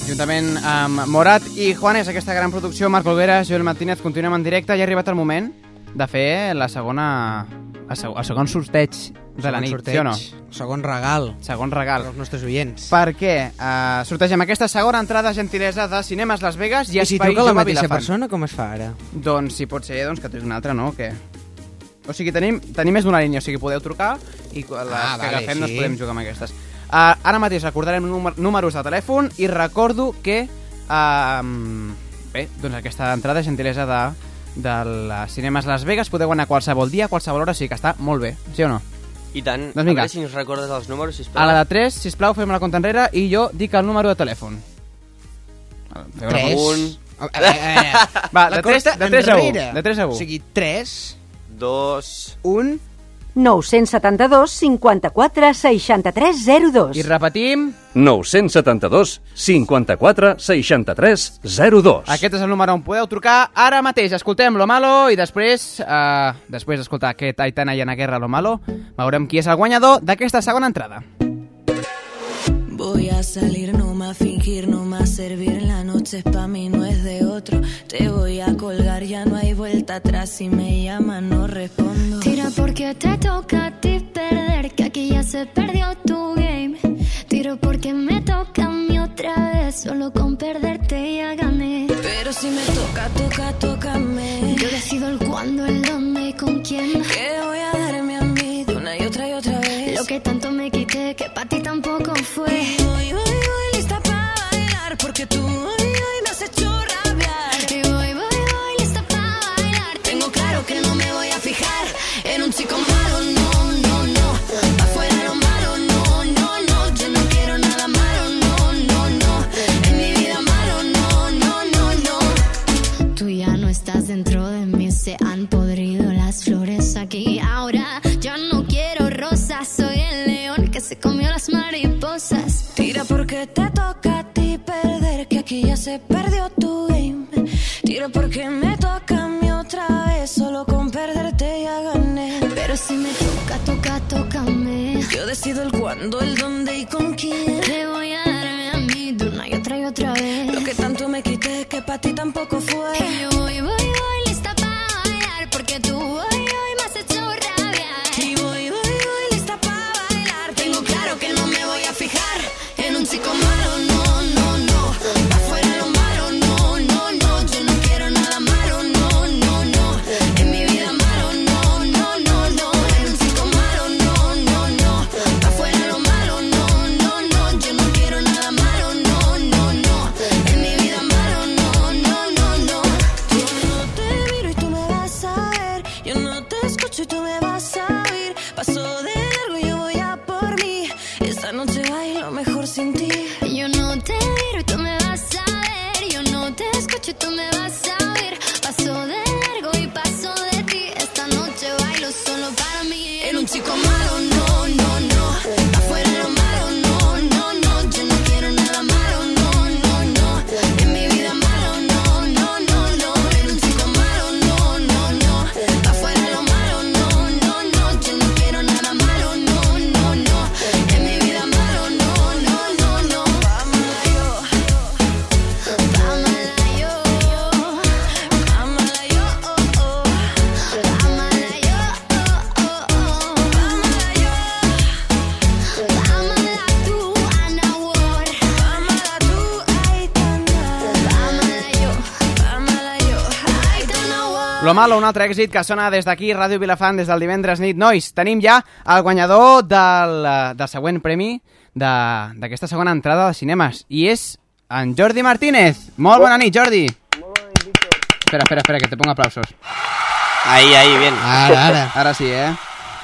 Speaker 1: juntament amb Morat i Juanes, aquesta gran producció, Marc Olvera, Joel Martínez, continuem en directe, ja ha arribat el moment de fer la segona... el seg- el segon sorteig de la
Speaker 5: Segon
Speaker 1: nit,
Speaker 5: sorteig,
Speaker 1: sí o no?
Speaker 5: Segon regal.
Speaker 1: Segon regal.
Speaker 5: Dels nostres oients.
Speaker 1: Perquè uh, sortegem aquesta segona entrada gentilesa de Cinemes Las Vegas i,
Speaker 5: I si
Speaker 1: Espai
Speaker 5: truca la
Speaker 1: Jove
Speaker 5: mateixa
Speaker 1: Vilafant.
Speaker 5: persona, com es fa ara?
Speaker 1: Doncs si pot ser, doncs que truqui una altra, no? O què? O sigui, tenim, tenim més d'una línia, o sigui, podeu trucar i quan les
Speaker 5: Ah,
Speaker 1: que
Speaker 5: vale,
Speaker 1: agafem no es
Speaker 5: sí.
Speaker 1: podem jugar amb aquestes. Uh, ara mateix recordarem númer- números de telèfon i recordo que... Uh, bé, doncs aquesta entrada, gentilesa de, de les Cinemes Las Vegas, podeu anar qualsevol dia, qualsevol hora, o sigui que està molt bé, sí o no?
Speaker 4: I tant.
Speaker 1: Doncs vinga.
Speaker 4: A veure si ens recordes els números, sisplau.
Speaker 1: A la de 3, sisplau, fem la compta enrere i jo dic el número de telèfon. Feu una
Speaker 5: Tres.
Speaker 1: compta.
Speaker 5: A veure, a veure, a veure.
Speaker 1: Va, de
Speaker 5: La
Speaker 1: tres-
Speaker 5: costa
Speaker 1: de tres a un,
Speaker 5: enrere.
Speaker 1: de tres a un.
Speaker 5: O sigui, 3...
Speaker 4: 2...
Speaker 5: 1...
Speaker 16: 972 54 63 02.
Speaker 1: I repetim,
Speaker 15: 972 54 63 02.
Speaker 1: Aquest és el número on podeu trucar ara mateix. Escoltem Lo Malo i després, eh, després d'escoltar aquest Aitana i Ana Guerra Lo Malo, veurem qui és el guanyador d'aquesta segona entrada.
Speaker 2: Voy a salir, no más fingir, no más servir. La noche es pa' mí, no es de otro. Te voy a colgar, ya no hay vuelta atrás. Si me llama, no respondo.
Speaker 26: Tira porque te toca a ti perder, que aquí ya se perdió tu game. Tiro porque me toca a mí otra vez, solo con perderte ya gané.
Speaker 2: Pero si me toca, toca, tócame.
Speaker 26: Yo decido el cuándo, el dónde y con quién.
Speaker 2: Que voy a darme a mí de una y otra y otra vez.
Speaker 26: Lo que tanto me quité, que para ti tampoco fue.
Speaker 2: Y voy, voy, voy lista para bailar. Porque tú hoy, hoy me has hecho rabiar.
Speaker 26: Y voy, voy, voy lista para bailar.
Speaker 2: Tengo claro que no me voy a fijar en un chico malo, no, no, no. Pa' fuera lo malo, no, no, no. Yo no quiero nada malo, no, no, no. En mi vida malo, no, no, no, no.
Speaker 26: Tú ya no estás dentro de mí, se han podrido las flores aquí. Ahora yo no quiero rosas, soy el león que se comió las mariposas.
Speaker 2: Tira porque te toca a ti perder, que aquí ya se perdió tu game. Tira porque me toca a mí otra vez, solo con perderte ya gané.
Speaker 26: Pero si me toca, toca, tócame.
Speaker 2: Yo decido el cuándo, el dónde y con quién.
Speaker 26: Te voy a darme a mí de una y otra y otra vez.
Speaker 2: Lo que tanto me quité, sé que para ti tampoco fue.
Speaker 11: Y yo voy, voy, voy, lista para bailar, porque tú hoy, hoy me has hecho rabiar.
Speaker 2: Y voy, voy, voy, lista para bailar. Tengo claro que no me voy a fijar en un chico malo, no, no, no. Pa' fuera lo malo, no, no, no. Yo no quiero nada malo, no, no, no. En mi vida malo, no, no, no, no. En un chico malo, no, no, no. Pa' fuera lo malo, no, no, no. Yo no quiero nada malo, no, no, no. En mi vida malo, no, no, no, no. Yo no te miro y tú me vas a ver. Yo no te escucho y tú me vas a oír. Paso de largo y yo voy a por mí. Esta noche bailo mejor sin ti.
Speaker 11: Yo no te miro y tú me vas a ver. Yo no te escucho y tú me vas a oír. Paso de largo y paso de ti. Esta noche bailo solo para mí.
Speaker 2: En un chico malo, no, no, no. Afuera lo malo, no, no, no. Yo no quiero nada malo, no, no, no. En mi vida malo, no, no, no, no. En un chico malo, no, no, no. Afuera lo malo, no, no, no. Yo no quiero nada malo, no, no, no. En mi vida malo, no, no, no, no. Pamala yo, pamala yo, pamala yo, oh, oh. pamala yo.
Speaker 11: Amala tú, Ana Ward.
Speaker 2: Amala tú, Aitana.
Speaker 11: Amala yo.
Speaker 2: Amala yo, Aitana.
Speaker 1: Lo malo, un altre èxit que sona des d'aquí, Ràdio Vilafant, des del divendres nit. Nois, tenim ja el guanyador del, eh, del següent premi de- d'aquesta segona entrada de cinemes, i és en Jordi Martínez. Molt bona nit, Jordi. Espera, espera, espera, que te pongo aplausos.
Speaker 4: Ahí, ahí, bien.
Speaker 1: Ara, ara. Ara sí, eh?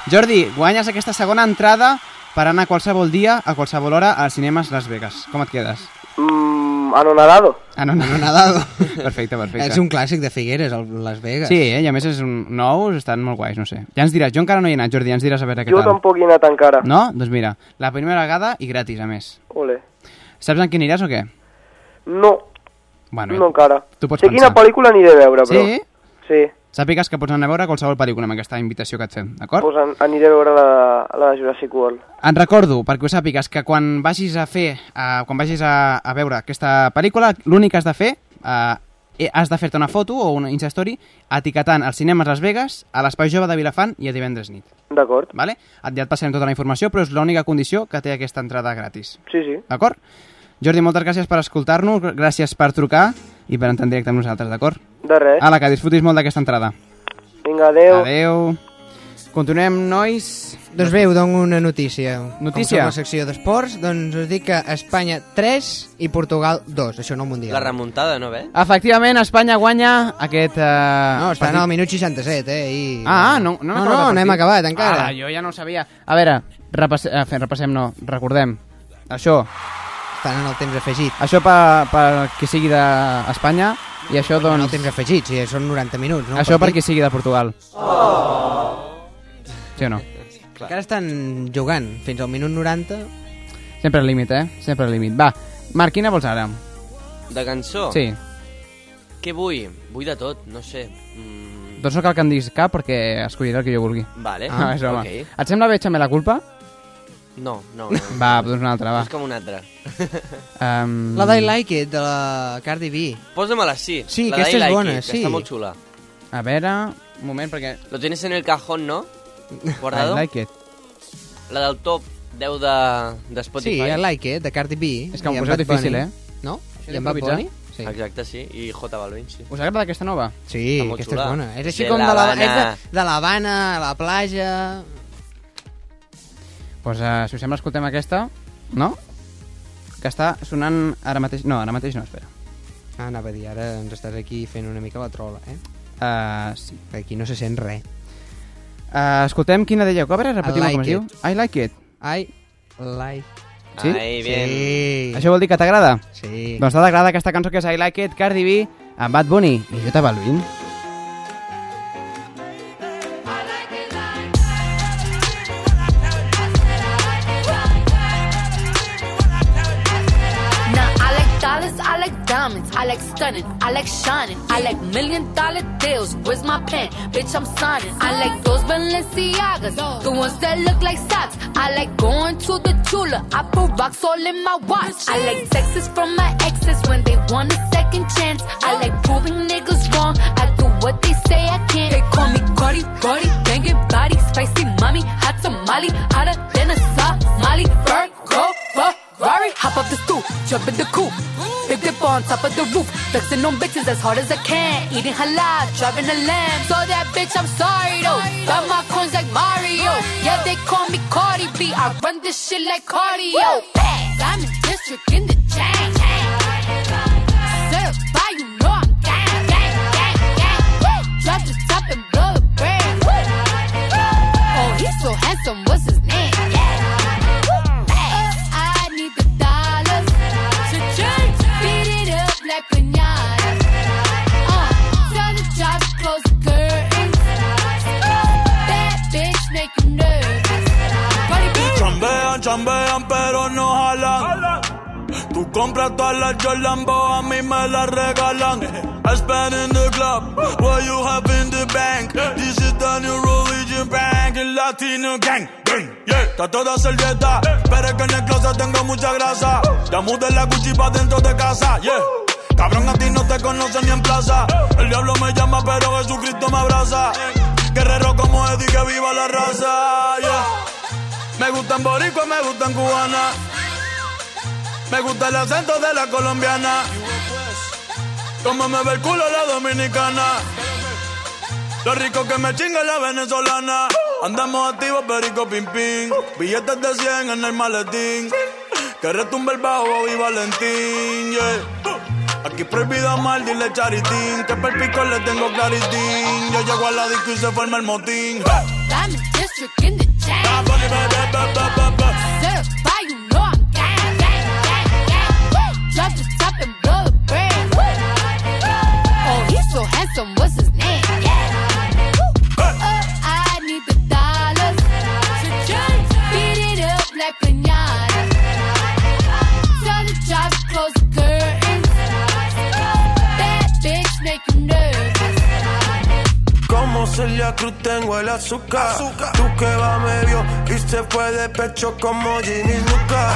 Speaker 1: Jordi, guanyes aquesta segona entrada per anar qualsevol dia, a qualsevol hora, als cinemes Las Vegas. Com et quedes?
Speaker 3: Mm, anonadado.
Speaker 1: Anonadado. Perfecte, perfecte.
Speaker 5: És un clàssic de Figueres, el Las Vegas.
Speaker 1: Sí, eh? i a més és un... nous, estan molt guais, no sé. Ja ens diràs, jo encara no hi he anat, Jordi, ja ens diràs a veure què
Speaker 3: Jo
Speaker 1: tal.
Speaker 3: tampoc hi he anat encara.
Speaker 1: No? Doncs mira, la primera vegada i gratis, a més.
Speaker 3: Ole.
Speaker 1: Saps en què aniràs o què?
Speaker 3: No,
Speaker 1: Bueno,
Speaker 3: no encara.
Speaker 1: tu pots
Speaker 3: sé quina
Speaker 1: pensar.
Speaker 3: pel·lícula aniré a veure, però.
Speaker 1: Sí?
Speaker 3: Sí.
Speaker 1: Sàpigues que pots anar a veure qualsevol pel·lícula amb aquesta invitació que et fem, d'acord?
Speaker 3: Pues an aniré a veure la, la de Jurassic World.
Speaker 1: En recordo, perquè ho sàpigues, que quan vagis a fer, uh, quan vagis a, a veure aquesta pel·lícula, l'únic que has de fer, uh, has de fer-te una foto o una Instastory etiquetant els cinemes Las Vegas, a l'Espai Jove de Vilafant i a divendres nit.
Speaker 3: D'acord.
Speaker 1: Vale? Et, ja et passarem tota la informació, però és l'única condició que té aquesta entrada gratis.
Speaker 3: Sí, sí.
Speaker 1: D'acord? Jordi, moltes gràcies per escoltar-nos, gr- gràcies per trucar i per entrar en directe amb nosaltres, d'acord?
Speaker 3: De res.
Speaker 1: Ala, que disfrutis molt d'aquesta entrada.
Speaker 3: Vinga, adeu.
Speaker 1: Adeu. Continuem, nois.
Speaker 5: Doncs bé, us dono una notícia.
Speaker 1: Notícia?
Speaker 5: Com som la secció d'esports, doncs us dic que Espanya 3 i Portugal 2, això no al Mundial.
Speaker 4: La remuntada, no, bé?
Speaker 1: Efectivament, Espanya guanya aquest... Eh,
Speaker 5: No, està en el minut 67, eh? I...
Speaker 1: Ah, ah, no, no, hem
Speaker 5: no, no,
Speaker 1: acabat el
Speaker 5: no hem
Speaker 1: partit.
Speaker 5: acabat encara.
Speaker 1: Ala, jo ja no ho sabia. A veure, repasse... eh, fe- repassem, no, recordem. Això.
Speaker 5: Estan en el temps afegit.
Speaker 1: Això per, per qui sigui d'Espanya i això, doncs...
Speaker 5: el temps afegit, sí, són 90 minuts, no?
Speaker 1: Això per
Speaker 5: Partit.
Speaker 1: qui sigui de Portugal. Sí o no?
Speaker 5: Encara estan jugant fins al minut 90.
Speaker 1: Sempre al límit, eh? Sempre al límit. Va, Marc, quina vols ara?
Speaker 4: De cançó?
Speaker 1: Sí.
Speaker 4: Què vull? Vull de tot, no sé. Mm,
Speaker 1: Doncs no cal que em diguis cap perquè escolliré el que jo vulgui.
Speaker 4: Vale.
Speaker 1: Ah, és broma.
Speaker 4: Ok.
Speaker 1: Et sembla bé eixar-me la culpa?
Speaker 4: no, no, no.
Speaker 1: Va, doncs una altra, va.
Speaker 4: Busca'm una altra.
Speaker 1: Um...
Speaker 5: La Die Like It, de la Cardi B.
Speaker 4: Pósamela, sí.
Speaker 5: Sí,
Speaker 4: la
Speaker 5: aquesta
Speaker 4: d'I
Speaker 5: és
Speaker 4: like
Speaker 5: bona,
Speaker 4: It, que
Speaker 5: sí.
Speaker 4: Està molt xula.
Speaker 1: A veure, un moment, perquè...
Speaker 4: Lo tienes en el cajón, no?
Speaker 1: I
Speaker 4: Guardado.
Speaker 1: like it.
Speaker 4: La del top 10 de, de
Speaker 5: Sí,
Speaker 4: Spotify.
Speaker 5: I Like It, de Cardi B.
Speaker 1: És que
Speaker 5: i
Speaker 1: m'ho
Speaker 5: en
Speaker 1: poseu
Speaker 5: Bad Bunny.
Speaker 1: difícil, eh?
Speaker 5: No?
Speaker 1: Això
Speaker 5: I en Bad
Speaker 1: d'improvisar?
Speaker 5: Bunny?
Speaker 4: Sí. Exacte, sí. I J Balvin, sí.
Speaker 1: Us agrada aquesta nova?
Speaker 5: Sí,
Speaker 4: molt
Speaker 5: aquesta
Speaker 4: xula.
Speaker 5: és bona. eh? És així
Speaker 4: De
Speaker 5: com de la,
Speaker 4: l'Havana.
Speaker 5: és de, de l'Havana, a la platja...
Speaker 1: Doncs, uh, si us sembla, escoltem aquesta, no? Que està sonant ara mateix... No, ara mateix no, espera.
Speaker 5: Ah, anava a dir, ara ens estàs aquí fent una mica la trola, eh?
Speaker 1: Uh, sí.
Speaker 5: Aquí no se sent res.
Speaker 1: Uh, escoltem quina deia. A veure,
Speaker 5: I
Speaker 1: repetim
Speaker 5: like
Speaker 1: com es diu.
Speaker 5: it.
Speaker 1: I like it.
Speaker 5: I like...
Speaker 1: Sí?
Speaker 4: Ahí, bien.
Speaker 5: Sí.
Speaker 1: Això vol dir que t'agrada?
Speaker 5: Sí.
Speaker 1: Doncs t'agrada aquesta cançó que és I like it, Cardi B, amb Bad Bunny i J Balvin.
Speaker 19: Now I like dollars, I like diamonds, I like stunning, I like shining, I like million dollar deals. Where's my pen? Bitch, I'm signing. I like those Balenciagas, the ones that look like socks. I like going to the Tula. I put rocks all in my watch. I like texts from my exes when they want a second chance. I like proving niggas wrong. I do what they say I can't. They call me Cardi, Cardi, banging body, spicy mommy, hot tamale, hotter than a Somali. Bird, go, Ferrari, hop off the stoop, jump in the coop. Big dip on top of the roof, flexing on bitches as hard as I can. Eating halal, driving a lamb. So that bitch, I'm sorry though. Got my coins like Mario. Yeah, they call me Cardi B. I run this shit like cardio. Bad, I'm in district in the chain. Certified, you know I'm gang, gang, gang, gang. Drop the top and blow the brand. Oh, he's so handsome, what's his name? I need the dollars to change. Beat it up like pinatas. Uh, tell the job to close the curtains. Bad bitch make you nervous. Cardi B.
Speaker 18: Chambean, chambean, pero no jalan. Tú compras todas las Jolambo, a mí me las regalan. I spend in the club, what you have in the bank. This is the new religion bank, el latino gang. gang, Yeah. Está toda servieta, pero es que en el closet tengo mucha grasa. Ya mudé la Gucci pa' dentro de casa, yeah. Cabrón, a ti no te conocen ni en plaza. El diablo me llama, pero Jesucristo me abraza. Guerrero como Eddie, que viva la raza, yeah. Me gustan boricua, me gustan cubana. Me gusta el acento de la colombiana. Como me ve el culo la dominicana. Lo rico que me chinga la venezolana. Andamos activos, perico pim pim. Billetes de 100 en el maletín. Que retumbe el bajo y Valentín, yeah. Aquí prohibido mal, dile charitín. Que perpico le tengo claritín. Yo llego a la disco y se forma el motín.
Speaker 19: I'm in district in the chain. Certified, you know I'm gang, gang, gang, gang. Drop the top and blow the brand. Oh, he's so handsome, what's his name? Uh, I need the dollars to change. Beat it up like pinatas. Tell the job to close the curtains. Bad bitch make you nervous.
Speaker 18: Como Celia Cruz tengo el azúcar. Tú que va medio y se fue de pecho como Ginny Luca.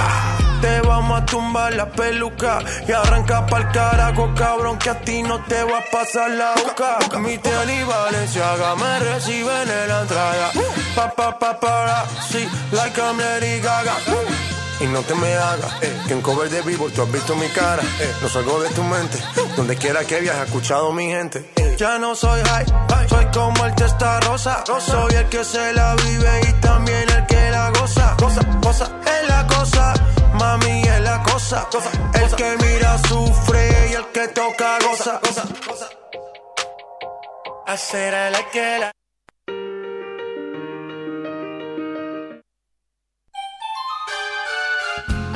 Speaker 18: Te vamos a tumbar la peluca y arranca pa'l carajo, cabrón, que a ti no te va a pasar la boca. Mi tenis Valenciaga me reciben en la entrada. Pa, pa, pa, para, sí, like I'm Lady Gaga. Y no te me hagas, eh, que en cover de vivo tú has visto mi cara. eh, no salgo de tu mente, donde quiera que viajes, escuchado mi gente. Ya no soy high, soy como el testa rosa. Soy el que se la vive y también el que la goza. Cosa, cosa, es la cosa, mami es la cosa. el que mira sufre y el que toca goza. Hacer a la que la.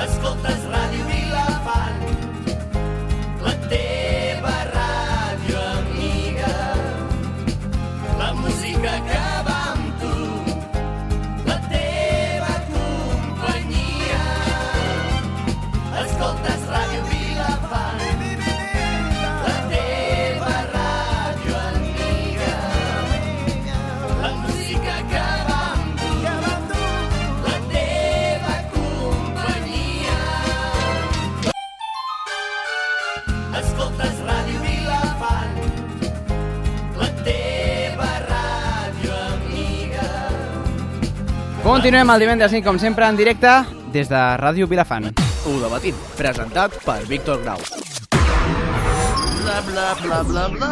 Speaker 2: Escoltes Ràdio Vilafant, la teva ràdio amiga. La música que va amb tu, la teva companyia. Escoltes Ràdio Vilafant, la teva ràdio amiga. La música que va amb tu, la teva companyia. Escoltes Ràdio Vilafant, la teva ràdio amiga.
Speaker 1: Continuem el divendres nit, com sempre, en directe des de Ràdio Vilafant.
Speaker 14: Ho debatim, presentat per Víctor Grau.
Speaker 2: Bla, bla, bla, bla, bla.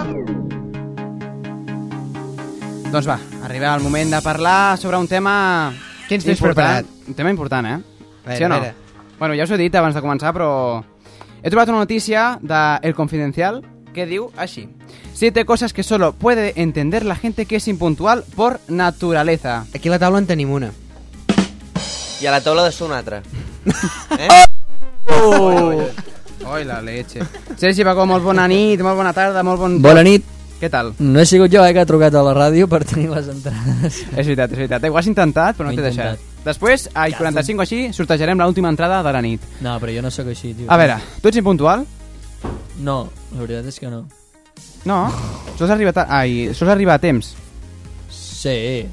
Speaker 1: Doncs va, arriba el moment de parlar sobre un tema...
Speaker 5: Què ens tens
Speaker 1: important. Un tema important, eh?
Speaker 5: Veure,
Speaker 1: sí o no?
Speaker 5: veure.
Speaker 1: Bueno, ja us ho he dit abans de començar, però... He trobat una notícia de El Confidencial que diu així. Siete cosas que solo puede entender la gente que es impuntual por naturaleza.
Speaker 5: Aquí a la taula en tenim una.
Speaker 4: I a la taula de ser una altra. Eh?
Speaker 1: Oh! Oi, la leche. Sergi Pacó, molt bona nit, molt bona tarda, molt bon...
Speaker 13: Bona nit.
Speaker 1: Què tal?
Speaker 13: No he sigut jo eh, que ha trucat a la ràdio per tenir les entrades.
Speaker 1: És veritat, és veritat. Eh, Ho has intentat, però no
Speaker 13: Ho he
Speaker 1: t'he deixat.
Speaker 13: intentat.
Speaker 1: Després, a 45 o així, sortejarem l'última entrada de la nit.
Speaker 13: No, però jo no sóc així, tio.
Speaker 1: A veure, tu ets impuntual?
Speaker 13: No, la veritat és que no.
Speaker 1: No? Sols arribar a, ai, sols arribar a temps?
Speaker 13: Sí.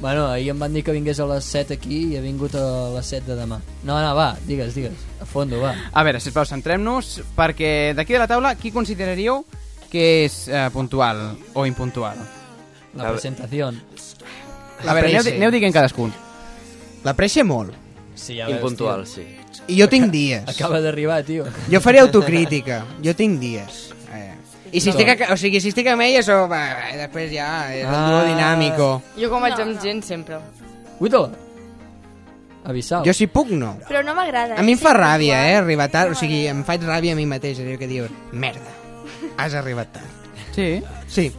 Speaker 13: Bueno, ahir em van dir que vingués a les 7 aquí i he vingut a les 7 de demà. No, no, va, digues, digues. A fondo, va.
Speaker 1: A veure, sisplau, centrem-nos, perquè d'aquí de la taula, qui consideraríeu que és eh, puntual o impuntual?
Speaker 13: La presentació.
Speaker 1: A veure, aneu, di- aneu diguent cadascun.
Speaker 5: L'aprecia molt.
Speaker 13: Sí, ja veus,
Speaker 4: Impuntual,
Speaker 13: tio.
Speaker 4: sí.
Speaker 5: I jo tinc dies.
Speaker 13: Acaba d'arribar, tio.
Speaker 5: Jo faré autocrítica. Jo tinc dies. Eh. I si
Speaker 13: No.
Speaker 5: estic a, o sigui, si estic amb ella, això, va, va, Eh, després ja és el duo dinàmico.
Speaker 25: Jo com vaig amb gent sempre.
Speaker 13: Cuida-la. Avisau.
Speaker 5: Jo si puc, no.
Speaker 27: Però no m'agrada.
Speaker 5: A mi em fa ràbia, eh, arribar tard. O sigui, em faig ràbia a mi mateix, allò que diuen, merda, has arribat tard.
Speaker 1: Sí?
Speaker 5: Sí.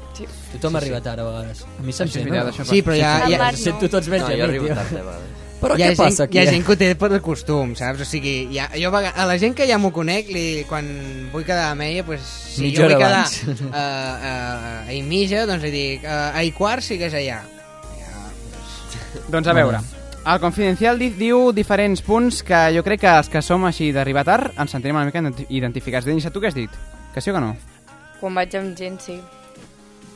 Speaker 13: Tothom
Speaker 5: Sí,
Speaker 13: arriba
Speaker 5: sí.
Speaker 13: tard a vegades. A mi se'm
Speaker 5: Això és
Speaker 13: sent,
Speaker 5: veritat, això Sí, però ja- ja-
Speaker 13: Em Sento tots menys
Speaker 4: No,
Speaker 13: a mi,
Speaker 4: jo arribo
Speaker 13: tio.
Speaker 4: tard a vegades.
Speaker 13: Però
Speaker 5: hi ha
Speaker 13: què passa
Speaker 5: gent,
Speaker 13: aquí?
Speaker 5: Hi ha gent que ho té per costum, saps? O sigui, hi ha, jo, a vega- a la gent que ja m'ho conec, li, quan vull quedar amb ella, pues, si
Speaker 13: Mitja
Speaker 5: jo vull
Speaker 13: hora
Speaker 5: quedar
Speaker 13: abans.
Speaker 5: uh, uh, a i mitja, doncs li dic, uh, a i quart sigues allà.
Speaker 1: Doncs a veure, el Confidencial di- diu diferents punts que jo crec que els que som així d'arribar tard ens sentirem una mica identi- identificats. Denis, a tu què has dit? Que sí o que no?
Speaker 25: Quan vaig amb gent, sí.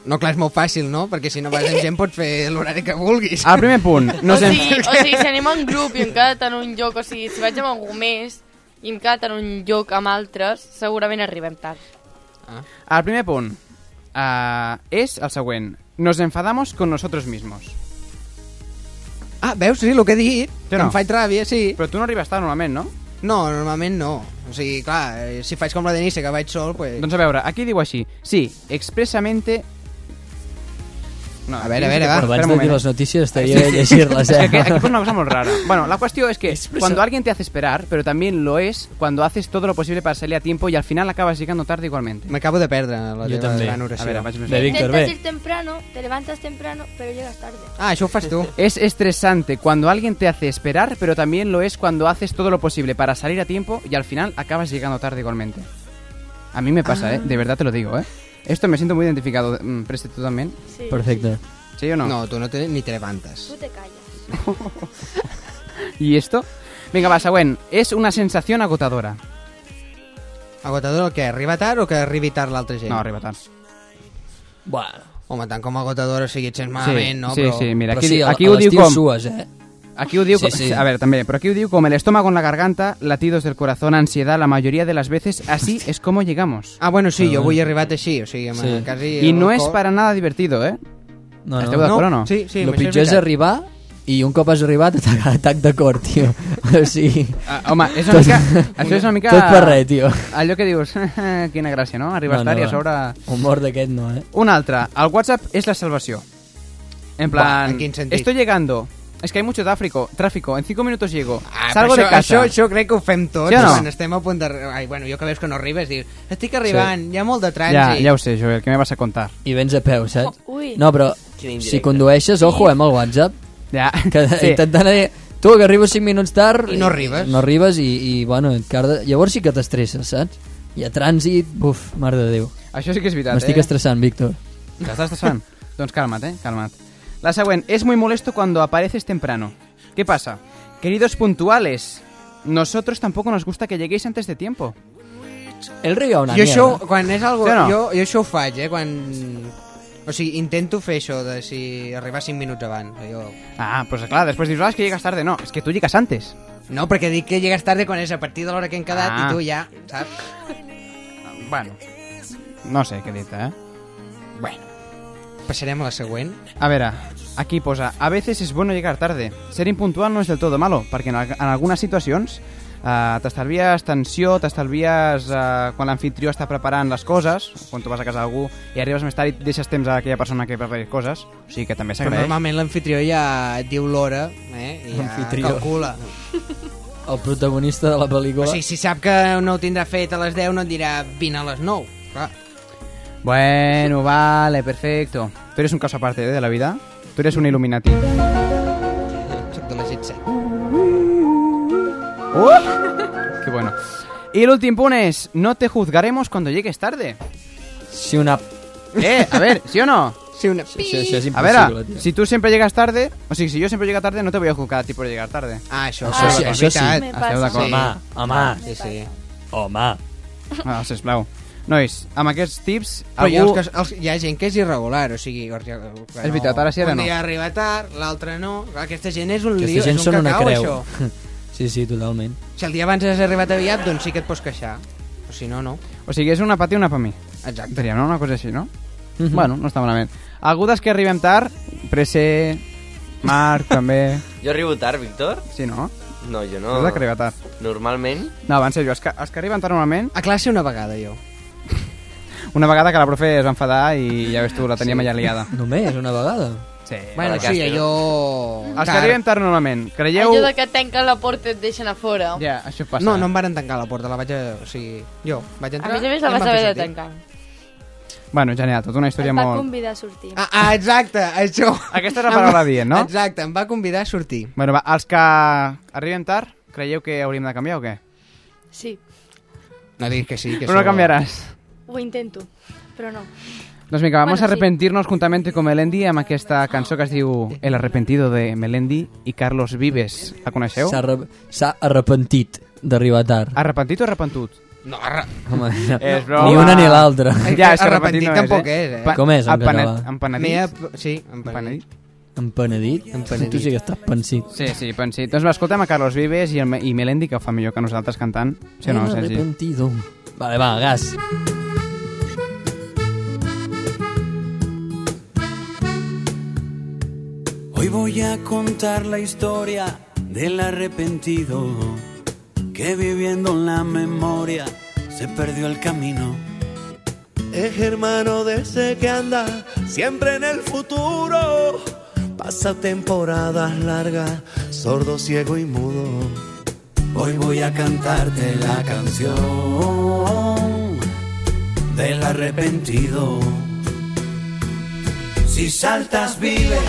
Speaker 5: No, clar, és molt fàcil, no? Perquè si no vas amb gent pots fer l'horari que vulguis.
Speaker 1: El primer punt.
Speaker 25: o, sigui, o sigui, si anem en grup i em quedat en un lloc, o sigui, si vaig amb algú més i em quedat en un lloc amb altres, segurament arribem tard.
Speaker 1: El Ah. primer punt uh, és el següent. Nos enfadamos con nosotros mismos.
Speaker 5: Ah, veus? Sí, el que he dit.
Speaker 1: Sí o
Speaker 5: Em faig ràbia, sí.
Speaker 1: Però tu no arribes tard normalment, no?
Speaker 5: No, normalment no. O sigui, clar, eh, si faig com la Denise, que vaig sol, pues...
Speaker 1: Doncs a veure, aquí diu així. Sí, expressamente... No,
Speaker 5: A veure, a veure, va.
Speaker 1: Espera
Speaker 13: Abans de
Speaker 1: un moment,
Speaker 13: dir
Speaker 1: eh.
Speaker 13: les notícies estaria bé llegir-les,
Speaker 1: Es que
Speaker 13: eh?
Speaker 1: aquí, aquí pasa una cosa muy rara. Bueno, la cuestión es que cuando alguien te hace esperar, pero también lo es cuando haces todo lo posible para salir a tiempo y al final acabas llegando tarde igualmente.
Speaker 5: M'acabo de perdre la
Speaker 13: Jo
Speaker 5: teva
Speaker 13: també.
Speaker 5: gran oració.
Speaker 1: A veure, vaig més
Speaker 13: De
Speaker 1: bé.
Speaker 13: Víctor,
Speaker 27: Intentas
Speaker 13: bé.
Speaker 27: ir temprano, te levantas temprano, pero llegas tarde.
Speaker 5: Ah, això ho fas tu.
Speaker 1: Es estresante cuando alguien te hace esperar, pero también lo es cuando haces todo lo posible para salir a tiempo y al final acabas llegando tarde igualmente. A mí me pasa,
Speaker 5: Ah.
Speaker 1: ¿eh? De verdad te lo digo, ¿eh? Esto me siento muy identificado. Mm, Preste, ¿tú también?
Speaker 27: Sí.
Speaker 13: Perfecte.
Speaker 1: ¿Sí o no?
Speaker 5: No, tu no te, ni te levantes.
Speaker 27: Tú te callas.
Speaker 1: ¿Y esto? Venga, va, Sagüen. Es una sensación agotadora.
Speaker 5: Agotador el que arriba tard o que arribi tard l'altra gent?
Speaker 1: No, arriba tard.
Speaker 13: Bueno.
Speaker 5: Home, tant com agotador, o sigui, et sents malament, no?
Speaker 1: sí,
Speaker 5: però...
Speaker 1: sí, mira,
Speaker 13: Però
Speaker 1: aquí,
Speaker 13: sí,
Speaker 1: di-
Speaker 13: a-
Speaker 1: aquí
Speaker 13: a
Speaker 1: ho diu
Speaker 13: l'estiu
Speaker 1: com...
Speaker 13: sues, eh?
Speaker 1: Aquí ho diu
Speaker 13: Sí,
Speaker 1: com...
Speaker 13: sí.
Speaker 1: A ver, también, pero aquí ho diu com el estómago en la garganta, latidos del corazón, ansiedad, la mayoría de las veces, así es como llegamos.
Speaker 5: Ah, bueno, sí,
Speaker 1: Mm.
Speaker 5: jo avui he arribat així, o sigui, amb
Speaker 13: Sí.
Speaker 5: quasi...
Speaker 1: Y no
Speaker 5: el
Speaker 1: es
Speaker 5: cor-
Speaker 1: para nada divertido, ¿eh?
Speaker 13: No,
Speaker 1: Esteu d'acord o no?
Speaker 5: Sí, sí,
Speaker 13: Lo
Speaker 5: això
Speaker 13: pitjor és
Speaker 5: veritat.
Speaker 13: arribar i un cop has arribat atac, atac de cor, tio. O sigui...
Speaker 1: Ah, home, és una
Speaker 13: Tot-
Speaker 1: mica... Això és una mica...
Speaker 13: Tot per res, tio.
Speaker 1: Allò que dius, quina gràcia, no? Arribes tard i a sobre...
Speaker 13: Humor d'aquest no, eh?
Speaker 1: Un altre, el WhatsApp és la salvació. En
Speaker 5: Buah,
Speaker 1: plan...
Speaker 5: en quin sentit?
Speaker 1: Estoy llegando. Es que hay mucho tráfico. Tráfico. En cinco minutos llego.
Speaker 5: Ah,
Speaker 1: Salgo
Speaker 5: però
Speaker 1: de casa.
Speaker 5: Això, això crec que ho fem tots
Speaker 1: Sí o no?
Speaker 5: quan estem a punt d'arribar. Ai, bueno, jo que veus que no arribes, dius, estic arribant, sí. hi ha molt de
Speaker 1: Ya,
Speaker 5: trànsit.
Speaker 1: ya ho sé, Joel, ¿qué me vas a contar?
Speaker 13: I vens a peu, saps?
Speaker 27: Ui.
Speaker 13: No, però
Speaker 4: Quina indirecta.
Speaker 13: si condueixes, ojo, eh, amb el WhatsApp.
Speaker 1: Ja.
Speaker 13: Que
Speaker 1: Sí.
Speaker 13: intentant dir... Tu, que arribo 5 minuts tard...
Speaker 5: I no arribes.
Speaker 13: No arribes i, i bueno, et carda... llavors sí que t'estresses, saps? Hi ha trànsit, buf, mare de Déu.
Speaker 1: Això sí que és veritat,
Speaker 13: M'estic
Speaker 1: eh?
Speaker 13: estressant, Víctor.
Speaker 1: T'estàs estressant? doncs calma't, eh? Calma't. La següent. Es muy molesto cuando apareces temprano. ¿Qué pasa? Queridos puntuales, nosotros tampoco nos gusta que lleguéis antes de tiempo.
Speaker 13: El río una
Speaker 5: Jo això,
Speaker 13: mierda.
Speaker 5: quan és algo...
Speaker 1: Sí o
Speaker 5: Sí,
Speaker 1: no?
Speaker 5: no? jo, jo això ho faig, eh, quan... O sigui, intento fer això de si arribar 5 minuts abans. Jo...
Speaker 1: Ah, pues claro, después dices, ah, es que llegas tarde. No, es que tú llegas antes.
Speaker 5: No, perquè dic que llegues tarde quan és a partir de l'hora que hem quedat
Speaker 1: Ah.
Speaker 5: i tu ja, saps?
Speaker 1: Bueno. No sé què dit, eh?
Speaker 5: Bueno. Passarem a la següent.
Speaker 1: A veure, aquí posa, a veces es bueno llegar tarde. Ser impuntual no és del todo malo, perquè en, al- en algunes situacions eh, t'estalvies tensió, t'estalvies eh, quan l'anfitrió està preparant les coses, quan tu vas a casa d'algú i arribes més tard i deixes temps a aquella persona que prepari coses, o sigui que també
Speaker 5: Però
Speaker 1: s'agraeix.
Speaker 5: normalment l'anfitrió ja et diu l'hora, eh? I ja
Speaker 13: L'anfitrió.
Speaker 5: calcula.
Speaker 13: El protagonista de la pel·lícula...
Speaker 5: O sigui, si sap que no ho tindrà fet a les 10, no et dirà vine a les 9. Clar.
Speaker 1: Bueno, vale, perfecto. Tu eres un caso aparte eh, de la vida, tu eres un Illuminati.
Speaker 5: Soc de la gent set.
Speaker 1: Qué bueno. ¡Oh! Y el último punt és, no te juzgaremos cuando llegues tarde.
Speaker 13: Si una...
Speaker 1: Eh, a ver, ¿sí o no?
Speaker 5: Sí, una...
Speaker 13: Això, això és
Speaker 1: A
Speaker 13: impossible,
Speaker 1: ver, ah,
Speaker 13: tio.
Speaker 1: si tú siempre llegas tarde, o sigui, si yo siempre llego tarde, no te voy a juzgar a ti por llegar tarde.
Speaker 5: Ah, això,
Speaker 13: Això sí,
Speaker 5: és
Speaker 13: això sí.
Speaker 5: veritat.
Speaker 27: Me pasa.
Speaker 1: Esteu d'acord?
Speaker 13: Home, home,
Speaker 5: Sí, sí.
Speaker 13: home.
Speaker 1: Ah, sisplau. Nois, amb aquests tips...
Speaker 5: Però hi ha,
Speaker 1: algú...
Speaker 5: els que, els, hi ha gent que és irregular, o sigui... Or, que no,
Speaker 1: És veritat, ara sí, ara no.
Speaker 5: Un dia arriba tard, l'altre no... Clar, aquesta gent és un
Speaker 13: Aquesta
Speaker 5: lío,
Speaker 13: gent
Speaker 5: és un
Speaker 13: són una
Speaker 5: cacau,
Speaker 13: creu.
Speaker 5: això.
Speaker 13: Sí, sí, totalment.
Speaker 5: Si el dia abans has arribat aviat, doncs sí que et pots queixar. Però si no, no.
Speaker 1: O sigui, és una pati i una per mi.
Speaker 5: Exacte.
Speaker 1: Diríem, no? Una cosa així, no?
Speaker 13: Mhm.
Speaker 1: Bueno, no està malament. Algú dels que arribem tard, Prese, Marc, també...
Speaker 4: Jo arribo tard, Víctor?
Speaker 1: Sí, no?
Speaker 4: No, jo
Speaker 1: Tu
Speaker 4: no.
Speaker 1: has d'arribar tard.
Speaker 4: Normalment?
Speaker 1: No, abans jo, els que, els que arriben tard normalment...
Speaker 5: A classe una vegada, jo.
Speaker 1: Una vegada que la profe es va enfadar i ja veus tu, la teníem allà liada.
Speaker 13: Només, una vegada.
Speaker 1: Sí.
Speaker 5: Bueno, sí, allò...
Speaker 1: Els que arribem tard normalment, creieu...
Speaker 6: Allò de que tanquen la porta i et deixen a fora.
Speaker 1: Ja, això passa.
Speaker 5: No, no em varen tancar la porta, la vaig... A... O sigui, jo vaig
Speaker 6: A
Speaker 5: entrar...
Speaker 6: més a més
Speaker 5: i
Speaker 6: la
Speaker 5: em
Speaker 6: vas
Speaker 5: van fer
Speaker 6: haver de
Speaker 5: sortir.
Speaker 6: tancar.
Speaker 1: Bueno, genial, tota una història
Speaker 11: Em va
Speaker 1: molt...
Speaker 11: convidar a sortir.
Speaker 5: Ah, ah, exacte, això.
Speaker 1: Aquesta és la paraula dient, no?
Speaker 5: Exacte, em va convidar a sortir.
Speaker 1: Bueno, va, els que arribem tard, creieu que hauríem de canviar o què?
Speaker 11: Sí,
Speaker 5: No diguis que sí, que
Speaker 1: Però no
Speaker 5: això-
Speaker 1: canviaràs.
Speaker 11: ho intento, però no.
Speaker 1: Doncs vinga, vamos
Speaker 11: Bueno,
Speaker 1: a
Speaker 11: sí.
Speaker 1: arrepentirnos juntamente con Melendi amb aquesta cançó que es diu El arrepentido de Melendi i Carlos Vives. La coneixeu?
Speaker 13: S'ha arre- S'ha arrepentit d'arribar tard.
Speaker 1: Arrepentit o arrepentut?
Speaker 5: No, arre...
Speaker 13: Home, no.
Speaker 1: És
Speaker 13: ni
Speaker 1: broma.
Speaker 13: una ni l'altra.
Speaker 1: Ai, Ja, és que
Speaker 5: arrepentit
Speaker 1: no
Speaker 5: tampoc
Speaker 1: eh?
Speaker 5: és, eh?
Speaker 1: Pa-
Speaker 13: Com és, en
Speaker 1: empenet-
Speaker 13: català?
Speaker 1: Empenedit.
Speaker 5: M'he ap- Sí, empenedit.
Speaker 13: Empenedit?
Speaker 5: Empenedit.
Speaker 13: Tu sí que estàs pensit.
Speaker 1: Sí, sí, pensi. Doncs va, escoltem a Carlos Vives i, el, Me- i Melendi, que ho fa millor que nosaltres cantant. Sí o no,
Speaker 13: Me he
Speaker 1: Sergi?
Speaker 13: arrepentido. Vale, va, gas.
Speaker 21: Hoy voy a contar la historia del arrepentido que viviendo en la memoria se perdió el camino.
Speaker 8: Es hermano de ese que anda siempre en el futuro. Pasa temporadas largas, sordo, ciego y mudo.
Speaker 21: Hoy voy a cantarte la canción del arrepentido.
Speaker 8: Si saltas vives,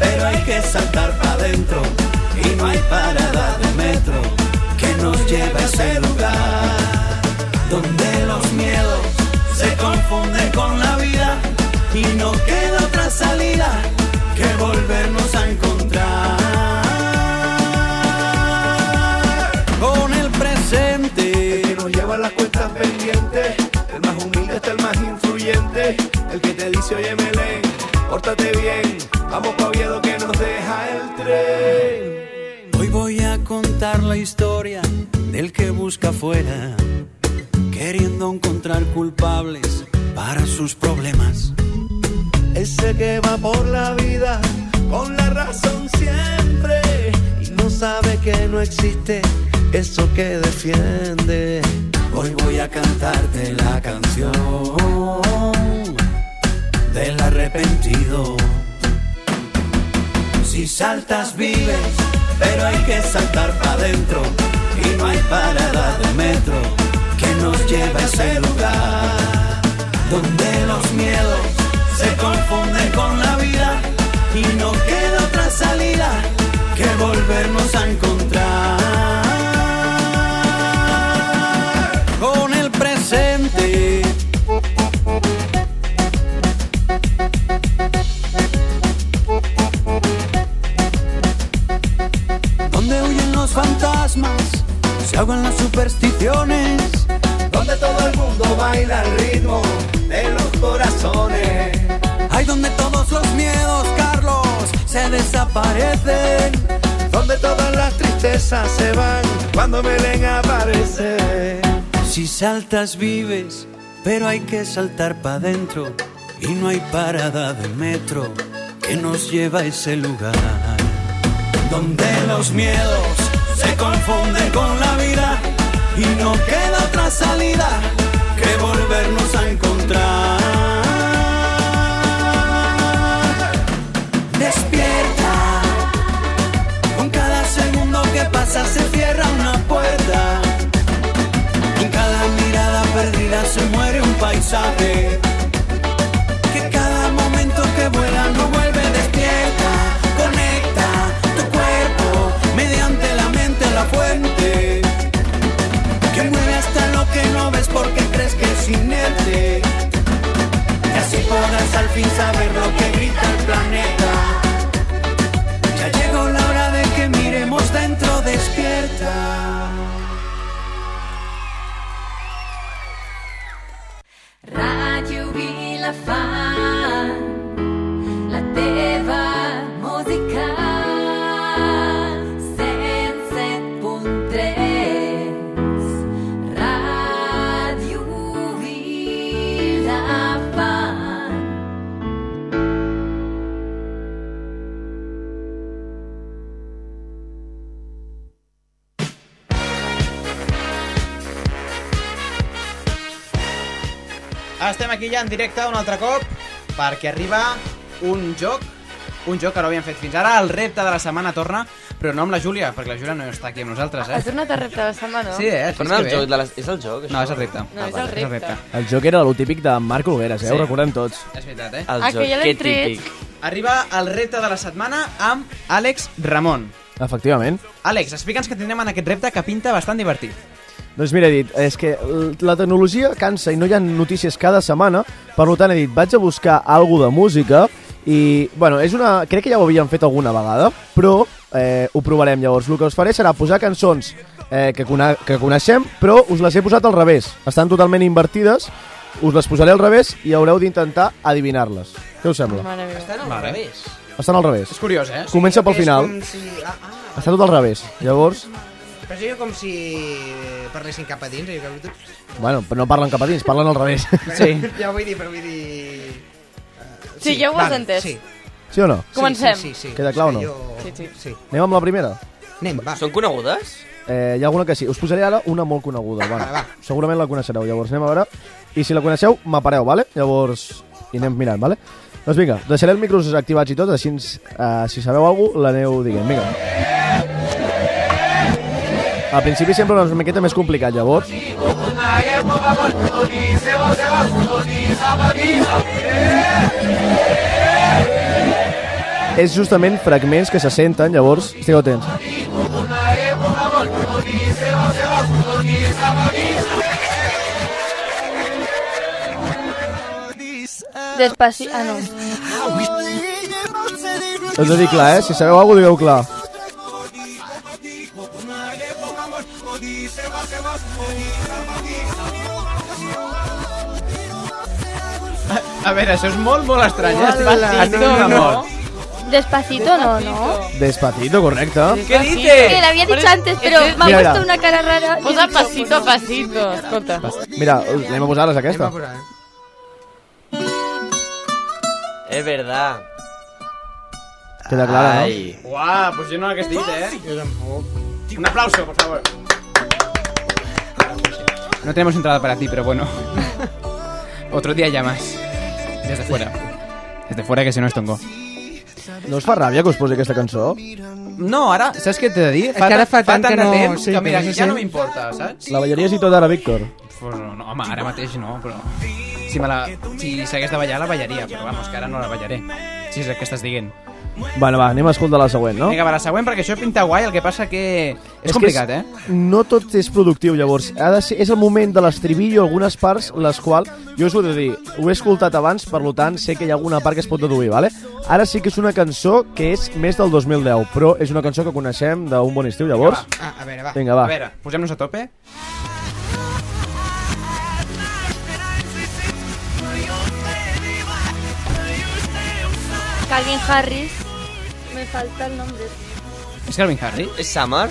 Speaker 8: pero hay que saltar para adentro. Y no hay parada de metro que nos lleve a ese lugar. Donde los miedos se confunden con la vida y no queda otra salida que volvernos a encontrar. Con el presente. que nos lleva las cuentas pendientes. El más humilde hasta el más influyente. El que te dice, oye, Melén, pórtate bien. Vamos pa' Oviedo que nos deja el tren.
Speaker 21: Hoy voy a contar la historia del que busca afuera, queriendo encontrar culpables para sus problemas.
Speaker 8: Ese que va por la vida con la razón siempre. Y no sabe que no existe eso que defiende.
Speaker 21: Hoy voy a cantarte la canción del arrepentido.
Speaker 8: Si saltas vives, pero hay que saltar para adentro. Y no hay parada de metro que nos lleve a ese lugar. Donde los miedos se confunden con la vida y no queda otra salida que volvernos a encontrar.
Speaker 21: Con el presente. Donde huyen los fantasmas, se ahogan las supersticiones.
Speaker 8: Donde todo el mundo baila al ritmo de los corazones.
Speaker 21: Hay donde todos los miedos, Carlos, se desaparecen.
Speaker 8: Donde todas las tristezas se van cuando Belén aparece.
Speaker 21: Si saltas vives, pero hay que saltar para adentro. Y no hay parada de metro que nos lleva a ese lugar.
Speaker 8: Donde los miedos se confunden con la vida y no queda otra salida que volvernos a encontrar. Despierta, con cada segundo que pasa se cierra una puerta. Con cada mirada perdida se muere un paisaje. Que cada momento que vuela no vuelve despierta. Conecta tu cuerpo mediante la mente a la fuente. Que mueve hasta lo que no ves porque crees que es inerte.
Speaker 1: Estem aquí ja en directe un altre cop perquè arriba un joc un joc que no havíem fet fins ara, el repte de la setmana torna, però no amb la Júlia, perquè la Júlia no està aquí amb nosaltres,
Speaker 28: Ha
Speaker 1: eh?
Speaker 28: tornat a repte de setmana.
Speaker 1: Sí, eh?
Speaker 4: Però no
Speaker 1: és
Speaker 4: el
Speaker 1: que
Speaker 4: joc,
Speaker 1: bé.
Speaker 4: de la... és el joc, això? Ah,
Speaker 1: No, és el repte.
Speaker 28: No, és el repte.
Speaker 3: El joc era el típic de Marc Olgueras, eh?
Speaker 1: Sí.
Speaker 3: Ho recordem tots.
Speaker 1: És veritat, eh?
Speaker 3: El Ah, que joc, ja l'hem que tret. típic.
Speaker 1: Arriba el repte de la setmana amb Àlex Ramon.
Speaker 3: Efectivament.
Speaker 1: Àlex, explica'ns que tindrem en aquest repte que pinta bastant divertit.
Speaker 3: Doncs mira, he dit, és que l- la tecnologia cansa i no hi ha notícies cada setmana, per tant he dit, vaig a buscar alguna de música i, bueno, és una... crec que ja ho havíem fet alguna vegada, però eh, ho provarem llavors. El que us faré serà posar cançons eh, que, cona que coneixem, però us les he posat al revés. Estan totalment invertides, us les posaré al revés i haureu d'intentar adivinar-les. Què us sembla?
Speaker 1: Estan al revés.
Speaker 3: Estan al revés.
Speaker 1: És curiós, eh?
Speaker 3: Comença pel final.
Speaker 5: És com si... Ah, ah,
Speaker 3: Està tot al revés. Llavors,
Speaker 5: però seria com si parlessin cap a dins. Jo crec que...
Speaker 3: bueno, però no parlen cap a dins, parlen al revés.
Speaker 5: Ja ho vull dir, però vull dir... eh,
Speaker 28: Sí, ja ho has entès.
Speaker 5: Sí.
Speaker 3: Sí o no?
Speaker 28: Comencem.
Speaker 5: Sí, sí, sí.
Speaker 3: Queda clar o no?
Speaker 28: Sí, sí.
Speaker 5: sí.
Speaker 3: Anem amb la primera?
Speaker 5: Anem, va.
Speaker 4: Són conegudes?
Speaker 3: Eh, hi ha alguna que sí. Us posaré ara una molt coneguda. Va.
Speaker 4: Vale, va.
Speaker 3: Segurament la coneixereu, llavors anem a veure. I si la coneixeu, m'apareu, vale? Llavors, i anem mirant, vale? Doncs vinga, deixaré els micros activats i tot, així eh, si sabeu alguna cosa, l'aneu dient. Vinga. Al principi sempre una miqueta més complicat, llavors. És justament fragments que se senten, llavors, estigueu atents.
Speaker 6: Despacio. Ah, no.
Speaker 3: Us ho dic clar, eh? Si sabeu alguna cosa, digueu clar.
Speaker 1: A, a veure, això és molt, molt estrany. eh? Estic,
Speaker 6: Hola,
Speaker 1: estic no,
Speaker 6: no, no.
Speaker 1: mort.
Speaker 6: Despacito no, ¿no?
Speaker 3: Despacito, correcte.
Speaker 6: ¿Qué dices? Que la había dicho antes, pero me ha
Speaker 3: Mira, mira.
Speaker 6: puesto una cara rara.
Speaker 29: Posa pasito a pasito, escolta.
Speaker 3: Mira, anem a posar-les, aquesta.
Speaker 4: És verdad.
Speaker 3: Queda clara, no?
Speaker 4: Ai.
Speaker 1: Uah, pues jo no l'hagués dit, eh? Jo tampoc. Un aplauso, por favor. No tenemos entrada para ti, pero bueno. Otro día ya más. Desde fuera. Desde fuera que se nos tongó.
Speaker 3: No us fa ràbia que us posi aquesta cançó?
Speaker 1: No, ara, saps què t'he de dir?
Speaker 3: És que ara fa tant que
Speaker 1: de
Speaker 3: no-
Speaker 1: temps
Speaker 3: sí,
Speaker 1: que
Speaker 3: que
Speaker 1: mira,
Speaker 3: no se
Speaker 1: ja no
Speaker 3: sent.
Speaker 1: m'importa, saps?
Speaker 3: La ballaries i tot ara, Víctor.
Speaker 1: ¿eh? Pues no, no, home, ara mateix no, però... Si, me la... si s'hagués de ballar, la ballaria, però vamos, que ara no la ballaré. Si és el que estàs dient.
Speaker 3: Bueno, va, anem a escoltar la següent, no?
Speaker 1: Vinga, va, la següent, perquè això pinta guai, el que passa que... És,
Speaker 3: que
Speaker 1: complicat, eh?
Speaker 3: No tot és productiu, llavors. Ha de ser, és el moment de l'estribillo, algunes parts, les quals... Jo us ho he de dir, ho he escoltat abans, per lo tant, sé que hi ha alguna part que es pot deduir, vale? Ara sí que és una cançó que és més del 2010, però és una cançó que coneixem d'un bon estiu, llavors.
Speaker 5: Ah, a veure, va.
Speaker 3: Vinga, va.
Speaker 1: A veure, posem-nos a tope.
Speaker 6: Calvin Harris. Me falta el nombre.
Speaker 1: És Calvin Harris?
Speaker 4: És Summer?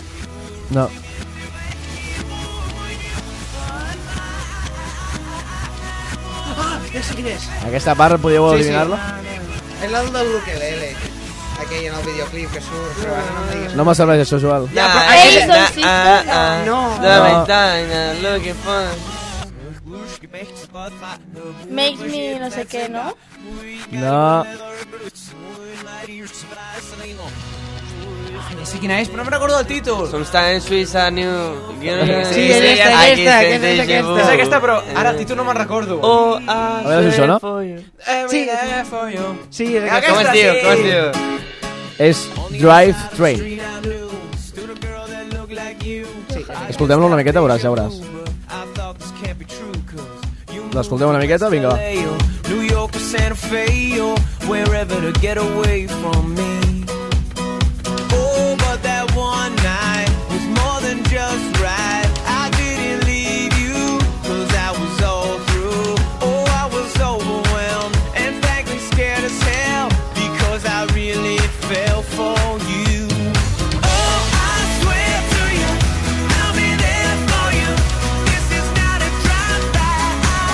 Speaker 3: No.
Speaker 5: Ah, ja sé quin és.
Speaker 3: Aquesta part podíeu adivinar-la?
Speaker 5: És la del ukelele. Aquell en el videoclip que surt, però ara no em diguis.
Speaker 3: No me serveix això, Joel.
Speaker 5: Ja, però
Speaker 4: Ells
Speaker 5: aquella-
Speaker 4: són Ah, ah,
Speaker 5: No.
Speaker 4: La
Speaker 3: No.
Speaker 4: ventana, lo que fa...
Speaker 6: Make me no sé qué, ¿no?
Speaker 3: No.
Speaker 1: Ja sé quina és, però no me recordo el títol.
Speaker 4: Som estan en Suïssa, New... Sí,
Speaker 1: Sí, és aquesta, aquesta, aquesta, és aquesta. És aquesta, però
Speaker 4: Eh,
Speaker 1: ara el títol no me'n recordo.
Speaker 4: Oh,
Speaker 3: A veure si sona.
Speaker 1: Sí, sí, és
Speaker 4: aquesta, Com es diu? sí. Com es diu?
Speaker 3: És Drive Train. Escoltem-la una miqueta, veuràs, ja veuràs. L'escoltem una miqueta, vinga, va.
Speaker 8: New York or Santa Fe or wherever to get away from me. Oh, but that one night was more than just right. I didn't leave you cause I was all through. Oh, I was overwhelmed and frankly scared as hell because I really fell for you. Oh, I swear to you, I'll be there for you. This is not a drive-by.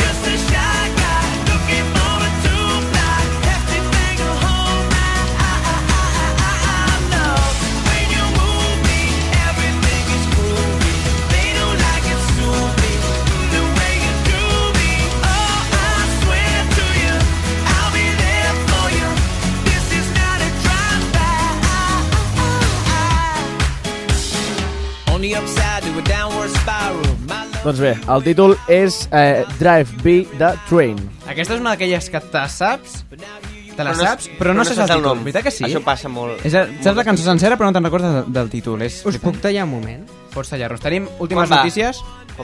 Speaker 8: Just a shy guy looking for a two-fly, hefty thing to Oh,
Speaker 30: me upside to a downward spiral. My
Speaker 3: Doncs bé, el títol és eh, Drive B de Train.
Speaker 1: Aquesta és una d'aquelles que te saps, te la
Speaker 4: Però no-
Speaker 1: saps, però no, saps el títol. Nom. Veritat que sí?
Speaker 4: Això passa molt.
Speaker 1: És, el- saps la cançó sencera però no te'n recordes del, del títol. És Us puc
Speaker 5: tallar un moment?
Speaker 1: Pots tallar-nos. Tenim últimes
Speaker 5: va?
Speaker 1: notícies.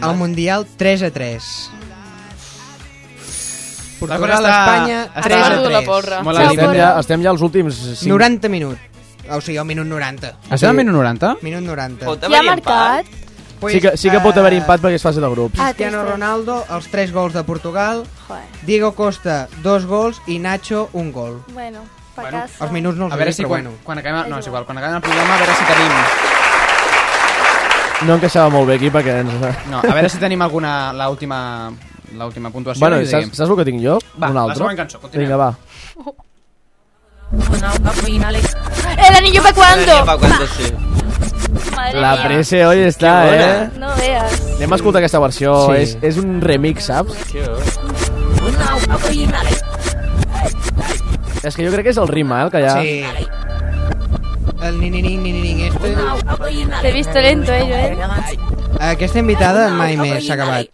Speaker 5: El Mundial 3 a 3.
Speaker 1: cosa
Speaker 5: Portugal,
Speaker 1: està-
Speaker 4: Ah,
Speaker 5: Espanya,
Speaker 1: està
Speaker 5: 3 a 3.
Speaker 1: matura la porra. Mola,
Speaker 5: Estem
Speaker 3: Estem
Speaker 5: ja-
Speaker 3: ja, estem ja als últims Ah, 5...
Speaker 5: 90 minuts. O sigui, al minut 90.
Speaker 3: Estem al minut 90?
Speaker 5: Minut 90.
Speaker 3: Pot haver-hi
Speaker 5: ha
Speaker 3: empat? Sí que, sí que pot haver impat perquè és fase de grups.
Speaker 5: eh,
Speaker 9: Ah,
Speaker 5: Cristiano Ronaldo, els 3 gols de Portugal. Diego Costa, 2 gols. I Nacho, un gol.
Speaker 9: Bueno, pa bueno, casa.
Speaker 5: Els minuts no els
Speaker 1: a veure
Speaker 5: dic,
Speaker 1: si
Speaker 5: però
Speaker 1: quan,
Speaker 5: bueno.
Speaker 1: quan acabem... No, és igual. Quan acabem el programa, a veure si tenim...
Speaker 3: No encaixava molt bé aquí perquè... Ens...
Speaker 1: No, a veure si tenim alguna... L'última l'última puntuació.
Speaker 3: Bueno,
Speaker 1: i ho
Speaker 3: saps,
Speaker 1: diguem.
Speaker 3: saps el que tinc jo?
Speaker 1: Va,
Speaker 3: Un
Speaker 1: la
Speaker 3: altre?
Speaker 1: següent cançó, continuem.
Speaker 3: Vinga, va.
Speaker 9: El anillo pa Ah. cuando.
Speaker 4: Pa cuando, sí.
Speaker 9: Madre
Speaker 3: La
Speaker 9: mía.
Speaker 3: prese hoy està,
Speaker 4: Que bona.
Speaker 3: eh?
Speaker 9: No veas.
Speaker 3: Anem a escoltar aquesta versió.
Speaker 4: Sí.
Speaker 3: És, és un remix, saps? És que jo crec que és el ritme, eh, el que hi ha.
Speaker 5: Sí. El ni ni ni ni ni ni este.
Speaker 9: Te he visto lento, eh, Joel.
Speaker 5: Aquesta invitada mai més s'ha acabat.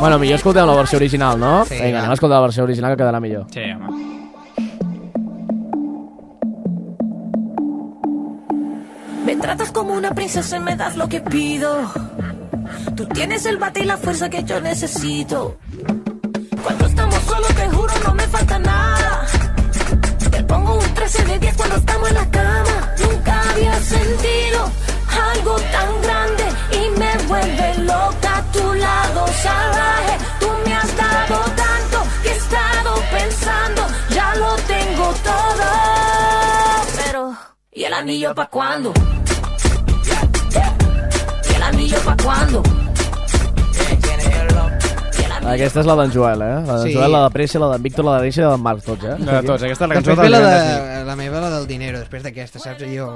Speaker 3: Bueno, millor escoltem la versió original, no?
Speaker 5: Sí,
Speaker 3: Vinga,
Speaker 5: va.
Speaker 3: anem a escoltar la versió original que quedarà millor.
Speaker 1: Sí, home.
Speaker 11: Me tratas como una princesa y me das lo que pido. Tú tienes el bate y la fuerza que yo necesito. Cuando estamos solos, te juro, no me falta nada. Te pongo un 13 de 10 cuando estamos en la cama. Nunca había sentido algo tan grande y me vuelve loca a tu lado salvaje. Tú me has dado tanto que he estado pensando, ya lo tengo todo. Pero, ¿y el anillo pa' cuándo? ¿Y el anillo pa' cuándo?
Speaker 3: Aquesta és la d'en Joel, eh? La d'en
Speaker 5: Sí.
Speaker 3: Joel, la de Pressa, la d'en Víctor, la de Deixa i la d'en Marc, tots, eh?
Speaker 1: La de tots, aquesta és la
Speaker 5: Després ve la, de, la meva, la del dinero, després d'aquesta, saps? Jo...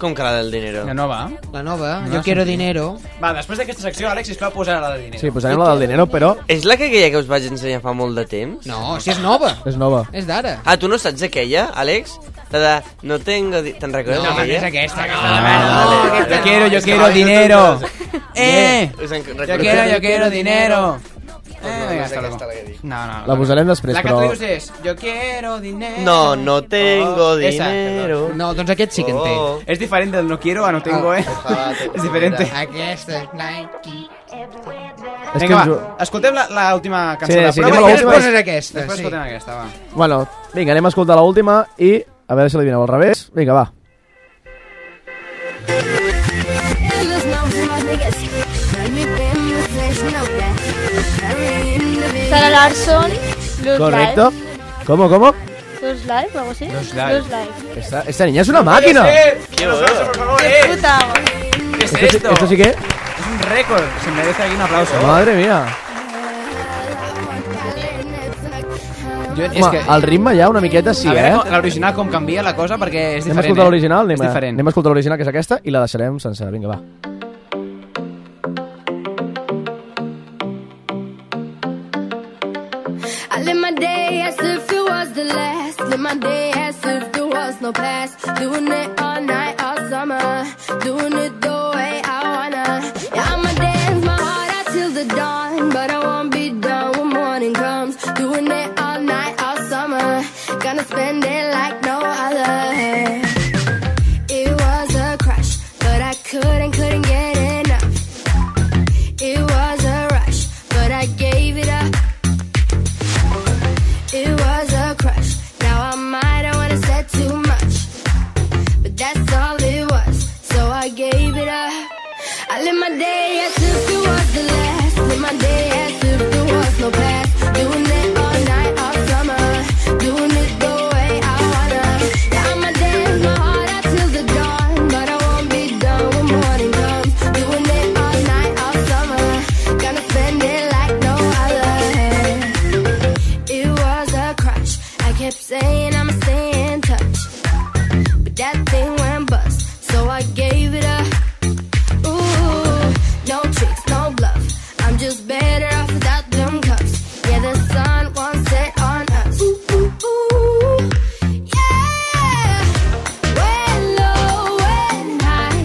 Speaker 4: Com que la del dinero?
Speaker 1: La nova.
Speaker 5: La nova,
Speaker 1: No
Speaker 5: jo
Speaker 3: Ah,
Speaker 1: la
Speaker 5: quiero
Speaker 1: sentim.
Speaker 5: dinero.
Speaker 1: Va, després d'aquesta secció, Àlex, sisplau, posar la de dinero.
Speaker 3: Sí, posarem la del dinero, però...
Speaker 4: És la que aquella que us vaig ensenyar fa molt de temps?
Speaker 5: No, Oh, si és nova.
Speaker 3: És nova.
Speaker 5: És d'ara.
Speaker 4: Ah, tu no saps aquella, Àlex? La de... No tengo... di- Te'n recordes?
Speaker 5: No,
Speaker 4: d'aquella?
Speaker 5: és aquesta, aquesta.
Speaker 4: Ah,
Speaker 5: No,
Speaker 4: vale.
Speaker 5: aquesta
Speaker 1: Yo
Speaker 5: no.
Speaker 1: quiero, yo
Speaker 5: Es que
Speaker 1: quiero
Speaker 5: vaya
Speaker 1: dinero.
Speaker 5: todos.
Speaker 1: Eh,
Speaker 4: Us en-
Speaker 1: yo
Speaker 4: recordeu?
Speaker 1: quiero, yo quiero dinero. Eh,
Speaker 4: no
Speaker 1: venga,
Speaker 4: és
Speaker 1: hasta luego.
Speaker 4: aquesta la que dic.
Speaker 1: No, no.
Speaker 3: La posarem després,
Speaker 1: La que
Speaker 3: però...
Speaker 1: tu dius és, yo quiero dinero.
Speaker 4: No, no tengo
Speaker 1: Oh, esa,
Speaker 4: dinero.
Speaker 1: perdó.
Speaker 5: No, doncs aquest sí que en té. Ah.
Speaker 1: Oh. És diferent del no quiero a no tengo, eh? És diferent.
Speaker 5: Aquesta, Nike.
Speaker 3: És
Speaker 1: Vinga,
Speaker 3: que-
Speaker 1: va, escoltem la- la última cançó
Speaker 3: Sí,
Speaker 1: de
Speaker 3: sí,
Speaker 1: prova
Speaker 3: anem
Speaker 1: i
Speaker 3: a la
Speaker 1: després-
Speaker 3: última.
Speaker 5: aquesta,
Speaker 1: Després
Speaker 5: sí.
Speaker 1: escoltem aquesta, va.
Speaker 3: Bueno, vinga, anem a escoltar l'última i... A veure si l'adivineu al revés. Vinga, va.
Speaker 9: Sara Larson, Luz
Speaker 3: Correcto. ¿Cómo, cómo?
Speaker 9: Live. Luz Live, o algo así.
Speaker 3: Luz Live.
Speaker 9: Luz Live.
Speaker 3: Esta, esta niña es una máquina.
Speaker 1: ¡Qué bueno!
Speaker 9: ¡Qué puta!
Speaker 1: ¿Qué es
Speaker 3: Esto sí-
Speaker 1: esto?
Speaker 3: esto sí que-
Speaker 1: Es un récord. Se merece aquí un aplauso.
Speaker 3: Oh. Madre mía.
Speaker 1: Jo, és
Speaker 3: Home,
Speaker 1: que...
Speaker 3: el ritme ja una miqueta sí,
Speaker 1: a
Speaker 3: eh?
Speaker 1: veure, com- l'original com canvia la cosa, perquè és diferent.
Speaker 3: Anem a escoltar
Speaker 1: eh?
Speaker 3: l'original, anem,
Speaker 1: És
Speaker 3: a-
Speaker 1: diferent.
Speaker 3: anem a escoltar l'original, que és aquesta, i la deixarem sencera. Vinga, va.
Speaker 27: I live my day as if it was the last. Live my day as if there was no past. Doing it all night, all summer. Doing it the way I wanna. Yeah, I'ma dance my heart out till the dawn. But I won't be done when morning comes. Doing it all night, all summer. Gonna spend it like no other. It was a crush, but I couldn't, couldn't get enough. It was a rush, but I gave it up. It was a crush. Now I might have wanna said too much, but that's all it was. So I gave it up. I live my day as if it was the last. Live my day as if there was no past. Doing it all night, all summer. Doing it the way I wanna. Yeah, I'ma dance my heart out till the dawn, but I won't be done when morning comes. Doing it all night, all summer. Gonna spend it like no other. It was a crush. I kept saying I'ma stay in touch. But that thing went bust, so I gave it up. Ooh, no tricks, no bluff. I'm just better off without them cuffs. Yeah, the sun won't set on us. Ooh, ooh, ooh. Yeah. Well, oh, well, I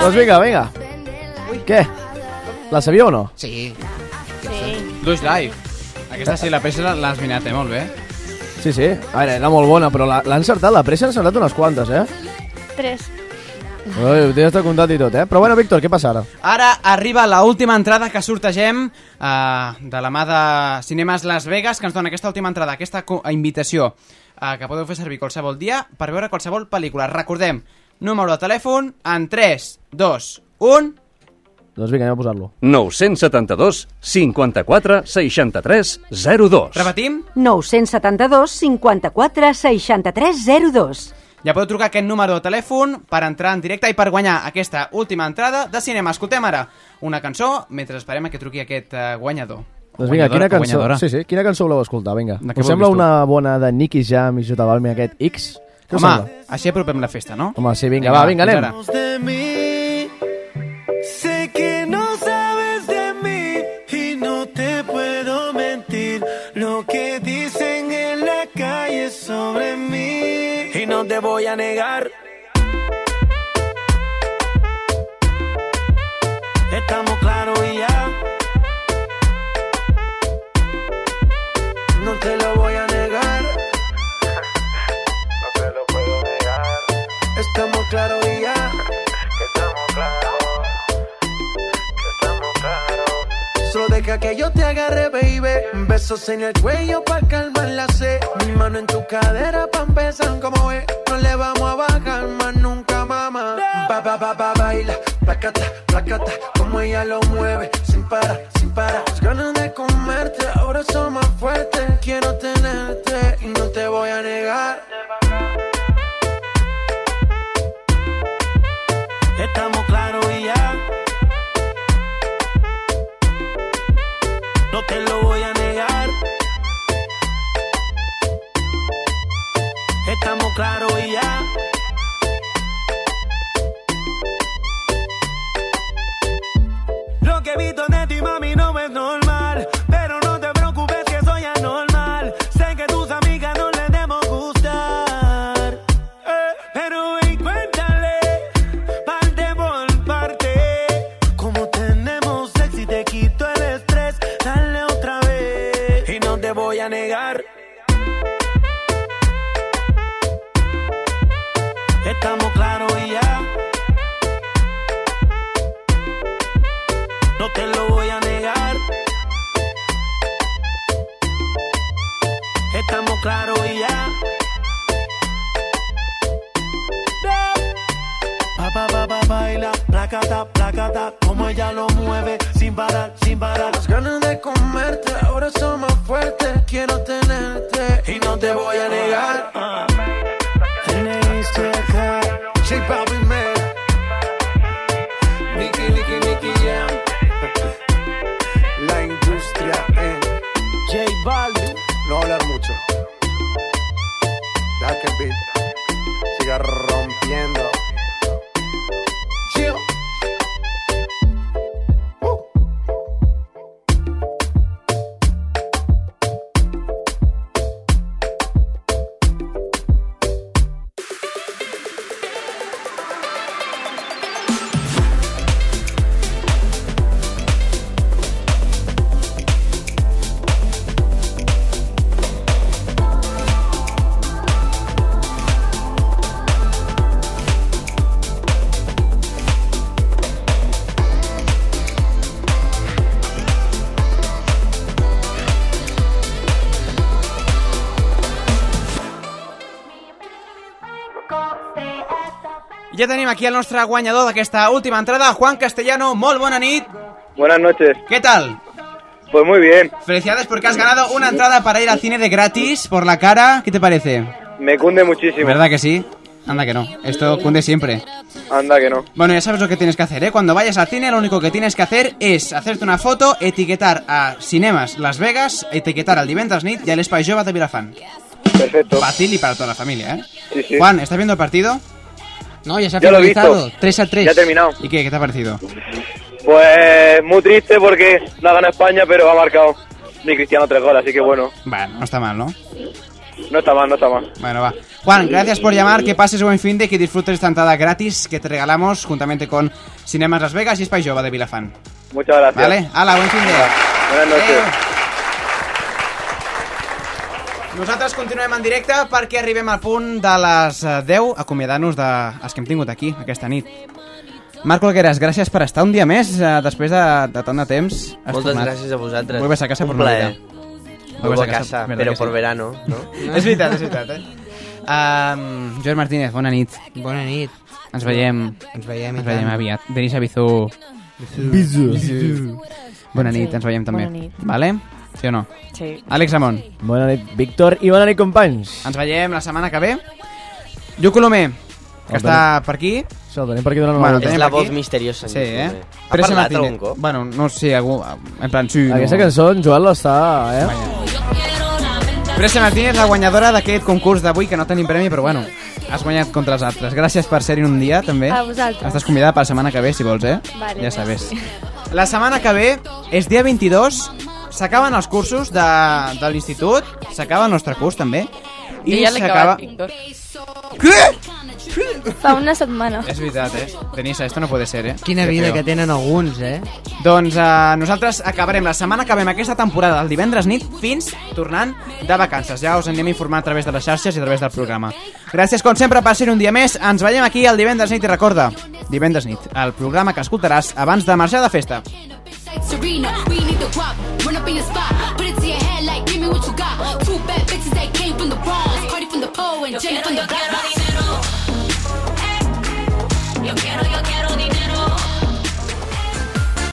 Speaker 14: Doncs vinga, vinga. Què? La sabia o no?
Speaker 5: Sí.
Speaker 1: Luis Live. Aquesta sí, la peça l'ha- l'ha esminat, eh? Molt bé.
Speaker 14: Sí, sí. A veure, era molt bona, però la- l'ha encertat, la pressa ha encertat unes quantes, eh?
Speaker 27: Tres.
Speaker 14: Ui, ho tens de comptat i tot, eh? Però bueno, Víctor, què passa ara?
Speaker 1: Ara arriba la última entrada que sortegem eh, de la mà de Cinemes Las Vegas, que ens dona aquesta última entrada, aquesta co- invitació eh, que podeu fer servir qualsevol dia per veure qualsevol pel·lícula. Recordem, número de telèfon en 3, 2, 1...
Speaker 14: Doncs vinga, anem a posar-lo.
Speaker 15: 972 54 63 02.
Speaker 1: Repetim?
Speaker 16: 972 54 63 02.
Speaker 1: Ja podeu trucar a aquest número de telèfon per entrar en directe i per guanyar aquesta última entrada de cinema. Escoltem ara una cançó mentre esperem a que truqui aquest eh, guanyador.
Speaker 14: Doncs vinga,
Speaker 1: Guanyadora
Speaker 14: quina
Speaker 1: o
Speaker 14: cançó,
Speaker 1: guanyadora?
Speaker 14: sí, sí, quina cançó voleu escoltar? Vinga.
Speaker 1: De què
Speaker 14: Us
Speaker 1: vol
Speaker 14: sembla
Speaker 1: dir tu?
Speaker 14: una bona de Nicky Jam i J Balvin aquest X? Què us
Speaker 1: Home,
Speaker 14: sembla?
Speaker 1: així apropem la festa, no?
Speaker 14: Home, sí, vinga, va, vinga,
Speaker 1: fins
Speaker 14: anem.
Speaker 1: ara.
Speaker 8: de mí. Sé que no sabes de mí y no te puedo mentir. Lo que dicen en la calle sobre mí y no te voy a negar. Estamos claros y ya. No te lo voy a negar. No te lo puedo negar. Estamos claros y ya. Que estamos claros. Que estamos claros. Solo deja que yo te agarre, baby. Besos en el cuello pa' calmar la sed. Mi mano en tu cadera pa' empezar como es. No le vamos a bajar más nunca, mamá. Ba, ba, ba, ba, baila. Placata, placata. Como ella lo mueve. Sin parar, sin parar. Las ganas de comerte ahora son más fuertes. Quiero tenerte y no te voy a negar. Estamos claros y ya. No te lo voy a negar. Estamos claros y ya. Lo que he visto de ti, mami, no es normal. Pero no te preocupes que soy anormal. Sé que tus amigas no les demos gustar. Eh, pero y cuéntale, parte por parte. Como tenemos sexy, te quito el estrés. Dale otra vez. Y no te voy a negar. Estamos claros y ya. No te lo voy a negar. Estamos claros y ya. Pa, pa, pa, pa, baila, placata, placata, como ella lo mueve, sin parar, sin parar. Las ganas de comerte ahora son más fuertes. Quiero tenerte y no te voy a negar. Ah. NXTK, J Balvin, man. Nicky, Nicky, Nicky Jam. La industria en J Balvin. No hablar mucho. Deja que el beat siga rompiendo. Yeah.
Speaker 1: Ja tenim aquí el nostre guanyador d'aquesta última entrada, Juan Castellano. Molt bona nit.
Speaker 3: Buenas noches.
Speaker 1: ¿Qué tal?
Speaker 3: Pues muy bien.
Speaker 1: Felicidades porque has ganado una entrada para ir al cine de gratis por la cara. ¿Qué te parece?
Speaker 3: Me cunde muchísimo.
Speaker 1: ¿Verdad que sí? Anda que no. Esto cunde siempre.
Speaker 3: Anda que no.
Speaker 1: Bueno, ya sabes lo que tienes que hacer, ¿eh? Cuando vayas al cine, lo único que tienes que hacer es hacerte una foto, etiquetar a Cinemas Las Vegas, etiquetar al Diventes Nit y al Espai Jove de Vilafant.
Speaker 3: Perfecto.
Speaker 1: Fácil y para toda la familia, ¿eh?
Speaker 3: Sí, sí.
Speaker 1: Juan, ¿estás viendo el partido? No, ya
Speaker 3: se ha Ya lo he finalizado. visto.
Speaker 1: 3 a 3.
Speaker 3: Ya ha terminado.
Speaker 1: ¿Y qué, qué te ha parecido?
Speaker 3: Pues muy triste porque la gana España, pero ha marcado ni Cristiano tres goles, así que bueno.
Speaker 1: Bueno, no está mal, ¿no?
Speaker 3: No está mal, no está mal.
Speaker 1: Bueno, va. Juan, gracias por llamar, que pases buen fin de que disfrutes esta entrada gratis que te regalamos juntamente con Cinemas Las Vegas y Espai Jova de Vilafant.
Speaker 3: Muchas gracias.
Speaker 1: Vale, hala, buen fin de...
Speaker 3: Buenas noches.
Speaker 1: Nosaltres continuem en directe perquè arribem al punt de les eh, 10, acomiadant-nos dels que hem tingut aquí aquesta nit. Marc Olgueras, gràcies per estar un dia més eh, després de, de tant de temps. Has
Speaker 4: Moltes gràcies a vosaltres.
Speaker 1: Vuelves a casa
Speaker 4: Un
Speaker 1: por Navidad.
Speaker 4: plaer.
Speaker 1: Vuelves
Speaker 4: Vuelvo a casa,
Speaker 1: ¿verdad
Speaker 4: pero
Speaker 1: que
Speaker 4: por
Speaker 1: sí?
Speaker 4: verano, ¿no?
Speaker 1: és veritat, és veritat, eh? Um, Joel Martínez, bona nit.
Speaker 5: Bona nit.
Speaker 1: Ens veiem.
Speaker 5: Ens veiem i
Speaker 1: Ens veiem
Speaker 5: tant.
Speaker 1: aviat. Denis Abizú.
Speaker 14: Bisous.
Speaker 1: Bona nit, ens veiem també.
Speaker 14: Bona nit.
Speaker 1: Vale? Sí o no?
Speaker 14: Sí.
Speaker 1: Àlex Amon.
Speaker 14: Bona nit, Víctor, i bona nit, companys.
Speaker 1: Ens veiem la setmana que ve. Jo Colomer, que
Speaker 14: El
Speaker 1: està per aquí.
Speaker 14: Això, el tenim per aquí donant una
Speaker 1: Bueno,
Speaker 14: volta.
Speaker 1: tenim
Speaker 4: És la
Speaker 1: aquí.
Speaker 4: voz misteriosa, en
Speaker 1: Sí,
Speaker 4: Colomer.
Speaker 1: eh?
Speaker 4: Ha parlat algun cop?
Speaker 1: Bueno, no sé, algú... En plan, sí,
Speaker 14: Aquesta
Speaker 1: no.
Speaker 14: cançó, en Joel està, eh?
Speaker 1: Presa Martínez, la guanyadora d'aquest concurs d'avui, que no tenim premi, però bueno, has guanyat contra els altres. Gràcies per ser-hi un dia, també.
Speaker 27: A vosaltres.
Speaker 1: Estàs convidada per la setmana que ve, si vols, eh?
Speaker 27: Vale,
Speaker 1: ja sabes. La setmana que ve és dia 22, s'acaben els cursos de, de l'institut, s'acaba el nostre curs, també.
Speaker 27: Jo ja l'he acabat, Víctor. Què? Fa una setmana.
Speaker 1: És veritat, eh? Denisa, esto no puede ser, eh?
Speaker 5: Quina
Speaker 1: Qué
Speaker 5: vida
Speaker 1: feo.
Speaker 5: que tenen alguns, eh?
Speaker 1: Doncs eh, nosaltres acabarem la setmana que acabem aquesta temporada el divendres nit fins tornant de vacances. Ja us anem a informar a través de les xarxes i a través del programa. Gràcies, com sempre, per ser un dia més. Ens veiem aquí el divendres nit i recorda, divendres nit, el programa que escoltaràs abans de marxar de festa.
Speaker 19: Serena, we need the rock. Run up in your spot, put it to your head like, give me what you got. Two bad bitches that came from the Bronx, Cardi from the pole and Jenny from the block. Yo quiero, yo quiero.